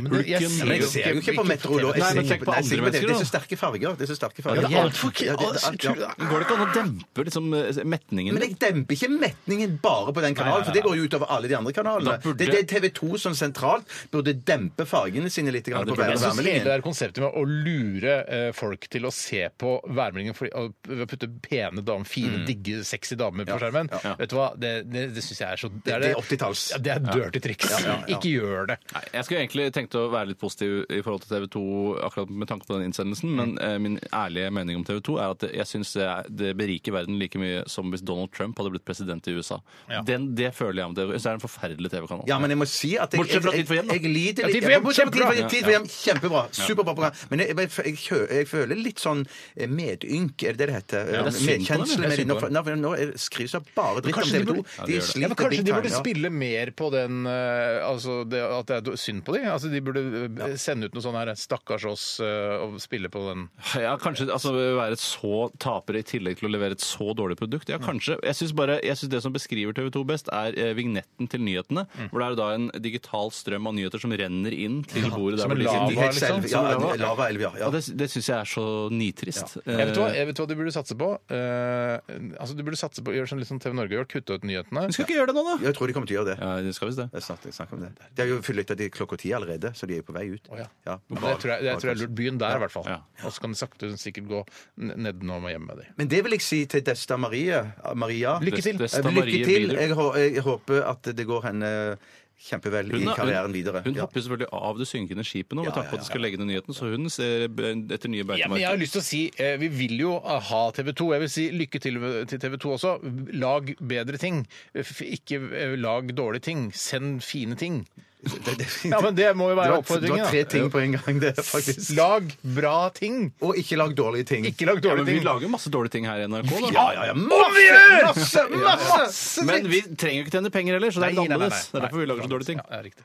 Speaker 4: Ja, men det- jeg
Speaker 6: hulken?
Speaker 4: ser
Speaker 5: Men
Speaker 6: eller-
Speaker 5: jeg ser jo ikke på meteorolog. Jeg
Speaker 6: Nei, men
Speaker 5: ser
Speaker 6: tenk
Speaker 5: ikke
Speaker 6: på
Speaker 5: nei, jeg ser ikke på det.
Speaker 6: andre mennesker,
Speaker 5: Det
Speaker 6: da.
Speaker 5: er så sterke farger. Det er så sterke farger.
Speaker 6: det er alt for-
Speaker 5: Ja, det- det- alt- ja.
Speaker 6: Går det ikke an å dempe liksom, eh, metningen?
Speaker 5: Men jeg demper ikke metningen bare på den kanalen, for det går jo utover alle de andre kanalene.
Speaker 6: Da burde-
Speaker 5: Det, det TV 2 som sentralt burde dempe fargene sine litt grann
Speaker 6: det
Speaker 5: på hver
Speaker 6: burde-
Speaker 4: Jeg synes hele det
Speaker 5: værmeldingen.
Speaker 4: der konseptet med å lure eh, folk til å se på værmeldingen for- og- ved å putte pene damer, fine, digge, sexy damer på skjermen, vet du hva, det, det, det syns jeg er så
Speaker 5: Det er 80-talls.
Speaker 4: Ja, det er dirty triks. Ikke gjør det.
Speaker 6: Nei, jeg skulle egentlig tenkt å være litt positiv i forhold til TV 2 akkurat med tanke på den innsendelsen, men eh, min ærlige mening om TV 2 er at det- jeg syns det, er- det beriker verden like mye som hvis Donald Trump hadde blitt president i USA.
Speaker 4: Ja.
Speaker 6: Den, det føler jeg om TV. Så er det en forferdelig TV-kanal.
Speaker 5: Ja, men jeg må si at jeg,
Speaker 6: Bortsett fra Tid for hjem, da.
Speaker 5: jeg, jeg lider
Speaker 4: Ja, Tid
Speaker 5: litt
Speaker 4: for hjem,
Speaker 5: Bortsett fra Tid
Speaker 4: kjempebra.
Speaker 5: for hjem, Tid for hjem, kjempebra. Superbra program. Men jeg, jeg, jeg, kjø- jeg føler litt sånn eh, medynk, er det det det heter? Eh,
Speaker 6: det er synd på dem,
Speaker 5: Medkjensle
Speaker 6: ja.
Speaker 5: med dem.
Speaker 6: Det er
Speaker 5: Nå,
Speaker 6: synd på
Speaker 5: nå, nå skrives det bare dritt om
Speaker 4: Kanskje de
Speaker 5: TV 2.
Speaker 4: burde-
Speaker 6: Ja, det
Speaker 5: De
Speaker 6: gjør det.
Speaker 4: Ja,
Speaker 5: sliter
Speaker 4: men Kanskje
Speaker 5: big
Speaker 4: de
Speaker 5: time,
Speaker 4: burde
Speaker 5: ja.
Speaker 4: spille mer på den eh, altså det, at det er synd på dem? Altså, de burde eh, sende ut noe sånn her 'stakkars oss' eh, og spille på den.
Speaker 6: Ja, kanskje altså, være et så tapere i tillegg til å levere et så dårlig produkt. Ja, kanskje. Jeg syns bare- jeg synes det som beskriver TV 2 best, er eh, vignetten til nyhetene. Hvor det er da en digital strøm av nyheter som renner inn til bordet.
Speaker 4: som en
Speaker 6: der hvor de sitter.
Speaker 4: lava,
Speaker 5: De helt selv-
Speaker 4: liksom,
Speaker 5: Ja,
Speaker 4: som lava.
Speaker 5: en lavaelv, ja. ja.
Speaker 6: Og det, det syns jeg er så nitrist.
Speaker 4: Jeg vet, hva, jeg vet hva du burde satse på. Eh, altså Du burde satse på, gjøre sånn litt som TV Norge gjør, kutte ut nyhetene.
Speaker 6: Vi skal ikke gjøre det nå, da!
Speaker 5: Jeg tror de kommer til å gjøre det.
Speaker 6: Ja, det skal visst det.
Speaker 5: Det er snart jeg snakker om det. De har jo flytta til klokka ti allerede, så de er på vei ut.
Speaker 4: Å, ja.
Speaker 5: Ja.
Speaker 4: Men Det tror jeg, det tror jeg er lurt. Begynn der, i hvert fall.
Speaker 6: Ja.
Speaker 4: Og så kan det sakte, men sikkert gå n- nedenom og hjem med dem.
Speaker 5: Men det vil jeg si til Desta Marie, Maria.
Speaker 4: Lykke til.
Speaker 6: Desta
Speaker 5: Eh,
Speaker 6: Marie
Speaker 5: Lykke til.
Speaker 6: Bieder.
Speaker 5: Jeg, hå- jeg håper at det går henne kjempevel i
Speaker 6: er-
Speaker 5: karrieren videre.
Speaker 6: hun
Speaker 5: Ja.
Speaker 6: hopper jo selvfølgelig av det synkende skipet nå med
Speaker 5: Ja,
Speaker 6: tanke på
Speaker 5: ja,
Speaker 6: at de skal legge ned nyheten, så hun ser etter nye
Speaker 4: Ja, men jeg
Speaker 6: beitemarker.
Speaker 4: har lyst til å si, eh, Vi vil jo ha TV 2. Jeg vil si lykke til med- til TV 2 også. Lag bedre ting. F- Ikke eh, lag dårlige ting. Send fine ting.
Speaker 5: Det- det-
Speaker 4: Ja, men Det må jo være
Speaker 5: det var- Det var
Speaker 4: oppfordringen.
Speaker 5: tre
Speaker 4: da.
Speaker 5: ting på en gang, det, faktisk.
Speaker 4: Lag bra ting.
Speaker 5: Og ikke lag dårlige ting.
Speaker 4: Ikke lag
Speaker 6: Ja, men
Speaker 4: dårlige
Speaker 6: vi
Speaker 4: ting.
Speaker 6: lager jo masse dårlige ting her i NRK, da.
Speaker 5: Ja, ja, ja. Masse! Masse! Masse!
Speaker 6: Men vi trenger jo ikke tjene penger heller, så det er
Speaker 4: Nei,
Speaker 6: litt
Speaker 4: nei, nei, nei.
Speaker 6: annerledes. Det er derfor vi lager så dårlige ting.
Speaker 4: Ja, det er riktig.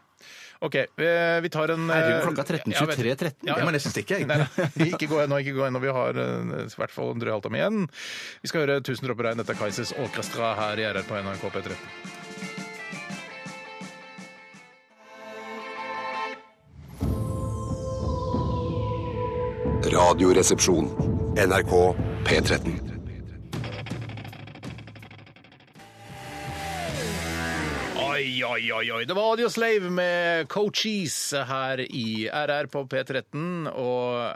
Speaker 4: OK, eh, vi tar en eh,
Speaker 6: Herregud, klokka er 13.23,
Speaker 4: ja, vet du.
Speaker 6: 13.
Speaker 4: Ja,
Speaker 5: Jeg
Speaker 4: ja.
Speaker 5: må nesten stikke, jeg.
Speaker 4: Nei, nei. Ikke gå ennå, ikke gå ennå. Vi har eh, i hvert fall en drøy halvtime igjen. Vi skal høre 'Tusen dråper regn'. Dette er Kaizers Orkestra her i RR på NRK P13.
Speaker 1: Radioresepsjon. NRK P13.
Speaker 4: Oi, oi, oi, oi. Det var Audioslave med Coaches her i RR på P13. Og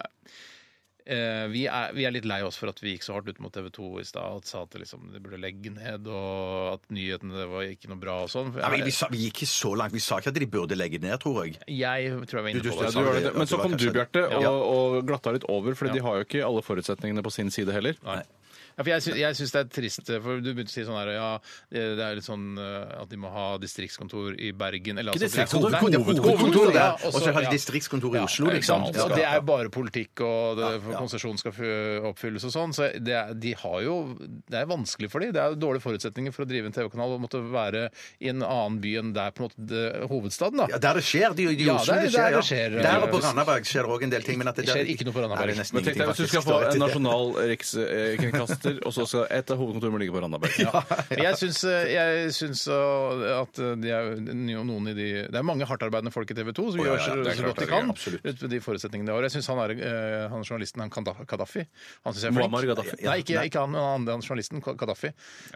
Speaker 4: eh, vi, er, vi er litt lei oss for at vi gikk så hardt ut mot TV 2 i stad og sa at det liksom, de burde legge ned, og at nyhetene det var ikke noe bra og sånn.
Speaker 5: Ja, men vi, sa, vi gikk ikke så langt. Vi sa ikke at de burde legge ned, tror jeg.
Speaker 4: Jeg tror jeg var inne
Speaker 5: Du-
Speaker 4: på
Speaker 5: du
Speaker 4: det.
Speaker 5: sa
Speaker 6: Du gjør det.
Speaker 5: at
Speaker 6: Men så
Speaker 5: var
Speaker 6: kom du,
Speaker 5: kanskje-
Speaker 6: Bjarte, og,
Speaker 4: Ja.
Speaker 6: og glatta litt over, for de har jo ikke alle forutsetningene på sin side heller.
Speaker 4: Ja, for jeg, sy jeg syns det er trist, for du begynte å si sånn her Ja, det det er litt sånn eh, at de må ha distriktskontor i Bergen eller altså,
Speaker 5: distriktskontor,
Speaker 4: Nei,
Speaker 5: det er hovedkontor der,
Speaker 4: ja,
Speaker 5: og så har de
Speaker 4: ja.
Speaker 5: distriktskontor i Oslo,
Speaker 4: Ja, ikke
Speaker 5: liksom.
Speaker 4: sant?
Speaker 5: Ja.
Speaker 4: Og det er jo bare politikk, og det,
Speaker 5: ja.
Speaker 4: konsesjon skal fø- oppfylles og sånn. Så det, er- de har jo, det er vanskelig for dem. Det er jo dårlige forutsetninger for å drive en TV-kanal og måtte være i en annen by enn der på en måte det, hovedstaden. da.
Speaker 5: Ja, der det skjer. De, de i
Speaker 4: Ja,
Speaker 5: Oslo,
Speaker 4: der-
Speaker 5: det
Speaker 4: der
Speaker 5: skjer. ja.
Speaker 4: det skjer,
Speaker 5: Der og på
Speaker 4: eh,
Speaker 5: Randaberg skjer det òg en del ting. Men at det,
Speaker 4: skjer
Speaker 5: der-
Speaker 4: ikke noe på Randaberg.
Speaker 5: Nei, det er nesten
Speaker 6: Men tenk deg
Speaker 5: ingenting,
Speaker 6: hvis du skal
Speaker 5: faktisk. Da
Speaker 6: få
Speaker 5: vet
Speaker 6: en
Speaker 5: jeg det.
Speaker 6: nasjonal rikskringkaster, og så skal et av hovedkontorene ligge på Randaberg.
Speaker 4: Men Jeg syns, eh, jeg syns uh, at de er noen i de Det er mange hardtarbeidende folk i TV 2 som
Speaker 5: ja,
Speaker 4: gjør så,
Speaker 5: ja, det er
Speaker 4: så
Speaker 5: klart
Speaker 4: godt de
Speaker 5: det er,
Speaker 4: kan
Speaker 5: absolutt.
Speaker 4: ut med de forutsetningene de har. Jeg syns han, er, uh, han journalisten, han Kadda- Gaddafi, han syns jeg er
Speaker 6: Muammar
Speaker 4: flink.
Speaker 6: Gaddafi.
Speaker 4: Nei, ikke, ikke han, men han andre han journalisten, Gaddafi.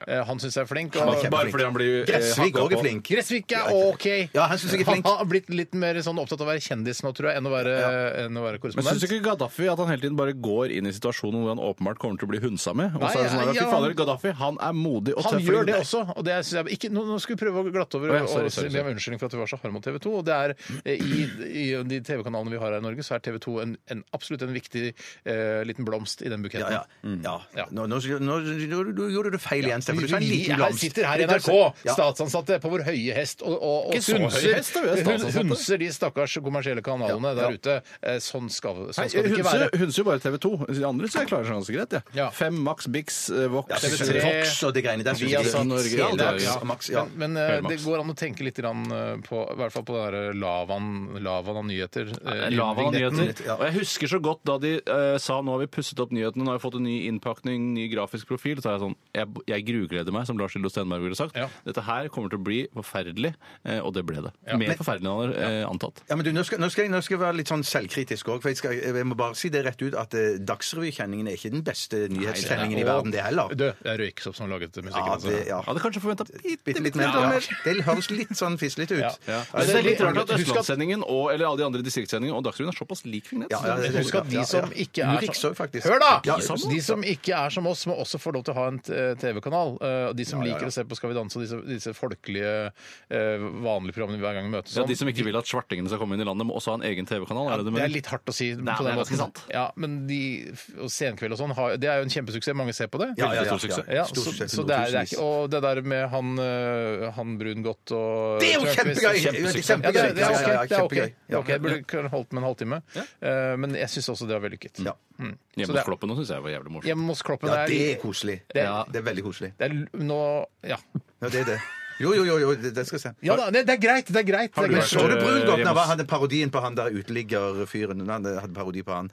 Speaker 4: Eh, Han syns jeg er flink.
Speaker 5: Han er
Speaker 4: Og
Speaker 5: kjempeflink.
Speaker 6: Bare fordi han blir eh,
Speaker 5: Gressvik
Speaker 6: hakka
Speaker 5: òg
Speaker 6: på.
Speaker 5: er flink.
Speaker 4: Gressvik er
Speaker 5: Ja,
Speaker 4: OK.
Speaker 5: ja, han synes jeg er flink.
Speaker 4: Han har blitt litt mer sånn opptatt av å være kjendis nå, tror jeg, enn å være, enn å være
Speaker 6: Men syns
Speaker 4: korrespondent.
Speaker 6: ikke Gaddafi at han hele tiden bare går inn i situasjonen hvor han åpenbart kommer til å bli hunsa med? Og
Speaker 4: Nei,
Speaker 6: så er det sånn at,
Speaker 4: ja,
Speaker 6: Fy fader, Gaddafi han er modig og
Speaker 4: Han
Speaker 6: tøff.
Speaker 4: gjør det også. og det synes jeg ikke, nå, nå skal vi prøve å glatte over
Speaker 6: Å ja, sorry,
Speaker 4: og si-
Speaker 6: sorry,
Speaker 4: be om
Speaker 6: sorry.
Speaker 4: unnskyldning for at vi var så harde mot TV 2. og det er eh, I, i de TV-kanalene vi har her i Norge, så er TV 2 en, en, absolutt en viktig eh, liten blomst i den buketten.
Speaker 5: Ja, ja. ja.
Speaker 4: Mm. Ja.
Speaker 5: Nå, nå, nå, nå, nå gjorde du feil igjen, Steffen.
Speaker 4: Vi,
Speaker 5: Du sa en
Speaker 4: vi
Speaker 5: liten
Speaker 4: her
Speaker 5: blomst.
Speaker 4: sitter her i NRK, statsansatte på vår høye hest, og, og, og
Speaker 6: Ikke så høy hest, da, vi er
Speaker 4: hun-
Speaker 6: statsansatte.
Speaker 4: hunser de stakkars kommersielle kanalene der ute. Eh, Sånn skal, sånn skal det ikke
Speaker 6: Hunser
Speaker 4: være.
Speaker 6: hunser jo bare TV 2. De andre så jeg klarer seg ganske greit. Ja.
Speaker 4: Ja.
Speaker 6: Fem, Max, Bix, eh, Vox.
Speaker 5: Ja,
Speaker 4: TV3.
Speaker 5: Vox og de greiene der. synes
Speaker 4: Vi har
Speaker 5: jeg er
Speaker 4: satt
Speaker 5: Norge,
Speaker 6: hele
Speaker 5: Max,
Speaker 6: Norge.
Speaker 5: Max, ja.
Speaker 4: Men, men eh,
Speaker 6: Hører,
Speaker 4: det
Speaker 6: Max.
Speaker 4: går an å tenke litt grann, eh, på i hvert fall på den der eh, lavaen, lavaen av nyheter. eh,
Speaker 6: Lava av
Speaker 4: vignetten.
Speaker 6: nyheter. Og jeg husker så godt da de eh, sa nå har vi pusset opp nyhetene, nå har vi fått en ny innpakning, ny grafisk profil. Så er jeg sånn Jeg, jeg grugleder meg, som Lars Hildo Stenberg ville sagt.
Speaker 4: Ja.
Speaker 6: Dette her kommer til å bli forferdelig, eh, og det ble det. Mer
Speaker 5: Men-
Speaker 6: forferdelig enn jeg hadde eh, antatt.
Speaker 5: Ja, men du, nå skal, nå, skal jeg, nå skal jeg være litt sånn selvkritisk òg. Jeg, skal- jeg må bare si det rett ut at eh, Dagsrevykjenningen er ikke den beste nyhetssendingen i verden, det heller.
Speaker 4: Du, det er Røyksopp som laget musikken.
Speaker 5: Ja,
Speaker 4: altså.
Speaker 5: det, ja.
Speaker 6: Jeg hadde kanskje forventa bitte,
Speaker 5: Bitte litt mer. Ja. Det høres litt sånn fislete ut.
Speaker 4: Ja.
Speaker 6: Ja.
Speaker 5: Men
Speaker 6: Men det er litt rart at
Speaker 4: Husk at-
Speaker 6: Østlandssendingen og eller alle de andre distriktssendingene og Dagsrevyen er såpass lik hverandre.
Speaker 5: Ja, ja,
Speaker 6: Så det
Speaker 5: det-
Speaker 6: er
Speaker 4: Husk at de som ikke
Speaker 5: Ja,
Speaker 4: er
Speaker 5: ja. Urix også, faktisk.
Speaker 4: Hør da!
Speaker 5: Ja,
Speaker 4: de som ikke er som oss, må også få lov til å ha en t- eh, TV-kanal. Eh, og De som liker å se på Skal vi danse og disse, disse folkelige, eh, vanlige programmene vi hver gang møtes
Speaker 6: Ja,
Speaker 4: om,
Speaker 6: de som ikke vil at svartingene skal komme inn i landet, må også ha en egen TV-kanal. er det det
Speaker 4: Det er
Speaker 6: mener?
Speaker 4: litt hardt å si. på
Speaker 6: Nei,
Speaker 4: den
Speaker 6: det er
Speaker 4: måten.
Speaker 6: ganske sant.
Speaker 4: Ja, men de, og Senkveld og sånn, har- det er jo en kjempesuksess. Mange ser på det.
Speaker 5: Ja, ja, ja,
Speaker 6: Veldig stor
Speaker 5: ja.
Speaker 6: suksess.
Speaker 4: Ja,
Speaker 5: Stor
Speaker 4: så,
Speaker 5: suksess,
Speaker 4: så det er, det er
Speaker 5: tusenvis.
Speaker 4: ikke, og det der med han, øh, han Brungot og
Speaker 5: Det er jo
Speaker 4: Tørnquist.
Speaker 5: kjempegøy!
Speaker 6: Kjempesuksess.
Speaker 4: Ja, det, er- det er
Speaker 5: Ja, ja, ja,
Speaker 4: ok. Det er ok.
Speaker 5: kjempegøy.
Speaker 4: Det er ok. Jeg burde kunne holdt med en halvtime. Eh, Men jeg syns også det var vellykket.
Speaker 5: Ja.
Speaker 4: Mm. Så
Speaker 6: Hjemme
Speaker 4: det
Speaker 6: hos
Speaker 4: er-
Speaker 6: Kloppen nå syns jeg var jævlig morsomt.
Speaker 4: Hjemme hos Kloppen
Speaker 5: Ja,
Speaker 4: er
Speaker 5: det er koselig.
Speaker 4: det er-
Speaker 5: Det er veldig koselig.
Speaker 4: det er l- nå Ja.
Speaker 5: Ja, det er det. Jo, jo, jo, jo det, det skal jeg se.
Speaker 4: Ja da, det, det er greit! Det er greit. Det er
Speaker 6: du
Speaker 4: greit.
Speaker 6: vært-
Speaker 5: Så du Brungot
Speaker 6: Remus.
Speaker 5: når han hadde parodien på han der uteliggerfyren? Han hadde parodi på han.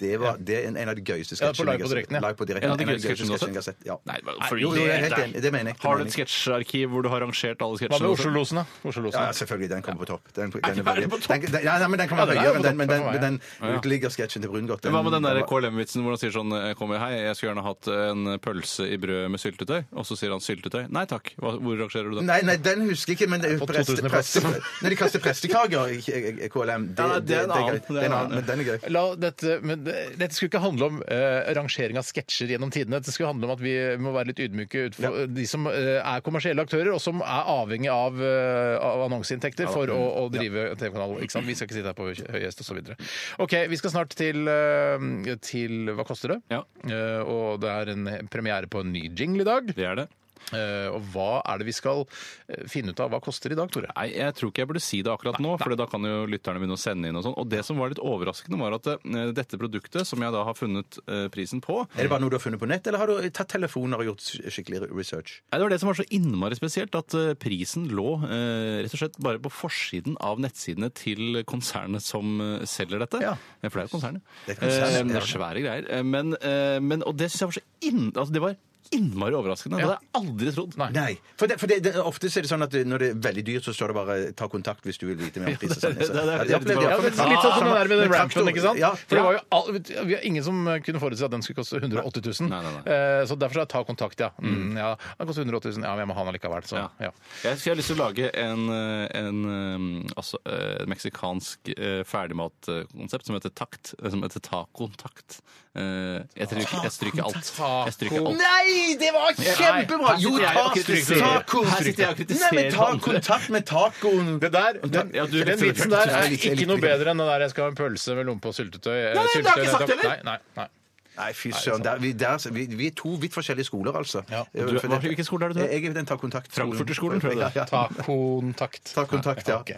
Speaker 5: Det var det er en, en av de gøyeste
Speaker 4: Ja, på
Speaker 5: sketsjene
Speaker 4: Live på direkten, ja.
Speaker 5: Live på direkten.
Speaker 6: En av de
Speaker 5: En av de
Speaker 6: gøyeste
Speaker 5: gøyeste
Speaker 6: sketsjene du
Speaker 5: sketsjene jeg
Speaker 6: har
Speaker 5: har sett. Ja.
Speaker 6: Nei, men
Speaker 5: Nei,
Speaker 6: for-
Speaker 5: jo, jo, jeg er helt
Speaker 6: Nei.
Speaker 5: enig. Det mener jeg. Det
Speaker 6: Har du
Speaker 5: mener
Speaker 6: et
Speaker 5: jeg.
Speaker 6: sketsjarkiv hvor du har rangert alle
Speaker 4: Hva med
Speaker 6: sketsjene? også?
Speaker 4: Oslo-losen, da? Oslo-losen.
Speaker 5: Ja, ja, selvfølgelig. Den kommer på topp. Den, den,
Speaker 6: den
Speaker 5: er
Speaker 6: er
Speaker 5: veldig-
Speaker 6: på topp.
Speaker 5: den, den, ja, nei, men den kan
Speaker 4: Ja,
Speaker 5: være
Speaker 4: den er på
Speaker 5: høyere enn den, men
Speaker 4: topp
Speaker 5: den,
Speaker 4: for meg.
Speaker 5: men den uteliggersketsjen til Brungot
Speaker 6: Hva med den der
Speaker 5: var-
Speaker 6: KLM-vitsen hvor han sier sånn eh, Kom hei, jeg skulle gjerne hatt eh, en pølse i brød med syltetøy. Og så sier han syltetøy. Nei takk. Hva, hvor rangerer du det?
Speaker 5: Nei, nei, den husker jeg ikke, men det er
Speaker 4: På
Speaker 5: jo preste,
Speaker 4: 2000
Speaker 5: preste, når de kaster prestekaker i i- i KLM det,
Speaker 6: Ja, det er en annen.
Speaker 5: gøy. Det er en annen, men den er gøy.
Speaker 4: La dette, men det- dette skulle ikke handle om eh, rangering av sketsjer gjennom tidene. Dette skulle handle om at vi må være litt ydmyke utenfor de som eh, er kommersielle aktører, og som er avhengig av, eh, av annonseinntekter for å, å drive TV-kanal. ikke sant? Vi skal ikke sitte her på høy- høyhest osv. OK, vi skal snart til, eh, til Hva koster det?
Speaker 6: Ja.
Speaker 4: Eh, og det er en premiere på en ny jingle i dag.
Speaker 6: Det er det.
Speaker 4: Eh, og hva er det vi skal eh, finne ut av? Hva koster i dag, Tore?
Speaker 6: Nei, jeg tror ikke jeg burde si det akkurat nå, for da kan jo lytterne begynne å sende inn og sånn. Og det som var litt overraskende, var at eh, dette produktet, som jeg da har funnet eh, prisen på
Speaker 5: Er det bare noe du har funnet på nett, eller har du tatt telefoner og gjort skikkelig research?
Speaker 6: Nei, Det var det som var så innmari spesielt, at eh, prisen lå eh, rett og slett bare på forsiden av nettsidene til konsernet som eh, selger dette.
Speaker 5: Ja.
Speaker 6: Eh, For det er jo konsernet.
Speaker 5: Det er konsernet,
Speaker 6: Eh, det
Speaker 5: ja.
Speaker 6: er svære greier. Eh, Men, eh, men, og det syns jeg var så inn... Altså, det var innmari overraskende. Det hadde jeg aldri trodd.
Speaker 5: Nei. For, det, for det, det, ofte så er det sånn at når det er veldig dyrt, så står det bare 'ta kontakt hvis du vil vite mer om pris'. og sånn.
Speaker 6: det- det- det-
Speaker 5: Ja, det opplevde jeg.
Speaker 4: Ja, men litt sånn som den der med den rampen, ikke sant?
Speaker 5: Ja,
Speaker 4: For det var jo all, vi har ingen som kunne forutse at den skulle koste 180 000.
Speaker 6: Nei, nei,
Speaker 4: Eh, Så derfor er det ta kontakt, ja. Mm, ja. Den koster 180 000, ja, men jeg må ha den likevel. Så,
Speaker 6: Ja.
Speaker 4: ja.
Speaker 6: Jeg, jeg har lyst til å lage en, en, eh, altså, eh, meksikansk eh, ferdigmatkonsept som heter takt. eh, Som heter tacontakt. Eh, Jeg, stryker- jeg stryker alt. Jeg stryker alt.
Speaker 5: Nei, det var kjempebra! Jo,
Speaker 6: sitter jeg
Speaker 5: ta
Speaker 6: og kritiserer.
Speaker 5: taco.
Speaker 6: Her sitter jeg og kritiserer
Speaker 5: Nei, men ta
Speaker 6: andre.
Speaker 5: kontakt med tacoen.
Speaker 4: Det der, den,
Speaker 6: Ja, du-
Speaker 4: den vitsen der
Speaker 5: Jeg
Speaker 4: er
Speaker 5: likte- jeg
Speaker 4: ikke
Speaker 5: likte
Speaker 4: noe
Speaker 5: det.
Speaker 4: bedre enn den der 'jeg skal ha en pølse med lompe og syltetøy'. eh,
Speaker 5: Nei, nei, det har jeg ikke
Speaker 4: syltetøy,
Speaker 5: sagt
Speaker 4: nettopp.
Speaker 5: heller.
Speaker 4: Nei, nei, nei.
Speaker 5: Nei, fy søren. Der, vi, der, vi, vi er to vidt forskjellige skoler, altså.
Speaker 4: Ja.
Speaker 5: Eh,
Speaker 6: Du-
Speaker 5: for
Speaker 6: hva-
Speaker 5: det-
Speaker 6: hvilken skole er det du er?
Speaker 5: Jeg er den ta kontakt
Speaker 6: Frankfurterskolen, tror jeg det
Speaker 5: Ja,
Speaker 6: er.
Speaker 5: ja.
Speaker 4: Ta kontakt.
Speaker 5: Ta kontakt, ja.
Speaker 4: Ok.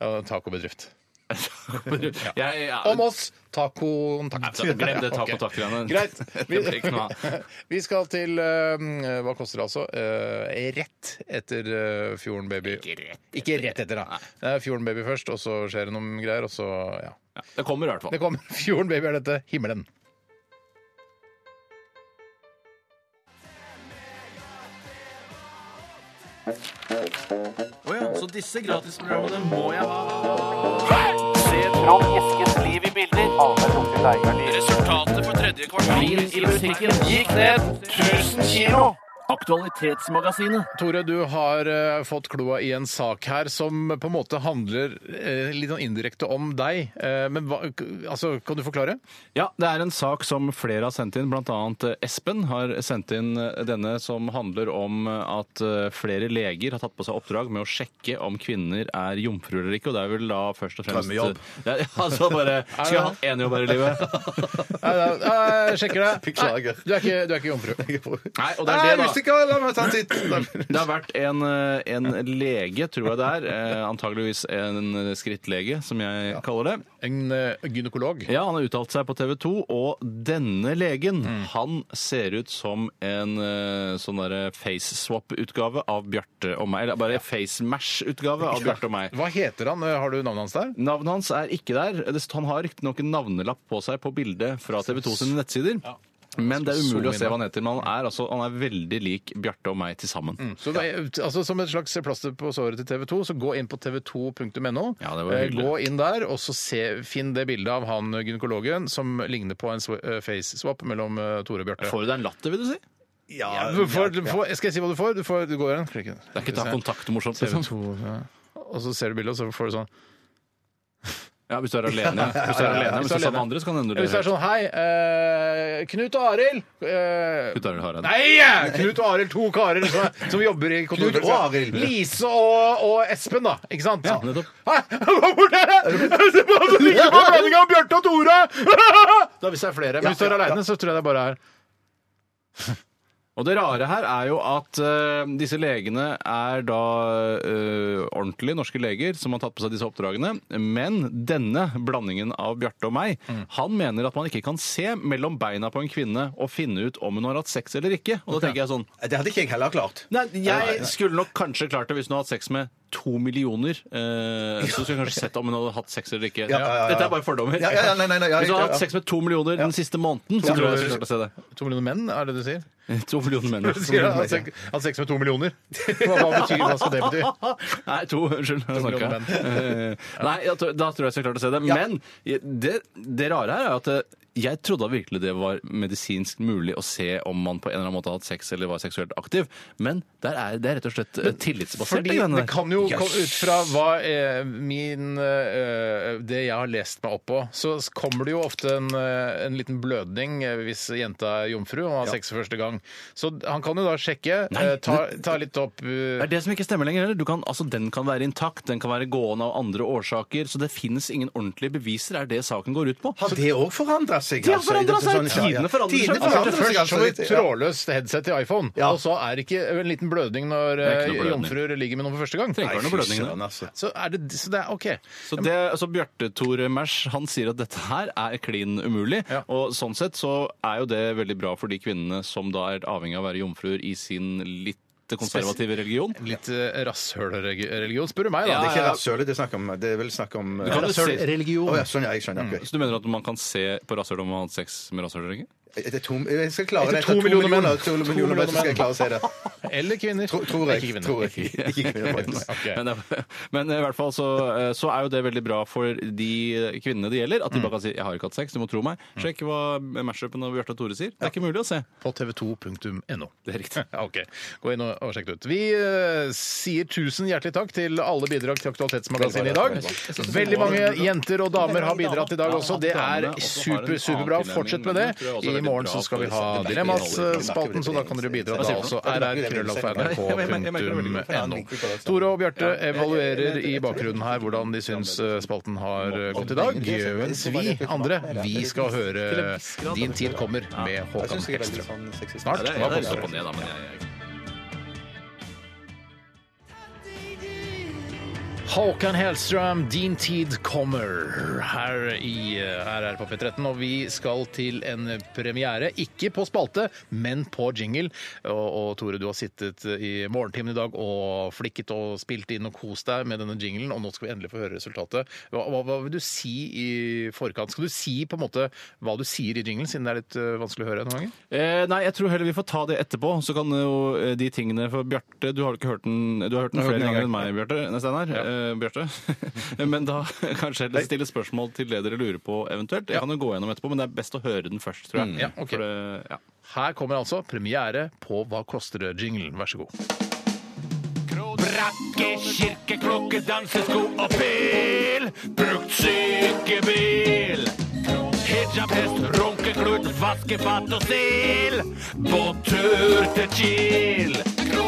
Speaker 4: Ja, Tacobedrift.
Speaker 6: Jeg- ja,
Speaker 4: Om oss, ta kontakt.
Speaker 6: Nei, glem det ta
Speaker 4: Ok.
Speaker 6: kontakt-greiene.
Speaker 4: Greit.
Speaker 6: Det
Speaker 4: Vi,
Speaker 6: blir ikke noe av.
Speaker 4: vi skal til eh, Hva koster det altså? Eh, rett etter eh, Fjorden Baby. Ikke rett etter, da. Det er Fjorden Baby først, og så skjer det noen greier, og så ja.
Speaker 6: Ja, Det kommer i hvert fall.
Speaker 4: Det kommer Fjorden Baby er dette. Himmelen. Tore, du har eh, fått kloa i en sak her som på en måte handler eh, litt sånn indirekte om deg. Eh, men hva, altså, kan du forklare?
Speaker 6: Ja, det er en sak som flere har sendt inn, bl.a. Espen har sendt inn eh, denne som handler om eh, at flere leger har tatt på seg oppdrag med å sjekke om kvinner er jomfruer eller ikke, og det er vel da først og fremst
Speaker 5: Drømmejobb.
Speaker 6: Ja, ja, altså bare Skulle jeg hatt én jobb her i livet?
Speaker 4: Nei, nei, nei, jeg sjekker deg.
Speaker 5: Beklager.
Speaker 4: Nei, du er ikke, du er ikke jomfru.
Speaker 6: Nei, og det
Speaker 5: Nei,
Speaker 6: er det, da.
Speaker 5: musiker, la meg ta en titt!
Speaker 6: Det har vært en, eh, en lege, tror jeg det er, eh, antageligvis en eh, skrittlege, som jeg kaller det,
Speaker 4: En eh, gynekolog.
Speaker 6: Ja, han har uttalt seg på TV 2, og denne legen han ser ut som en eh, sånn derre face swap-utgave av Bjarte og meg. Eller bare face mash-utgave av Bjarte og meg.
Speaker 4: Hva heter han? Eh, Har du navnet hans der?
Speaker 6: Navnet hans er ikke der. Det- Han har riktignok en navnelapp på seg på bildet fra TV 2 sine nettsider. Men det er umulig å se hva han heter. Men han er, altså, han er veldig lik Bjarte og meg til sammen.
Speaker 4: Så det er- altså, Som et slags plaster på såret til TV 2, så gå inn på tv2.no.
Speaker 6: Ja, det var
Speaker 4: Eh,
Speaker 6: hyggelig.
Speaker 4: gå inn der, og så se, finn det bildet av han eh, gynekologen som ligner på en sw- eh, face swap mellom eh, Tore og Bjarte.
Speaker 6: Får du deg en latter, vil du si?
Speaker 4: Ja, du får, du får, skal jeg si hva du får? Du, får, du går igjen. Klikk.
Speaker 6: Det er ikke ta kontakt morsomt. Liksom.
Speaker 4: TV2, ja. Og så ser du bildet, og så får du sånn
Speaker 6: Ja, hvis du er alene. Hvis du er alene, hvis du er sammen med andre, så kan det hende du
Speaker 4: Ja, Hvis det er sånn Hei, eh, Knut og Arild eh,
Speaker 6: Knut Arild Hareide.
Speaker 4: Nei! eh, Knut og Arild, to karer som, som jobber i kontoret.
Speaker 5: Knut og Arild.
Speaker 4: Lise og, og Espen, da. Ikke sant? Ja,
Speaker 6: Sånn, nettopp.
Speaker 4: Hei, hvor er det? Se på han som ligger på blandinga av Bjarte og Tore! Da hvis det er flere. Men hvis du er aleine, så tror jeg det bare er
Speaker 6: Og det rare her er jo at eh, disse legene er da eh, ordentlige norske leger som har tatt på seg disse oppdragene. Men denne blandingen av Bjarte og meg,
Speaker 5: Mm.
Speaker 6: han mener at man ikke kan se mellom beina på en kvinne og finne ut om hun har hatt sex eller ikke. Og da tenker jeg sånn
Speaker 5: Det hadde ikke jeg heller klart.
Speaker 6: Nei, jeg skulle nok kanskje klart det hvis hun hadde hatt sex med to millioner. eh, så skulle jeg kanskje sett om hun hadde hatt sex eller ikke.
Speaker 5: Ja, ja, ja, ja.
Speaker 6: Dette er bare fordommer.
Speaker 5: Ja, ja, ja, nei, nei, nei, ja,
Speaker 6: hvis hun hadde
Speaker 5: ja.
Speaker 6: hatt sex med to millioner den siste måneden, så tror jeg jeg skulle klart å se det.
Speaker 4: To millioner menn, er det du sier?
Speaker 6: To millioner menn.
Speaker 4: Du sier at sex, at sex med to millioner. Hva, hva betyr Hva skal det bety?
Speaker 6: Nei, to. Unnskyld. Jeg snakka.
Speaker 4: millioner
Speaker 6: Eh, Nei, jeg tror- da tror jeg jeg skal klare å se det. Men det, det rare her er at eh, jeg trodde virkelig det var medisinsk mulig å se om man på en eller annen måte har hatt sex eller var seksuelt aktiv, men der er det er rett og slett eh, tillitsbasert.
Speaker 4: Fordi
Speaker 6: de greiene
Speaker 4: det
Speaker 6: der.
Speaker 4: kan jo komme ut fra hva eh, min eh, Det jeg har lest meg opp på, så kommer det jo ofte en, eh, en liten blødning eh, hvis jenta er jomfru og har sex for første gang. Så han kan jo da sjekke.
Speaker 6: Nei,
Speaker 4: eh, ta, ta litt opp
Speaker 6: Det
Speaker 4: eh,
Speaker 6: er det som ikke stemmer lenger heller. Du kan, altså, den kan være intakt, den kan være gående av andre årsaker, så det finnes ingen ordentlige beviser, er det saken går ut på.
Speaker 5: Har det òg forandra seg?
Speaker 6: Det har
Speaker 5: altså, i
Speaker 6: forandret
Speaker 5: dette
Speaker 6: seg.
Speaker 5: sånne- ja, ja.
Speaker 6: Tidene forandrer seg.
Speaker 5: Tidene
Speaker 6: Altså,
Speaker 4: Altså,
Speaker 5: forandrer
Speaker 4: det
Speaker 5: seg.
Speaker 4: først som et
Speaker 5: altså, ja.
Speaker 4: trådløst headset i iPhone,
Speaker 5: Ja.
Speaker 4: og så er det ikke en liten blødning når
Speaker 6: er ikke
Speaker 4: eh,
Speaker 6: noe blødning.
Speaker 4: jomfruer ligger med noen for første gang.
Speaker 6: Trenger ikke være noe blødning. da.
Speaker 5: Søren, altså.
Speaker 4: Så, er det, så det er OK.
Speaker 6: Så, det, altså Bjarte Tore Mersch han sier at dette her er klin umulig.
Speaker 4: Ja.
Speaker 6: Og sånn sett så er jo det veldig bra for de kvinnene som da er avhengig av å være jomfruer i sin litt konservative religion.
Speaker 4: Litt eh, rasshølreligion, spør du meg, da.
Speaker 5: Det er
Speaker 4: Det
Speaker 5: ikke rasshølet det er snakk om. Det er vel snakk om
Speaker 6: kan jo se- Mm.
Speaker 5: Å ja, sånn, ja, jeg skjønner. ok.
Speaker 6: Så du mener at man kan se på rasshølet om man har hatt sex med rasshølet? eller ikke?
Speaker 5: Etter to, jeg skal klare
Speaker 4: Etter
Speaker 5: det.
Speaker 4: to millioner menn.
Speaker 5: To
Speaker 4: To
Speaker 5: millioner menn, så skal
Speaker 4: millioner
Speaker 5: jeg klare å si det.
Speaker 4: Eller kvinner.
Speaker 5: Tro, tror jeg.
Speaker 4: Ikke kvinner.
Speaker 5: Tror jeg. Ikke kvinner, faktisk.
Speaker 4: Ok.
Speaker 6: Men, det- men i hvert fall så, eh, så er jo det veldig bra for de kvinnene det gjelder. At de bare kan si 'jeg har ikke hatt sex, du må tro meg'. Sjekk hva mashupen av Bjarte og Tore sier. Det er ikke mulig å se.
Speaker 4: På tv2.no.
Speaker 6: Det er riktig.
Speaker 4: Ja, Ok, Gå inn og og sjekk det ut. Vi eh, sier tusen hjertelig takk til alle bidrag til Aktualitetsmagasinet i dag. Veldig mange jenter og damer har bidratt i dag også. Det er super, superbra. Fortsett med det. I morgen så skal vi ha Dilemmas-spalten, så da kan dere bidra da også. rr.nrk.no. Tore og Bjarte evaluerer i bakgrunnen her hvordan de syns eh, spalten har eh, gått i dag. Mens vi andre, vi skal høre Din tid kommer med Håkan Hekstrøm.
Speaker 5: sånn
Speaker 4: Snart. Hva koster det? Håkan Hellstrøm, din tid kommer her i eh, RR på P13. Og vi skal til en premiere, ikke på spalte, men på jingle. Og, og Tore, du har sittet i morgentimen i dag og flikket og spilt inn og kost deg med denne jinglen, og nå skal vi endelig få høre resultatet. Hva, hva, hva vil du si i forkant? Skal du si på en måte hva du sier i jinglen, siden det er litt eh, vanskelig å høre noen ganger?
Speaker 6: Eh, nei, jeg tror heller vi får ta det etterpå. Så kan jo eh, de tingene For Bjarte, du har jo ikke hørt den Du har hørt den
Speaker 5: Jeg har hørt
Speaker 6: flere
Speaker 5: den en
Speaker 6: ganger enn meg, Bjarte. Nei, Steinar. Eh, Bjarte. men da kanskje heller stille spørsmål til det dere lurer på eventuelt. Jeg kan jo gå gjennom etterpå, men det er best å høre den først, tror
Speaker 5: Mm.
Speaker 6: jeg.
Speaker 4: Ja, ok.
Speaker 6: For det- ja.
Speaker 4: Her kommer altså premiere på Hva koster det-jinglen. Vær så god.
Speaker 9: Brakke, kirke, klokke, dansesko og pil. Brukt sykebil. Hijab, hest, runkeklut, vaskefat og stil. Båttur til Kiel.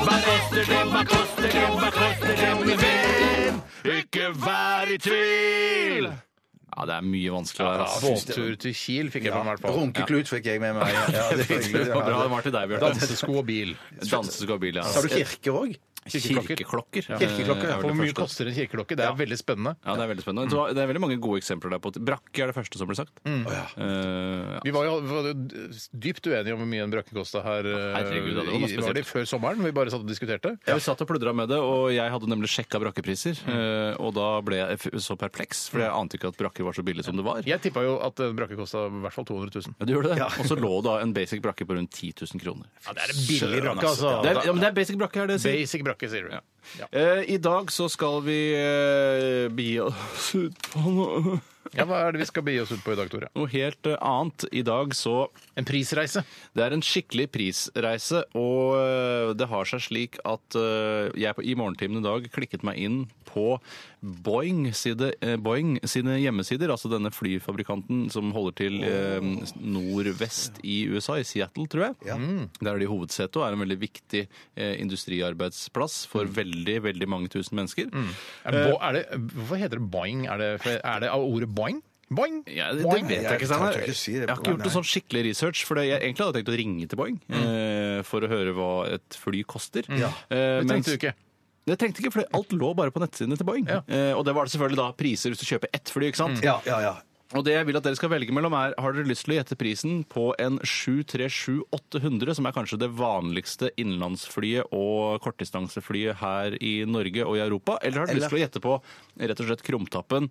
Speaker 9: Hva koster det, hva koster det, hva koster det, min venn? Ikke vær i tvil.
Speaker 6: ja, det er mye vanskeligere der. ass.
Speaker 4: Båttur til Kiel fikk jeg på meg, i hvert fall.
Speaker 5: Runkeklut fikk jeg med meg. Ja, det fikk
Speaker 6: Det var bra det var til deg, Bjarte.
Speaker 4: Dansesko og bil.
Speaker 6: Danseskobil, ja.
Speaker 5: Sa du kirke òg?
Speaker 4: kirkeklokker?
Speaker 6: Kirkeklokker. Ja,
Speaker 5: Kirkeklokker, ja.
Speaker 6: er vel det
Speaker 4: Hvor mye
Speaker 6: første.
Speaker 4: koster en kirkeklokke? Det er veldig spennende.
Speaker 6: Ja, Det er veldig spennende. Så Det er veldig mange gode eksempler der på at brakke er det første som ble sagt. Eh, ja.
Speaker 4: Vi var jo var jo dypt uenige om hvor mye en brakke kosta her. eh,
Speaker 6: herregud, ja, det var noe
Speaker 4: i- var det
Speaker 6: spesielt.
Speaker 4: før sommeren vi bare satt og diskuterte?
Speaker 6: Ja, vi satt og pludra med det, og jeg hadde nemlig sjekka brakkepriser. eh, Og da ble jeg f- så perpleks, for jeg ante ikke at brakker var så billig som det var.
Speaker 4: Jeg tippa jo at en brakke kosta i hvert fall 200 000.
Speaker 6: Ja, du gjorde det. Og så lå da en basic brakke på rundt 10 000 kroner.
Speaker 4: det er en billig brakke,
Speaker 6: altså. Det er, ja, men det er basic brakke, er det jeg sier.
Speaker 4: Basic brakke, sier du. Ja.
Speaker 6: Eh, I dag så skal vi eh, begi oss ut på noe,
Speaker 4: ja, Hva er det vi skal begi oss ut på i dag, Tore?
Speaker 6: noe helt eh, annet. I dag så
Speaker 4: En prisreise.
Speaker 6: Det er en skikkelig prisreise, og øh, det har seg slik at øh, jeg på, i morgentimen i dag klikket meg inn på Boeing, side, eh, Boeing sine hjemmesider, altså denne flyfabrikanten som holder til eh, nordvest i USA, i Seattle, tror jeg. Mm. Der er de hovedsete og er en veldig viktig eh, industriarbeidsplass
Speaker 4: Mm.
Speaker 6: for veldig, veldig mange tusen mennesker.
Speaker 4: Er bo,
Speaker 6: Eh.
Speaker 4: er det, hvorfor heter det boing? Er det, er det av ordet boing? Boing!
Speaker 6: Ja, det, det
Speaker 4: Boing.
Speaker 6: vet jeg
Speaker 5: kan
Speaker 6: ikke, Steinar.
Speaker 5: ikke si det.
Speaker 6: Jeg har ikke gjort noe sånn skikkelig research. For det, jeg egentlig hadde tenkt å ringe til Boeing
Speaker 4: Mm.
Speaker 6: eh, for å høre hva et fly koster. Eh,
Speaker 4: Det
Speaker 6: mens-
Speaker 4: tenkte du ikke.
Speaker 6: Det tenkte jeg ikke, for alt lå bare på nettsidene til Boeing.
Speaker 4: Ja. Mm.
Speaker 6: Eh, og det var det selvfølgelig da priser hvis du kjøper ett fly, ikke sant?
Speaker 5: Ja, ja, ja.
Speaker 6: Og det jeg vil at dere skal velge mellom er, har dere lyst til å gjette prisen på en 737-800, som er kanskje det vanligste innenlandsflyet og kortdistanseflyet her i Norge og i Europa, eller har dere lyst til å gjette på rett og slett krumtappen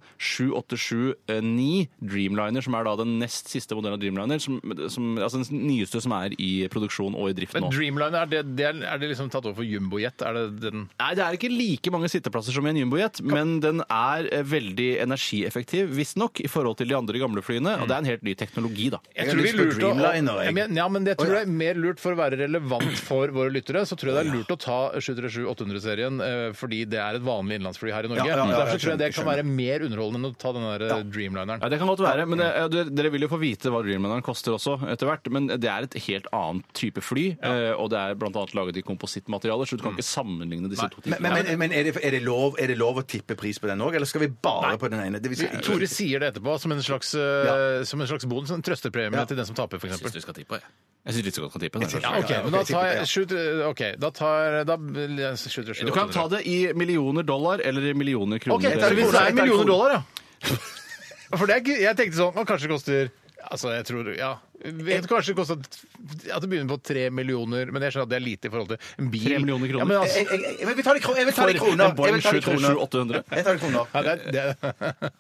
Speaker 6: 787-9 Dreamliner, som er da den nest siste modellen av Dreamliner, som, som, altså den nyeste som er i produksjon og i drift
Speaker 4: Men
Speaker 6: nå.
Speaker 4: Dreamliner, er det, det er, er det liksom tatt over for jumbojet? Er det den
Speaker 6: Nei, det er ikke like mange sitteplasser som i en jumbojet, men den er eh, veldig energieffektiv, visstnok, i forhold til de andre gamle flyene. Og det er en helt ny teknologi, da.
Speaker 4: Jeg
Speaker 5: Jeg
Speaker 4: tror
Speaker 5: har
Speaker 4: vi
Speaker 5: lyst på
Speaker 4: lurte å-
Speaker 5: Dreamliner, jeg.
Speaker 4: Ja, men- Ja, men jeg tror det er mer lurt for å være relevant for våre lyttere. Så tror jeg det er lurt å ta 737-800-serien eh, fordi det er et vanlig innenlandsfly her i Norge.
Speaker 5: Ja, ja, ja, jeg
Speaker 4: Derfor tror jeg det
Speaker 5: skjønner,
Speaker 4: kan være mer underholdende enn å ta den der eh, Dreamlineren.
Speaker 6: Ja, det kan godt være, men det, eh, dere- dere vil jo få vite hva Dreamlineren koster også etter hvert. Men det er et helt annet type fly, eh, og det er blant annet laget i komposittmaterialer, så du kan ikke sammenligne disse to
Speaker 5: Men,
Speaker 6: tingene.
Speaker 5: men, men, men er, det, er, det lov, er det lov å tippe pris på den òg, eller skal vi bare på den ene? Det vil si,
Speaker 4: Tore sier det etterpå som en slags, eh, som en slags bonus, en trøstepremie til den som taper,
Speaker 6: Jeg syns
Speaker 4: f.eks.
Speaker 6: du skal tippe, jeg. Jeg syns du skal kan tippe. den.
Speaker 4: Ja, OK, men da tar jeg sju- OK, da tar da, 737
Speaker 6: Du kan ta det i millioner dollar eller i millioner kroner.
Speaker 4: OK, så hvis det er millioner dollar, ja. For det er, ikke- jeg tenkte sånn Å, kanskje det koster Altså, jeg tror Ja. vet kanskje det kostet at det begynner på tre millioner, men jeg skjønner at det er lite i forhold til en bil.
Speaker 6: Tre millioner kroner.
Speaker 4: Ja, men altså,
Speaker 5: Jeg, jeg, jeg, jeg vil ta det i kroner! Jeg vil ta det i
Speaker 6: For
Speaker 5: kroner.
Speaker 6: en Boeing
Speaker 5: Jeg vil ta det i kroner.
Speaker 6: 737-800.
Speaker 5: Jeg tar det i kroner.
Speaker 4: ja, det er, det,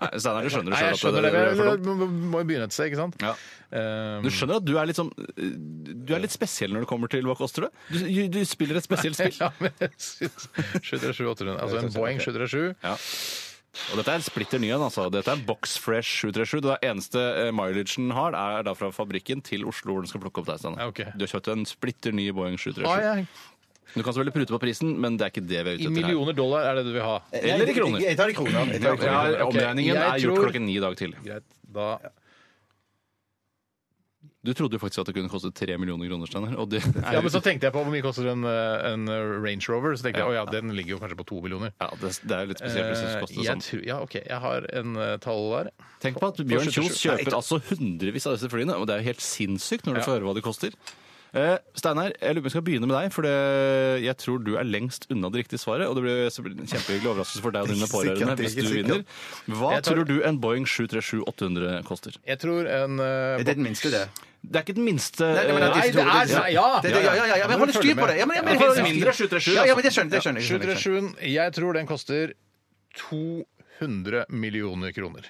Speaker 6: Nei, Steinar, du skjønner
Speaker 4: nei, jeg
Speaker 6: selv at
Speaker 4: skjønner
Speaker 6: det,
Speaker 4: det,
Speaker 6: det,
Speaker 4: men
Speaker 6: er for dumt.
Speaker 4: du må- må jo begynne et sted, ikke sant?
Speaker 6: Ja.
Speaker 4: Um,
Speaker 6: Du skjønner at du er litt sånn Du er litt spesiell når det kommer til hva koster det? Du, du spiller et spesielt spill.
Speaker 4: ja, men jeg synes- 737-800, altså en Boeing 737.
Speaker 6: Og dette er splitter ny en, altså. Dette er Box Fresh 737. Det er eneste eh, mileagen den har, er da fra fabrikken til Oslo hvor den skal plukke opp deg. Steinar.
Speaker 4: Ja, ok.
Speaker 6: Du har kjøpt en splitter ny Boeing 737.
Speaker 4: Ah, ja.
Speaker 6: Du kan selvfølgelig prute på prisen, men det er ikke det vi er
Speaker 4: I
Speaker 6: ute etter her.
Speaker 4: millioner dollar er det du vil ha.
Speaker 6: Eller i kroner.
Speaker 5: Jeg, jeg tar det i kroner. Jeg tar det i kroner.
Speaker 6: Ja,
Speaker 4: Ok,
Speaker 6: omregningen
Speaker 4: jeg
Speaker 6: er gjort
Speaker 4: tror-
Speaker 6: klokken ni i dag tidlig.
Speaker 4: Greit, da
Speaker 6: Du trodde jo faktisk at det kunne koste tre millioner kroner, Steinar. Og det er
Speaker 4: Ja, men
Speaker 6: jo
Speaker 4: så tenkte jeg på hvor mye koster en, eh, en Range Rover, så tenkte jeg, å ja, den ligger jo kanskje på to millioner.
Speaker 6: ja, det, det er jo litt spesielt hvis det koster
Speaker 4: Eh,
Speaker 6: det
Speaker 4: jeg
Speaker 6: sånn.
Speaker 4: tror, ja, ok, jeg har en eh, tall der.
Speaker 6: Tenk på at Bjørn Kjos
Speaker 4: 77.
Speaker 6: kjøper altså hundrevis av disse flyene, og det er jo helt sinnssykt når du
Speaker 4: Ja.
Speaker 6: får høre hva de koster. Eh, Steinar, jeg lurer på om jeg skal begynne med deg, for det, jeg tror du er lengst unna det riktige svaret. Og det blir så blir det en kjempehyggelig overraskelse for deg og dine pårørende
Speaker 5: Sikkert,
Speaker 6: hvis du
Speaker 5: ikke sikkert.
Speaker 6: vinner. Hva
Speaker 4: Jeg tar-
Speaker 6: tror du en Boeing 737-800 koster?
Speaker 4: Jeg tror en eh,
Speaker 5: Det er den minste, det.
Speaker 6: Det er ikke den minste
Speaker 5: Nei, men
Speaker 4: Nei, det er ja, ja.
Speaker 5: Det, det, ja, ja, ja, ja, men
Speaker 4: Må
Speaker 5: hold
Speaker 4: du
Speaker 5: styr
Speaker 4: følge
Speaker 5: på
Speaker 4: med.
Speaker 5: det! Ja, men, ja, men,
Speaker 6: Det
Speaker 5: hold-
Speaker 6: finnes mindre 737,
Speaker 5: Ja, ja, men det skjønner jeg. Det skjønner, jeg, skjønner, jeg, skjønner.
Speaker 4: 737, jeg tror den koster 200 millioner kroner.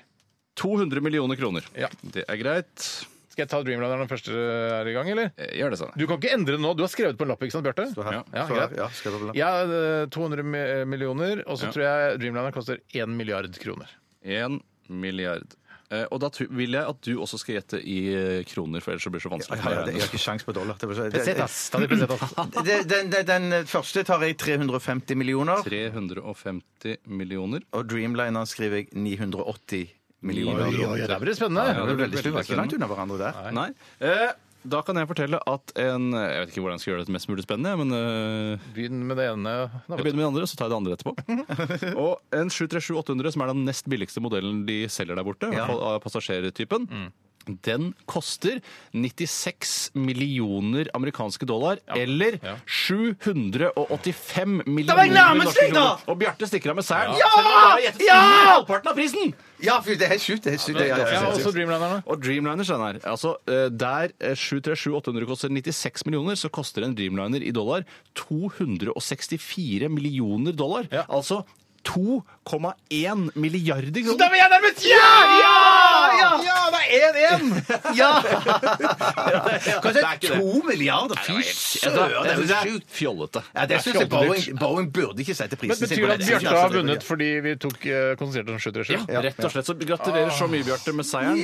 Speaker 6: 200 millioner kroner.
Speaker 4: Ja.
Speaker 6: Det er greit.
Speaker 4: Skal jeg ta Dreamlineren den første er i gang, eller?
Speaker 6: Eh, Gjør det, Steinar.
Speaker 4: Du kan ikke endre det nå. Du har skrevet på en lapp, ikke sant, Bjarte?
Speaker 5: her.
Speaker 4: Ja,
Speaker 5: Så her,
Speaker 4: greit.
Speaker 5: ja, skal jeg ta på lapp.
Speaker 4: Ja, eh, 200 mi- millioner, og så
Speaker 6: Ja.
Speaker 4: tror jeg Dreamliner koster 1 milliard kroner.
Speaker 6: Én milliard. Eh, og da tr- vil jeg at du også skal gjette i eh, kroner, for ellers så blir det så vanskelig.
Speaker 5: Ja, ja, det- Jeg har ikke sjans på dollar. Det, var så- det,
Speaker 4: Ta de pesetas.
Speaker 5: det, den, den, den første tar jeg 350 millioner,
Speaker 6: 350 millioner.
Speaker 5: og Dreamliner skriver jeg 980 millioner.
Speaker 4: Oi, oi, oi, Det blir spennende.
Speaker 5: Ja, det er veldig
Speaker 6: veldig
Speaker 5: stort. Vi var ikke langt unna hverandre der.
Speaker 6: Nei. Eh, da kan jeg fortelle at en Jeg vet ikke hvordan jeg skal gjøre dette mest mulig spennende, men eh,
Speaker 4: Begynn med det ene. da,
Speaker 6: jeg
Speaker 4: vet du.
Speaker 6: begynner med det andre, så tar jeg det andre etterpå. Og en 737-800, som er den nest billigste modellen de selger der borte, i hvert fall av passasjertypen,
Speaker 4: Mm.
Speaker 6: den koster 96 millioner amerikanske dollar, eller
Speaker 4: Ja.
Speaker 6: 785
Speaker 5: var
Speaker 6: millioner
Speaker 5: nærmest,
Speaker 6: norske
Speaker 5: da!
Speaker 6: kroner. Og Bjarte stikker av med seieren. Ja! Selv om han bare har gjettet under halvparten av prisen!
Speaker 5: Ja, fy, det er helt sjukt! Det er helt sjukt. Ja, ja, ja,
Speaker 4: Ja, altså,
Speaker 5: ja.
Speaker 4: også Dreamlinerne.
Speaker 6: Og Dreamliner, Steinar. Altså, eh, der eh, 737-800 koster 96 millioner, så koster en Dreamliner i dollar 264 millioner dollar.
Speaker 4: Ja.
Speaker 6: Altså 2,1 milliarder kroner.
Speaker 4: Da var jeg nærmest! Ja! Ja! Ja, det er 1-1!
Speaker 5: Kanskje to milliarder? Fy søren, det er jo sjukt!
Speaker 6: Fjollete.
Speaker 5: Ja, det synes jeg Boeing, Boeing burde ikke sette prisen
Speaker 4: Men
Speaker 5: sin
Speaker 4: Betyr
Speaker 5: på
Speaker 4: det at
Speaker 5: det.
Speaker 4: Bjarte har vunnet fordi vi tok eh, konsentrert om 737?
Speaker 6: Ja, rett og slett. Så gratulerer så mye, Bjarte, med seieren.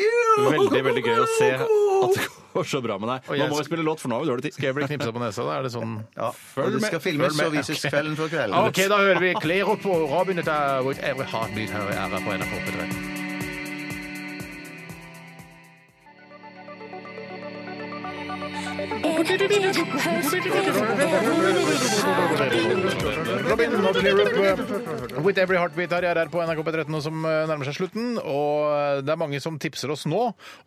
Speaker 6: Veldig, veldig gøy å se at det går så bra med deg.
Speaker 4: jeg
Speaker 6: Nå må vi spille låt, for nå har vi dårlig tid.
Speaker 4: Skal jeg bli knipsa på nesa? da? Er det sånn
Speaker 5: Ja, og det skal filmes og vises kvelden for kvelden.
Speaker 4: Ah, OK, da hører vi Klero på Robin. Dette er vårt evre hatbit her i RR på NRK P3. Robin og Clearup uh, with every heartbeat her i RR på NRK P13 og som uh, nærmer seg slutten. Og uh, det er mange som tipser oss nå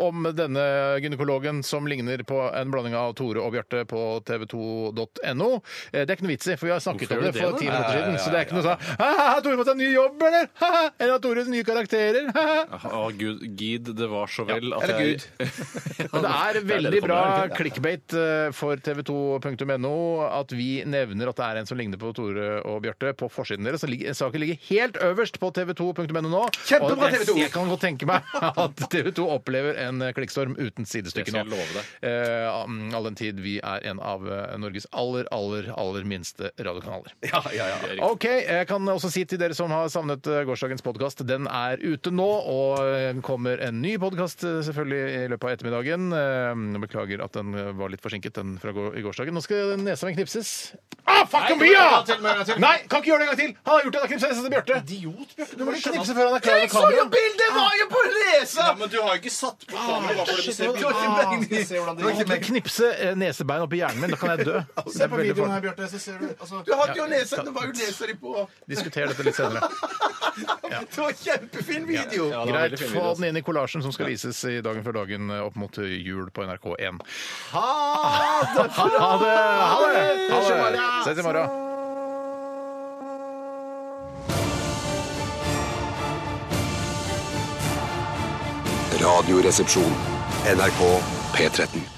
Speaker 4: om denne gynekologen som ligner på en blanding av Tore og Bjarte på tv2.no. Eh, Det er ikke noe vits i, for vi har snakket
Speaker 6: Hvorfor
Speaker 4: om det
Speaker 6: gjør vi det,
Speaker 4: for
Speaker 6: da?
Speaker 4: ti minutter siden. Så det er ikke noe sånn «Ha, ha, Tore fått seg ny jobb, eller? Ha, ha, Eller har Tore nye karakterer? Ha, ha».
Speaker 6: Å, gud, gid, det var så vel at
Speaker 5: Eller
Speaker 6: jeg
Speaker 5: Gud.
Speaker 6: Men
Speaker 4: Det er veldig bra clickbait eh, for tv2.no at vi nevner at det er en som ligner på Tore og Bjarte på forsiden deres. Den ligger- Saken ligger helt øverst på tv2.no nå.
Speaker 5: Kjempebra,
Speaker 4: Og jeg-
Speaker 5: TV2.
Speaker 4: Jeg kan godt tenke meg at TV2 opplever en eh, klikkstorm uten sidestykke
Speaker 6: Det skal
Speaker 4: nå.
Speaker 6: jeg love deg.
Speaker 4: Eh, All den tid vi er en av eh, Norges aller, aller, aller minste radiokanaler. Ok, jeg kan også si til dere som har savnet eh, gårsdagens podkast, den er ute nå, og eh, kommer en ny podkast selvfølgelig i løpet av ettermiddagen. Eh, Beklager at den eh, var litt forsinket, den fra går- i gårsdagen. Nå skal nesa mi knipses. Ah, fuck om bia! Nei, kan ikke gjøre det en gang til! Han har gjort det, han har knipset nesa til Bjarte. Idiot, Bjarte. Du må ikke knipse før han er klar med kameraet.
Speaker 5: bildet var jo på lese!
Speaker 6: Men du har jo ikke satt på kamera. Hva får du se
Speaker 5: Det var ikke meningen. Det var ikke meningen.
Speaker 4: Knipse eh, nesebein oppi hjernen min, da kan jeg dø. Se på videoen her, Bjarte.
Speaker 5: Du hadde jo nesa, det var jo nesa di på.
Speaker 4: Diskuter dette litt senere.
Speaker 5: Det var en kjempefin video.
Speaker 6: Ja, det var
Speaker 4: Greit,
Speaker 6: veldig fin
Speaker 4: få
Speaker 6: video,
Speaker 4: den inn i kollasjen som skal vises i Dagen før dagen eh, opp mot jul på NRK1. Ha det! Ha det! Ha det! Ses i morgen.
Speaker 1: Radioresepsjon. NRK P13.